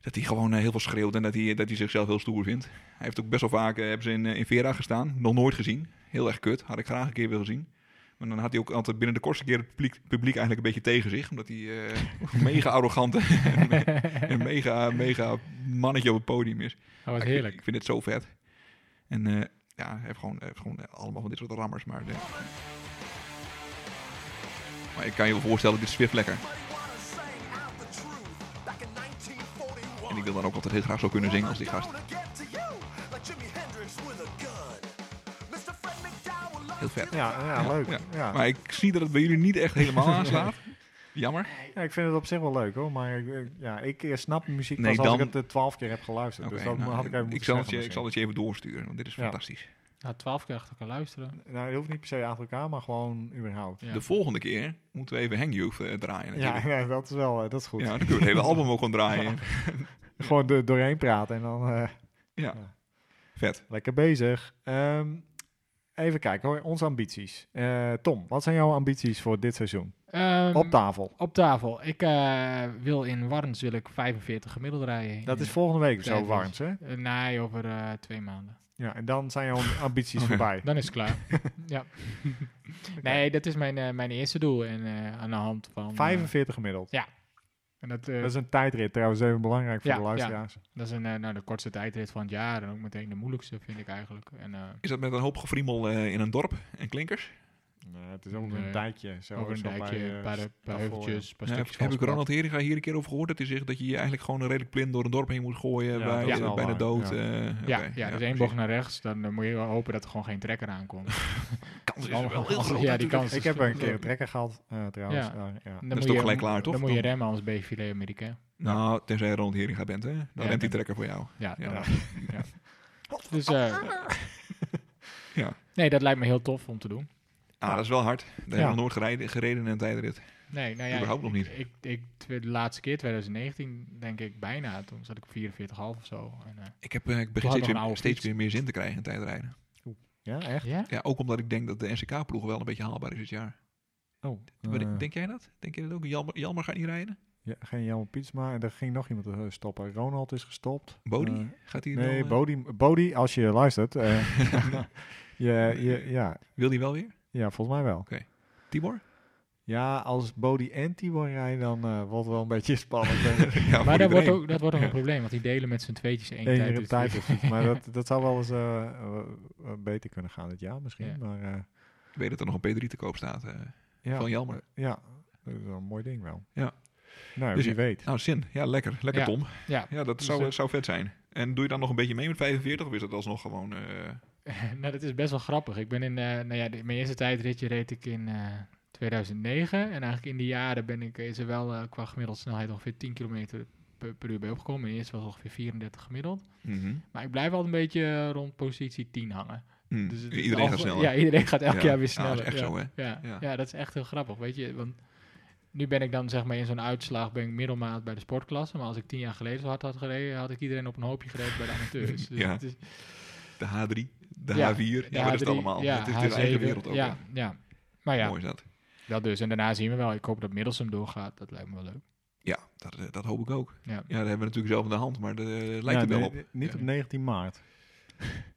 S1: dat hij gewoon eh, heel veel schreeuwt en dat hij, dat hij zichzelf heel stoer vindt. Hij heeft ook best wel vaak eh, hebben ze in, eh, in Vera gestaan. Nog nooit gezien. Heel erg kut. Had ik graag een keer willen zien. Maar dan had hij ook altijd binnen de kortste keer het publiek, publiek eigenlijk een beetje tegen zich. Omdat hij eh, mega arrogant en, en mega, mega mannetje op het podium is.
S3: Dat was
S1: Ik vind-
S3: heerlijk.
S1: Ik vind het zo vet. En eh, ja, hij heeft gewoon, hij heeft gewoon eh, allemaal van dit soort rammers. Maar, de- maar ik kan je wel voorstellen, dit is Swift lekker.
S6: But he wanna sing out the truth.
S1: En ik wil dan ook altijd heel graag zo kunnen zingen als die gast. Heel vet.
S2: Ja, ja, leuk.
S1: Ja.
S2: Ja.
S1: Maar ik zie dat het bij jullie niet echt helemaal aanslaat. Jammer.
S2: Ja, ik vind het op zich wel leuk hoor, maar ik, eh, ja, ik eh, snap muziek
S1: Nee,
S2: pas als ik
S1: dan-
S2: het eh, 12 keer heb geluisterd.
S1: Oké,
S2: dus dat
S1: nou,
S2: had ik even moeten
S1: zal het
S2: zeggen
S1: je, ik zal
S2: misschien.
S1: het je even doorsturen, want dit is
S2: Ja.
S1: fantastisch.
S3: Nou, twaalf keer achter elkaar luisteren.
S2: Nou, het hoeft niet per se achter elkaar, maar gewoon überhaupt.
S3: Ja.
S1: De volgende keer moeten we even Hang Youth eh, draaien.
S2: Ja,
S1: natuurlijk.
S2: ja, dat is wel, eh, dat is goed.
S1: Ja, dan kunnen we het hele album ook gewoon draaien.
S2: Gewoon er doorheen praten en dan eh,
S1: Vet.
S2: lekker bezig. Ehm, even kijken hoor, onze ambities. Eh, Tom, wat zijn jouw ambities voor dit seizoen?
S3: Ehm,
S2: Op tafel.
S3: op tafel. Ik eh, wil in Warns wil ik 45 gemiddeld rijden.
S2: Dat is volgende week of zo,
S3: Tijdens.
S2: warms hè?
S3: Eh, nee, over eh, twee maanden.
S2: Ja, en dan zijn jouw ambities voorbij.
S3: Dan is het klaar. ja. Nee, dat is mijn, eh, mijn eerste doel. En eh, aan de hand van... eh,
S2: 45 gemiddeld.
S3: en dat, eh,
S2: Dat is een tijdrit trouwens, even belangrijk voor
S3: Ja,
S2: de luisteraars.
S3: dat is een, eh, nou, de kortste tijdrit van het jaar. En ook meteen de moeilijkste, vind ik eigenlijk. En, eh,
S1: Is dat met een hoop gefriemel eh, in een dorp en klinkers?
S2: Nee, het is ook
S3: Nee.
S2: een dijkje. Zo,
S3: over een
S2: zo bij,
S3: dijkje,
S2: eh,
S3: een paar, een paar
S2: daarvoor,
S3: heuveltjes, een paar
S1: Nou,
S3: stukjes
S1: heb heb ik
S3: van
S1: Ronald Heringa hier een keer over gehoord? Dat hij zegt dat je je eigenlijk gewoon een redelijk plin door een dorp heen moet gooien
S2: Ja,
S1: bij,
S2: dat is
S1: eh,
S2: wel
S1: bij de
S2: waar,
S1: dood.
S2: ja.
S1: eh, oké,
S3: Ja, ja, dus één
S1: precies.
S3: bocht naar rechts. Dan eh, moet je wel hopen dat er gewoon geen trekker aankomt.
S1: Kans is
S3: Ja,
S1: wel heel groot.
S3: Ja, die
S1: natuurlijk.
S3: kans
S2: Ik
S3: is
S2: heb een
S3: groot.
S2: keer een trekker gehad, eh, trouwens.
S3: Ja.
S2: daar, ja.
S3: Dan
S1: Dat is
S3: moet
S1: toch
S3: je-
S1: gelijk klaar, toch?
S3: Dan moet je remmen, anders ben je filet Amerikaan.
S1: Nou, tenzij je Ronald Heringa bent, hè? Dan
S3: Ja,
S1: rent die
S3: dan-
S1: trekker voor jou. Ah,
S3: Ja,
S1: Ja.
S3: ja. ja. Dus, eh,
S1: Ja.
S3: Nee, dat lijkt me heel tof om te doen.
S1: Ah, dat is wel hard. Daar hebben we
S2: Ja.
S1: nog nooit gereden, gereden in een tijdrit.
S3: Nee, nou ja.
S1: Überhaupt
S3: ik-
S1: nog niet.
S3: Ik, ik, tw- de laatste keer, 2019, denk ik bijna. Toen zat ik op 44,5 of zo. En, eh,
S1: Ik, heb, eh, ik
S3: nog
S1: begin steeds,
S3: een
S1: weer,
S3: oude
S1: steeds
S3: fiets.
S1: weer meer zin te krijgen in tijdrijden.
S2: Ja, echt?
S3: ja?
S1: Ja, ook omdat ik denk dat de NCK-ploeg wel een beetje haalbaar is dit jaar.
S2: Oh,
S1: Maar
S2: eh,
S1: Denk jij dat? Denk jij dat ook? Jalmar, Jalmar gaat niet rijden?
S2: ja, geen Jan Pietsma. En er ging nog iemand eh, stoppen. Ronald is gestopt.
S1: Bodie?
S2: Eh,
S1: gaat hij wel,
S2: nee,
S1: eh,
S2: Bodie, Bodie, als je luistert. eh, je, je, ja,
S1: Wil hij wel weer?
S2: ja, volgens mij wel.
S1: Tibor?
S2: Ja, als Bodie en Tibor rijden, dan eh, wordt het wel een beetje spannend. denk ik.
S1: Ja,
S3: maar
S1: voor
S3: dat wordt,
S1: iedereen.
S3: ook, dat wordt ook een probleem, want die delen met z'n tweetjes één
S2: Eén
S3: tijd.
S2: keer een tijdrit. Maar dat, dat zou wel eens eh, eh, beter kunnen gaan dit jaar misschien.
S3: Ja.
S2: Maar eh,
S1: Ik weet dat er nog een P3 te koop staat. eh,
S2: ja,
S1: Van Jalmar.
S2: Ja, dat is wel een mooi ding wel.
S1: Ja.
S2: Nou,
S1: Dus
S2: wie
S1: ja.
S2: weet.
S1: Nou, zin. Ja, lekker. Lekker
S3: Ja.
S1: Tom.
S3: Ja.
S1: Ja, dat
S3: Dus,
S1: zou,
S3: eh,
S1: eh, zou vet zijn. En doe je dan nog een beetje mee met 45? Of is dat alsnog gewoon... eh,
S3: nou, dat is best wel grappig. Ik ben in, eh, nou ja, de- mijn eerste tijdritje reed ik in eh, 2009. En eigenlijk in die jaren ben ik, is er wel eh, qua gemiddelde snelheid ongeveer 10 kilometer per, per uur bij opgekomen. Mijn eerste was ongeveer 34 gemiddeld.
S1: mhm.
S3: Maar ik blijf wel een beetje eh, rond positie 10 hangen.
S1: Hm.
S3: Dus het is
S1: Iedereen gaat
S3: algemeen-
S1: sneller.
S3: Ja, iedereen gaat elk
S1: Ja.
S3: jaar weer
S1: Ja, dat
S3: sneller.
S1: is echt
S3: ja.
S1: zo, hè?
S3: Ja.
S1: Ja.
S3: Ja. dat is echt heel grappig, weet je. Want nu ben ik dan zeg maar in zo'n uitslag ben ik middelmaat bij de sportklasse. Maar als ik tien jaar geleden zo hard had gereden, had ik iedereen op een hoopje gereden bij de amateurs. Dus
S1: Ja.
S3: het is,
S1: De H3, de
S3: Ja,
S1: H4.
S3: de
S1: Ja, maar dat is het
S3: H3,
S1: allemaal.
S3: ja,
S1: het is de eigen
S3: H7,
S1: wereld ook.
S3: Ja, ja. Maar
S1: hè.
S3: ja,
S1: Mooi is dat.
S3: dat dus. En daarna zien we wel. Ik hoop dat Middelsum doorgaat. Dat lijkt me wel leuk.
S1: Ja, dat, eh, dat hoop ik ook. Ja,
S3: Ja.
S1: dat hebben we natuurlijk zelf in de hand, maar dat eh, lijkt
S2: Ja,
S1: er wel
S2: Nou, nee,
S1: op.
S2: Niet op 19 maart.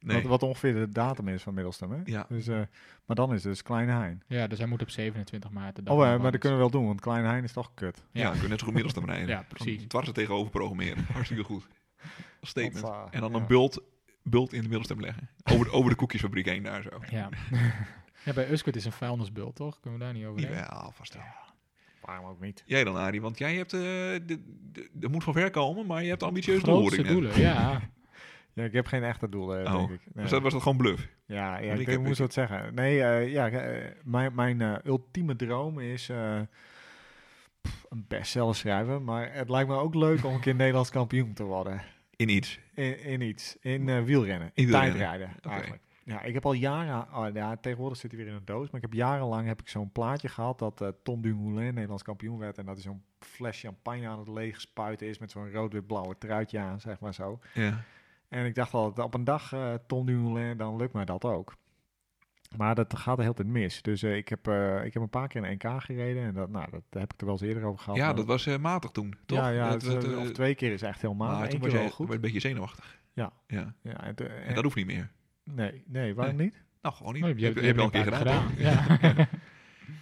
S1: Nee.
S2: Wat, wat ongeveer de datum is van Middelstem. Hè?
S1: Ja.
S2: Dus, eh, maar dan is het dus Kleine Hein.
S3: Ja, dus hij moet op 27 maart. de dag
S2: Oh, eh,
S3: van de
S2: maar dat
S3: band.
S2: kunnen we wel doen, want Kleine Hein is toch kut.
S1: Ja,
S3: Ja.
S1: we kunnen net zo goed middels dan rijden.
S3: Ja, precies.
S1: Dan Dwars er tegenover programmeren. Hartstikke goed. Als Statement.
S2: Hoppa,
S1: en dan
S2: ja.
S1: een bult, bult in de middelstem leggen. Over, over de koekjesfabriek heen daar zo.
S3: Ja. ja, bij Uskut is een vuilnisbult, toch? Kunnen we daar niet over hebben?
S1: Ja, vast wel.
S2: Waarom ook niet?
S1: Jij dan, Arie? Want jij hebt... eh de, de, er moet van ver komen, maar je hebt ambitieuze
S3: Grootste
S1: doelwoordingen.
S3: doelen, ja.
S2: Ja, ik heb geen echte doelen, eh,
S1: Oh.
S2: denk ik. Nee.
S1: Dus dat was dat gewoon bluff.
S2: Ja,
S1: ik
S2: ja
S1: heb-
S2: ik denk, moest
S1: ik-
S2: dat zeggen. Nee, eh, ja, eh, mijn, mijn eh, ultieme droom is eh, pff, een bestseller schrijven. Maar het lijkt me ook leuk om een keer Nederlands kampioen te worden.
S1: In iets.
S2: In, in iets. In eh, wielrennen. In,
S1: In wielrennen.
S2: tijdrijden,
S1: Oké.
S2: eigenlijk. Ja, ik heb al jaren... ah, ja, tegenwoordig zit hij weer in een doos. Maar ik heb jarenlang heb ik zo'n plaatje gehad... dat eh, Tom Dumoulin Nederlands kampioen werd... en dat hij zo'n fles champagne aan het leeg spuiten is... met zo'n rood-wit-blauwe truitje aan, zeg maar zo.
S1: Ja.
S2: En ik dacht altijd, op een dag eh, Tom Dumoulin, dan lukt mij dat ook. Maar dat gaat de hele tijd mis. Dus eh, ik, heb, eh, ik heb een paar keer een NK gereden. En dat, nou, dat heb ik er wel eens eerder over gehad.
S1: ja,
S2: maar-
S1: dat was eh, matig toen, toch?
S2: Ja, ja
S1: Dat- dat,
S2: het-
S1: eh,
S2: of twee keer is echt helemaal.
S1: maar
S2: Maar
S1: toen
S2: één
S1: was
S2: keer
S1: jij
S2: wel
S1: werd
S2: goed.
S1: een beetje zenuwachtig.
S2: Ja.
S1: ja.
S2: Ja, en, toen-
S1: En dat hoeft niet meer.
S2: nee, nee, waarom niet?
S1: Nou, gewoon niet.
S3: Oh,
S1: heb, heb je al een keer gedaan. toch?
S3: Ja.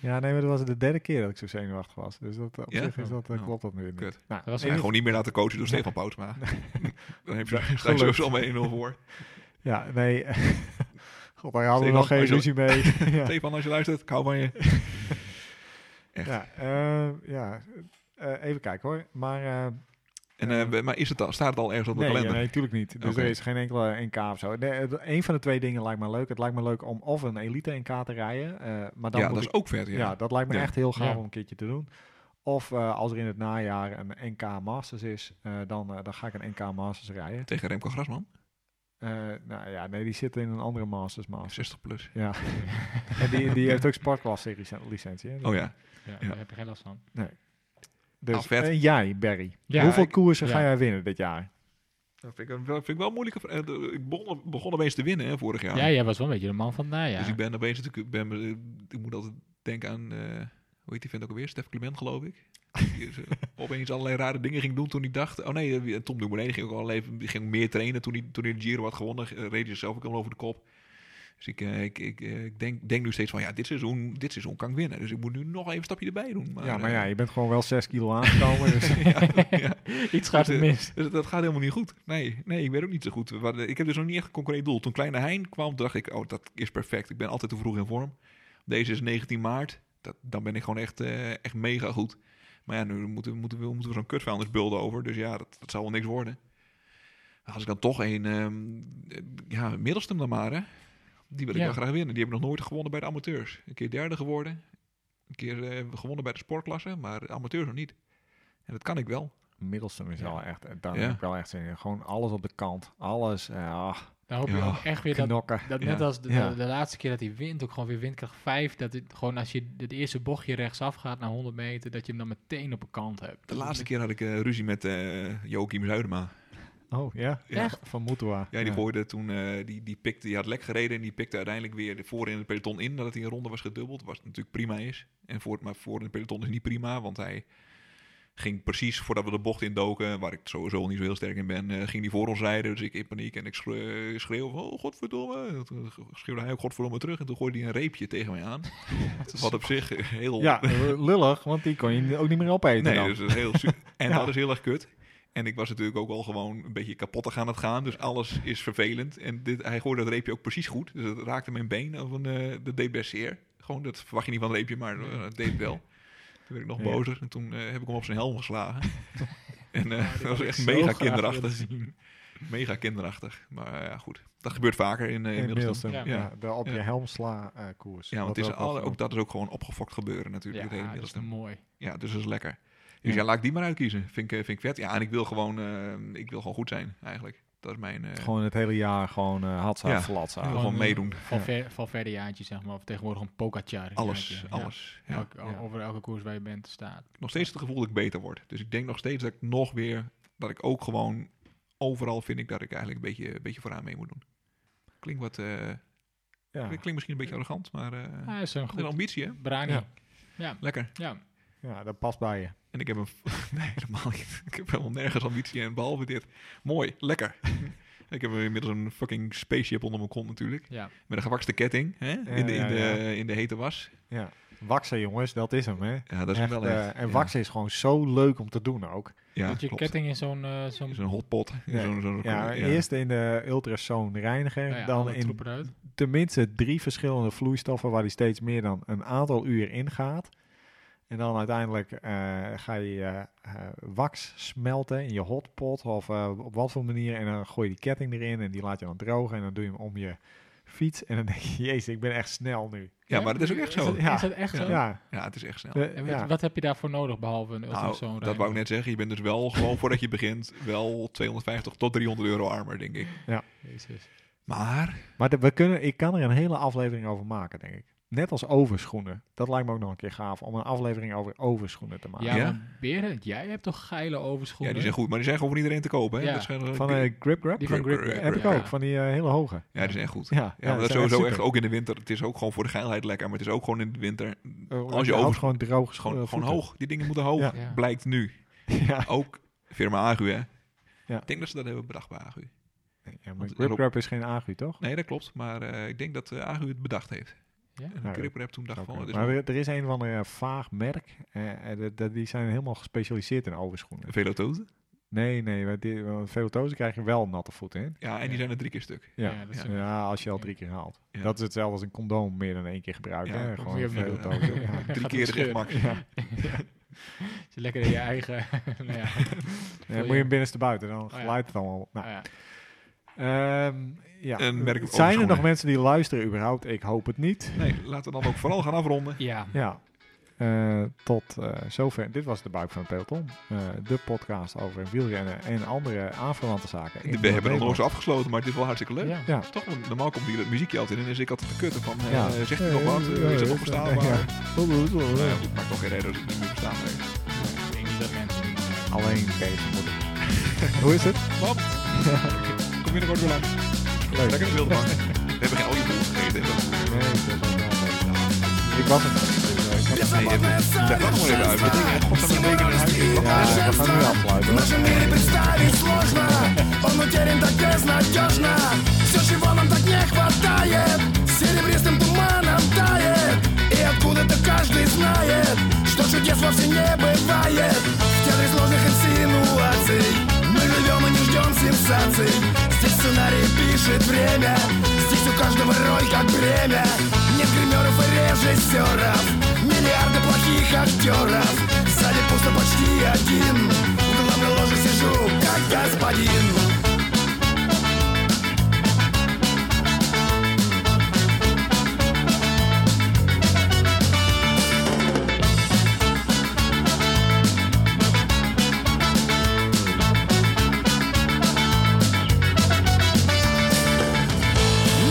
S2: Ja, nee, maar dat was de derde keer dat ik zo zenuwachtig was. Dus dat, op
S1: Ja?
S2: zich is dat, eh,
S1: Oh.
S2: klopt dat nu weer niet.
S1: Kut.
S2: Nou,
S3: Dat was
S1: Ja,
S2: in
S1: gewoon niet meer laten coachen door Stefan Poutsma. Dan heb je sta je
S2: gelukt.
S1: sowieso al 1-0 voor.
S2: Ja, nee. God, daar hadden
S1: Stefan,
S2: we nog geen
S1: als je-
S2: ruzie mee. ja.
S1: Stefan, als je luistert, ik hou van je. Echt.
S2: Ja, eh, ja. eh, even kijken hoor. Maar eh,
S1: En, eh, maar is het al, staat het al ergens op de
S2: Nee,
S1: kalender?
S2: nee, natuurlijk niet. Dus
S1: Oké.
S2: er is geen enkele NK of zo. Nee, het- een van de twee dingen lijkt me leuk. Het lijkt me leuk om of een elite NK te rijden. eh, maar dan
S1: ja,
S2: moet
S1: dat
S2: ik
S1: is ook vet. Ja.
S2: Ja, dat lijkt me
S1: Ja.
S2: echt heel gaaf
S3: Ja.
S2: om een keertje te doen. Of eh, als er in het najaar een NK Masters is, eh, dan, eh, dan ga ik een NK Masters rijden.
S1: Tegen Remco Grasman.
S2: Eh, nou ja, nee, die zit in een andere Masters Masters.
S1: 60 plus.
S2: Ja. en die, die heeft ook sportklasse licentie. hè?
S1: Oh ja.
S3: Ja,
S1: Ja.
S3: daar heb je geen last van.
S2: Dus,
S1: Ah, vet.
S2: en jij, Barry.
S3: Ja,
S2: hoeveel
S3: ik-
S2: koersen ga
S3: ja.
S2: jij winnen dit jaar?
S1: Dat vind ik, wel- vind ik wel moeilijk. Ik begon, begon opeens te winnen hè, vorig jaar.
S3: Ja, jij was wel een beetje de man van het najaar.
S1: Dus ik ben opeens natuurlijk... Ben, ik moet altijd denken aan... eh, hoe heet die vent ook alweer? Stef Clement, geloof ik. Die is, eh, opeens allerlei rare dingen ging doen toen hij dacht... Oh nee, eh, Tom Dumoulin ging ook al even die ging meer trainen. Toen hij, toen hij de Giro had gewonnen, eh, reed hij zelf ook al over de kop. Dus ik, eh, ik, ik, eh, ik denk, denk nu steeds van... Ja, dit seizoen, dit seizoen kan ik winnen. Dus ik moet nu nog even een stapje erbij doen.
S2: ja, maar
S1: eh,
S2: ja, je bent gewoon wel 6 kilo aangekomen. dus
S3: Iets gaat het
S1: eh,
S3: mis.
S1: Dus dat gaat helemaal niet goed. Nee, nee ik weet ook niet zo goed. Maar, eh, Ik heb dus nog niet echt een concreet doel. Toen Kleine Hein kwam, dacht ik, oh, dat is perfect. Ik ben altijd te vroeg in vorm. Deze is 19 maart. Dat, dan ben ik gewoon echt, eh, echt mega goed. Maar ja, nu moeten, we- moeten, we- moeten we zo'n kutvuilnisbulde over. Dus ja, dat, dat zal wel niks worden. Als ik dan toch een... ehm, eh, ja, middelstem dan maar, hè. Die wil ik
S3: Ja.
S1: wel graag winnen. Die hebben nog nooit gewonnen bij de amateurs. Een keer derde geworden. Een keer eh, gewonnen bij de sportklasse. Maar de amateurs nog niet. En dat kan ik wel.
S2: Middelstum is
S3: Ja.
S2: wel echt, eh, daar
S1: Ja.
S2: heb ik wel echt zin in. Gewoon alles op de kant. Alles, eh, ah,
S3: Dan hoop je
S1: Ja.
S3: ook echt weer dat,
S2: knokken.
S3: dat
S1: Ja.
S3: net als de,
S2: Ja.
S3: de, de laatste keer dat hij wint, ook gewoon weer windkracht 5. Dat het gewoon als je het eerste bochtje rechtsaf gaat naar 100 meter, dat je hem dan meteen op een kant hebt.
S1: De laatste keer had ik eh, ruzie met eh Joachim Zuidema.
S2: Oh, ja?
S1: Ja.
S2: Echt? Van Mutua.
S1: Ja, die gooide toen, eh, die, die, pikte, die had lek gereden en die pikte uiteindelijk weer voor in het peloton in nadat hij een ronde was gedubbeld. Wat natuurlijk prima is. En voor, maar voor in het peloton is niet prima, want hij ging precies voordat we de bocht indoken, waar ik sowieso niet zo heel sterk in ben, eh, ging die voor ons rijden. Dus ik in paniek en ik schreeuw, schreeuw van, oh godverdomme. En Toen schreeuwde hij ook godverdomme terug en toen gooide hij een reepje tegen mij aan. Wat op zich heel...
S2: Ja, lullig, want die kon je ook niet meer opeten
S1: Nee,
S2: dan.
S1: dus dat is heel su- en dat is heel erg kut. En ik was natuurlijk ook al gewoon een beetje kapot aan het gaan. Dus alles is vervelend. En dit, hij gooide dat reepje ook precies goed. Dus dat raakte mijn been. Of een, eh dat deed best zeer. Gewoon, dat verwacht je niet van een reepje, maar eh, dat deed het wel. Toen werd ik nog
S2: Ja.
S1: bozer. En toen eh, heb ik hem op zijn helm geslagen. en eh,
S3: dit
S1: dat was
S3: had ik
S1: echt
S3: zo
S1: mega
S3: graag willen
S1: kinderachtig. Mega kinderachtig. Maar eh, ja, goed. Dat gebeurt vaker in, eh in Middelstum.
S2: Middelstum,
S3: Ja.
S2: ja. de op je
S1: Ja.
S2: helm sla eh, koers.
S1: Ja, want het
S2: Wat
S1: is
S2: wel
S1: alle,
S2: goed.
S1: ook dat is ook gewoon opgefokt gebeuren natuurlijk. het hele
S3: Ja, dat is
S1: Middelstum.
S3: mooi.
S1: Ja, dus dat is lekker. Dus ja.
S2: Ja.
S1: laat ik die maar uitkiezen. Vind ik, eh, vind ik vet. Ja, en ik wil gewoon, eh, ik wil gewoon goed zijn, eigenlijk. Dat is mijn... eh,
S2: Gewoon het hele jaar gewoon eh hatsa,
S1: Ja.
S2: flatsa.
S1: ik wil gewoon
S3: eh,
S1: meedoen.
S3: Van, ver, van verder jaartje, zeg maar. Of tegenwoordig een Pogacar.
S1: Alles,
S3: jaartje. Ja.
S1: alles. Ja.
S3: Elk-
S2: Ja.
S3: Over elke koers waar je bent staat.
S1: Nog steeds het gevoel dat ik beter word. Dus ik denk nog steeds dat ik nog weer... Dat ik ook gewoon... Overal vind ik dat ik eigenlijk een beetje, een beetje vooraan mee moet doen. Klinkt wat... eh,
S2: Ja.
S1: Klinkt misschien een beetje arrogant, maar... eh
S3: Hij is een
S1: wat een
S3: goed
S1: ambitie, hè?
S3: Brani.
S2: Ja.
S3: Ja.
S1: Lekker.
S3: ja.
S2: ja, dat past bij je.
S1: En ik heb een... Nee, helemaal niet. Ik heb helemaal nergens ambitie en behalve dit. Mooi, lekker. ik heb inmiddels een fucking spaceship onder mijn kont natuurlijk. Met een gewakste ketting hè? in, de, in,
S2: ja,
S1: de,
S2: ja.
S1: in de hete was.
S2: Ja. Waksen jongens, dat is hem hè.
S1: Ja, dat is
S2: Echt,
S1: wel
S2: eh,
S1: echt.
S2: en
S1: ja.
S2: waksen is gewoon zo leuk om te doen ook.
S1: Ja,
S3: Dat je
S1: klopt.
S3: ketting in zo'n... eh, zo'n
S1: Is een hotpot.
S2: Ja.
S1: Zo'n, zo'n,
S2: ja,
S1: ja.
S2: Eerst in de ultrasoon reinigen,
S3: nou ja,
S2: dan
S3: alle
S2: in
S3: troepen eruit.
S2: tenminste drie verschillende vloeistoffen waar die steeds meer dan een aantal uur in gaat. En dan uiteindelijk eh, ga je eh, eh, wax smelten in je hotpot of eh, op wat voor manier. En dan gooi je die ketting erin en die laat je dan drogen. En dan doe je hem om je fiets. En dan denk je, jezus, ik ben echt snel nu.
S1: ja, maar dat is ook echt zo.
S2: het- ja.
S3: Is dat echt
S2: Ja,
S3: zo?
S2: ja.
S1: Ja, het is echt snel.
S2: de-
S3: En wat,
S2: ja.
S3: wat heb je daarvoor nodig, behalve een
S1: Nou,
S3: ultrasoon?
S1: dat wou ik
S3: rijden?
S1: net zeggen. Je bent dus wel gewoon voordat je begint wel 250 tot 300 euro armer, denk ik.
S3: Jezus.
S1: Maar
S2: Maar de- we kunnen, ik kan er een hele aflevering over maken, denk ik. Net als overschoenen. Dat lijkt me ook nog een keer gaaf om een aflevering over overschoenen te maken.
S3: Ja,
S1: Ja?
S3: maar Berend, jij hebt toch geile
S1: ja,
S3: overschoenen?
S1: die zijn goed. Maar die zijn gewoon voor iedereen te kopen. Hè?
S3: Ja.
S1: Dat zijn, eh,
S2: Van eh Grip Grab?
S3: Die van
S1: Grip,
S3: Grip,
S1: grip,
S2: heb
S1: grip.
S2: ik ook,
S3: Ja.
S2: van die eh, hele hoge.
S1: ja, die zijn echt goed.
S2: Ja,
S1: Ja,
S2: ja,
S1: maar
S2: die
S1: dat is
S2: zijn echt
S1: sowieso echt,
S2: super.
S1: ook in de winter. Het is ook gewoon voor de geilheid lekker. Maar het is ook gewoon in de winter
S2: Eh,
S1: Als je
S2: houdt
S1: over-
S2: gewoon droog
S1: gewoon, gewoon
S2: eh, voeten.
S1: hoog. Die dingen moeten hoog.
S2: Ja.
S3: Ja.
S1: Blijkt nu.
S2: Ja.
S1: Ook firma Agu, hè?
S2: Ja.
S1: Ik denk dat ze dat hebben bedacht bij Agu.
S2: Ja, maar
S1: Want
S2: Grip
S1: Rob-
S2: Grab is geen agu, toch?
S1: Nee, dat klopt. Maar eh, ik denk dat eh, Agu het bedacht heeft.
S3: Ja?
S1: En
S2: Ja,
S1: de Gripper heb toen dacht
S2: Oké.
S1: van... het is
S2: maar
S1: een
S2: er, er is een van een vaag merk. eh, eh, dat- dat- die zijn helemaal gespecialiseerd in overschoenen.
S1: velotoot.
S2: Nee, nee, want die- want veel tozen krijg je wel natte voeten in.
S1: Ja, en die
S3: Ja.
S1: zijn er drie keer stuk.
S2: Ja,
S3: Ja,
S2: ja,
S3: dat is
S2: als je al drie keer haalt.
S1: Ja.
S2: Dat is hetzelfde als een condoom meer dan één keer gebruiken.
S1: Ja,
S2: hè,
S1: dat
S2: Gewoon
S3: moet je
S2: een
S3: ook niet doen.
S2: veeltozen. Ja.
S1: Eh, Drie
S3: Gaat
S1: keer is echt
S3: scheuren.
S1: max.
S3: Als je lekker in je eigen... nou ja.
S2: Ja.
S7: Eh, moet je hem binnenste buiten,
S1: Oh,
S7: dan
S3: ja.
S7: glijdt het allemaal. Nou,
S3: Ah, ja.
S7: ehm, ja.
S1: En merk
S7: Zijn er
S1: ik overschoenen.
S7: nog mensen die luisteren überhaupt? Ik hoop het niet.
S1: Nee, laten we dan ook vooral gaan afronden.
S3: ja.
S7: Ja. Eh, tot eh, zover. Dit was de Buik van het Peloton. Eh, de podcast over wielrennen en andere aanverwante zaken. in
S1: We hebben
S7: Noord-Nederland.
S1: nog nooit zo afgesloten, maar dit is wel hartstikke leuk.
S3: Ja.
S7: Ja.
S1: Toch, want normaal komt hier het muziekje altijd in, dus ik had te kutten van, eh,
S7: Ja.
S1: zegt hij nog wat? Eh, is het nog verstaanbaar?
S7: Ja.
S1: Ja. Nou ja, goed, maakt toch geen reden dat het niet meer verstaan heeft.
S3: Ik denk niet dat mensen die-
S7: Alleen Kees moet het. Hoe is het?
S1: Wat? Kom je er kort weer langs?
S7: Leuk.
S1: Lekker in de wilde man. We hebben geen oliebollen gegeten. hè?
S7: Nee, dat is wel leuk. Ik was het. Dus, eh, ik had-
S1: Nee, dat dat kan nog wel even uit. Dat ding echt kost een week in huis. Ik wacht even.
S7: Ja, we gaan nu afsluiten. hoor.
S6: Наша небе старит сложно Он утерян так безнадежно Все, чего нам так не хватает Серебристым туманом тает И откуда-то каждый знает Что чудес вовсе не бывает В театре сложных инсинуаций Мы живем и не ждем сенсаций Здесь сценарий пишет время Здесь у каждого роль как бремя Нет гримеров и режиссеров Миллиарды плохих актеров Сзади пусто почти один В главной ложе сижу, как господин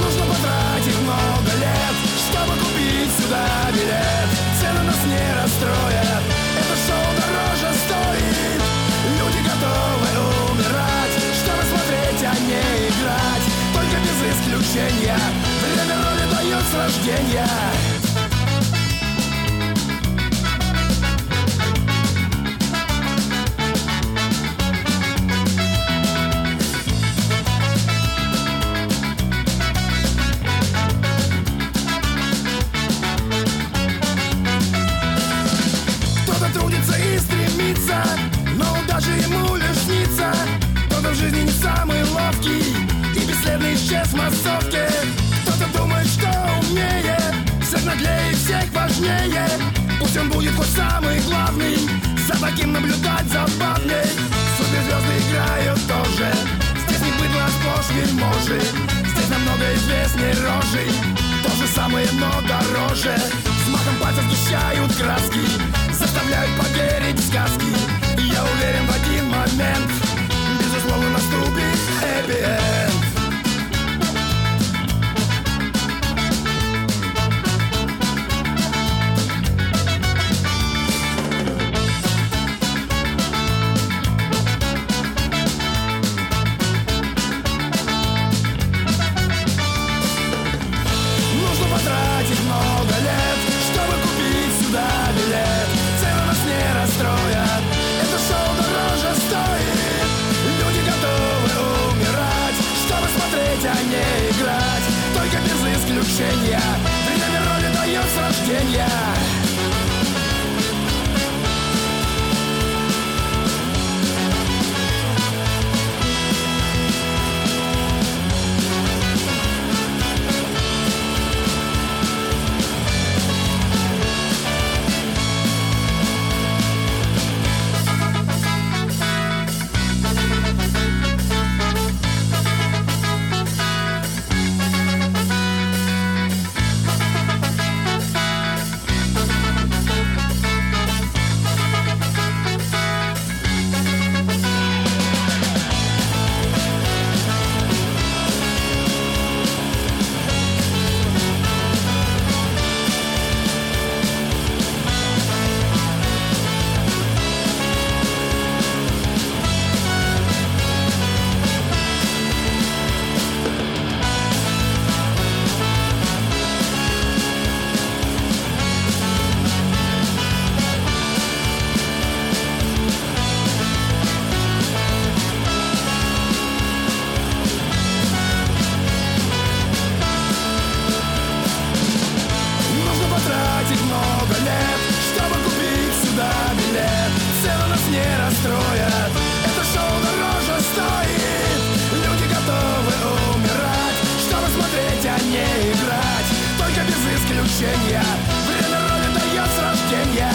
S6: Нужно потратить много лет, чтобы купить сюда билет. Цены нас не расстроят, это шоу дороже стоит. Люди готовы умирать, чтобы смотреть, а не играть. Только без исключения, время роли дает с рождения. Кто-то трудится и стремится, но удача ему лишь снится. Кто-то в жизни не самый ловкий и бесследно исчез в массовке. Кто-то думает, что умнее, всех наглее, всех важнее. Пусть он будет хоть самый главный, за таким наблюдать забавней. Суперзвезды играют тоже, здесь не быдло, а сплошь вельможи. Здесь намного известней рожей, то же самое, но дороже. С махом пальцев сгущают краски, заставляют поверить в сказки. И Я уверен в один момент, безусловно наступит happy end. Нужно потратить много лет, чтобы купить сюда билет. Цены нас не расстроят, это шоу дороже стоит. Люди готовы умирать, чтобы смотреть, а не играть. Только без исключения, время роли дает с рождения. Нужно потратить много лет, чтобы купить сюда билет. Цены нас не расстроят, это шоу дороже стоит. Люди готовы умирать, чтобы смотреть, а не играть. Только без исключения, время роли дает с рождения.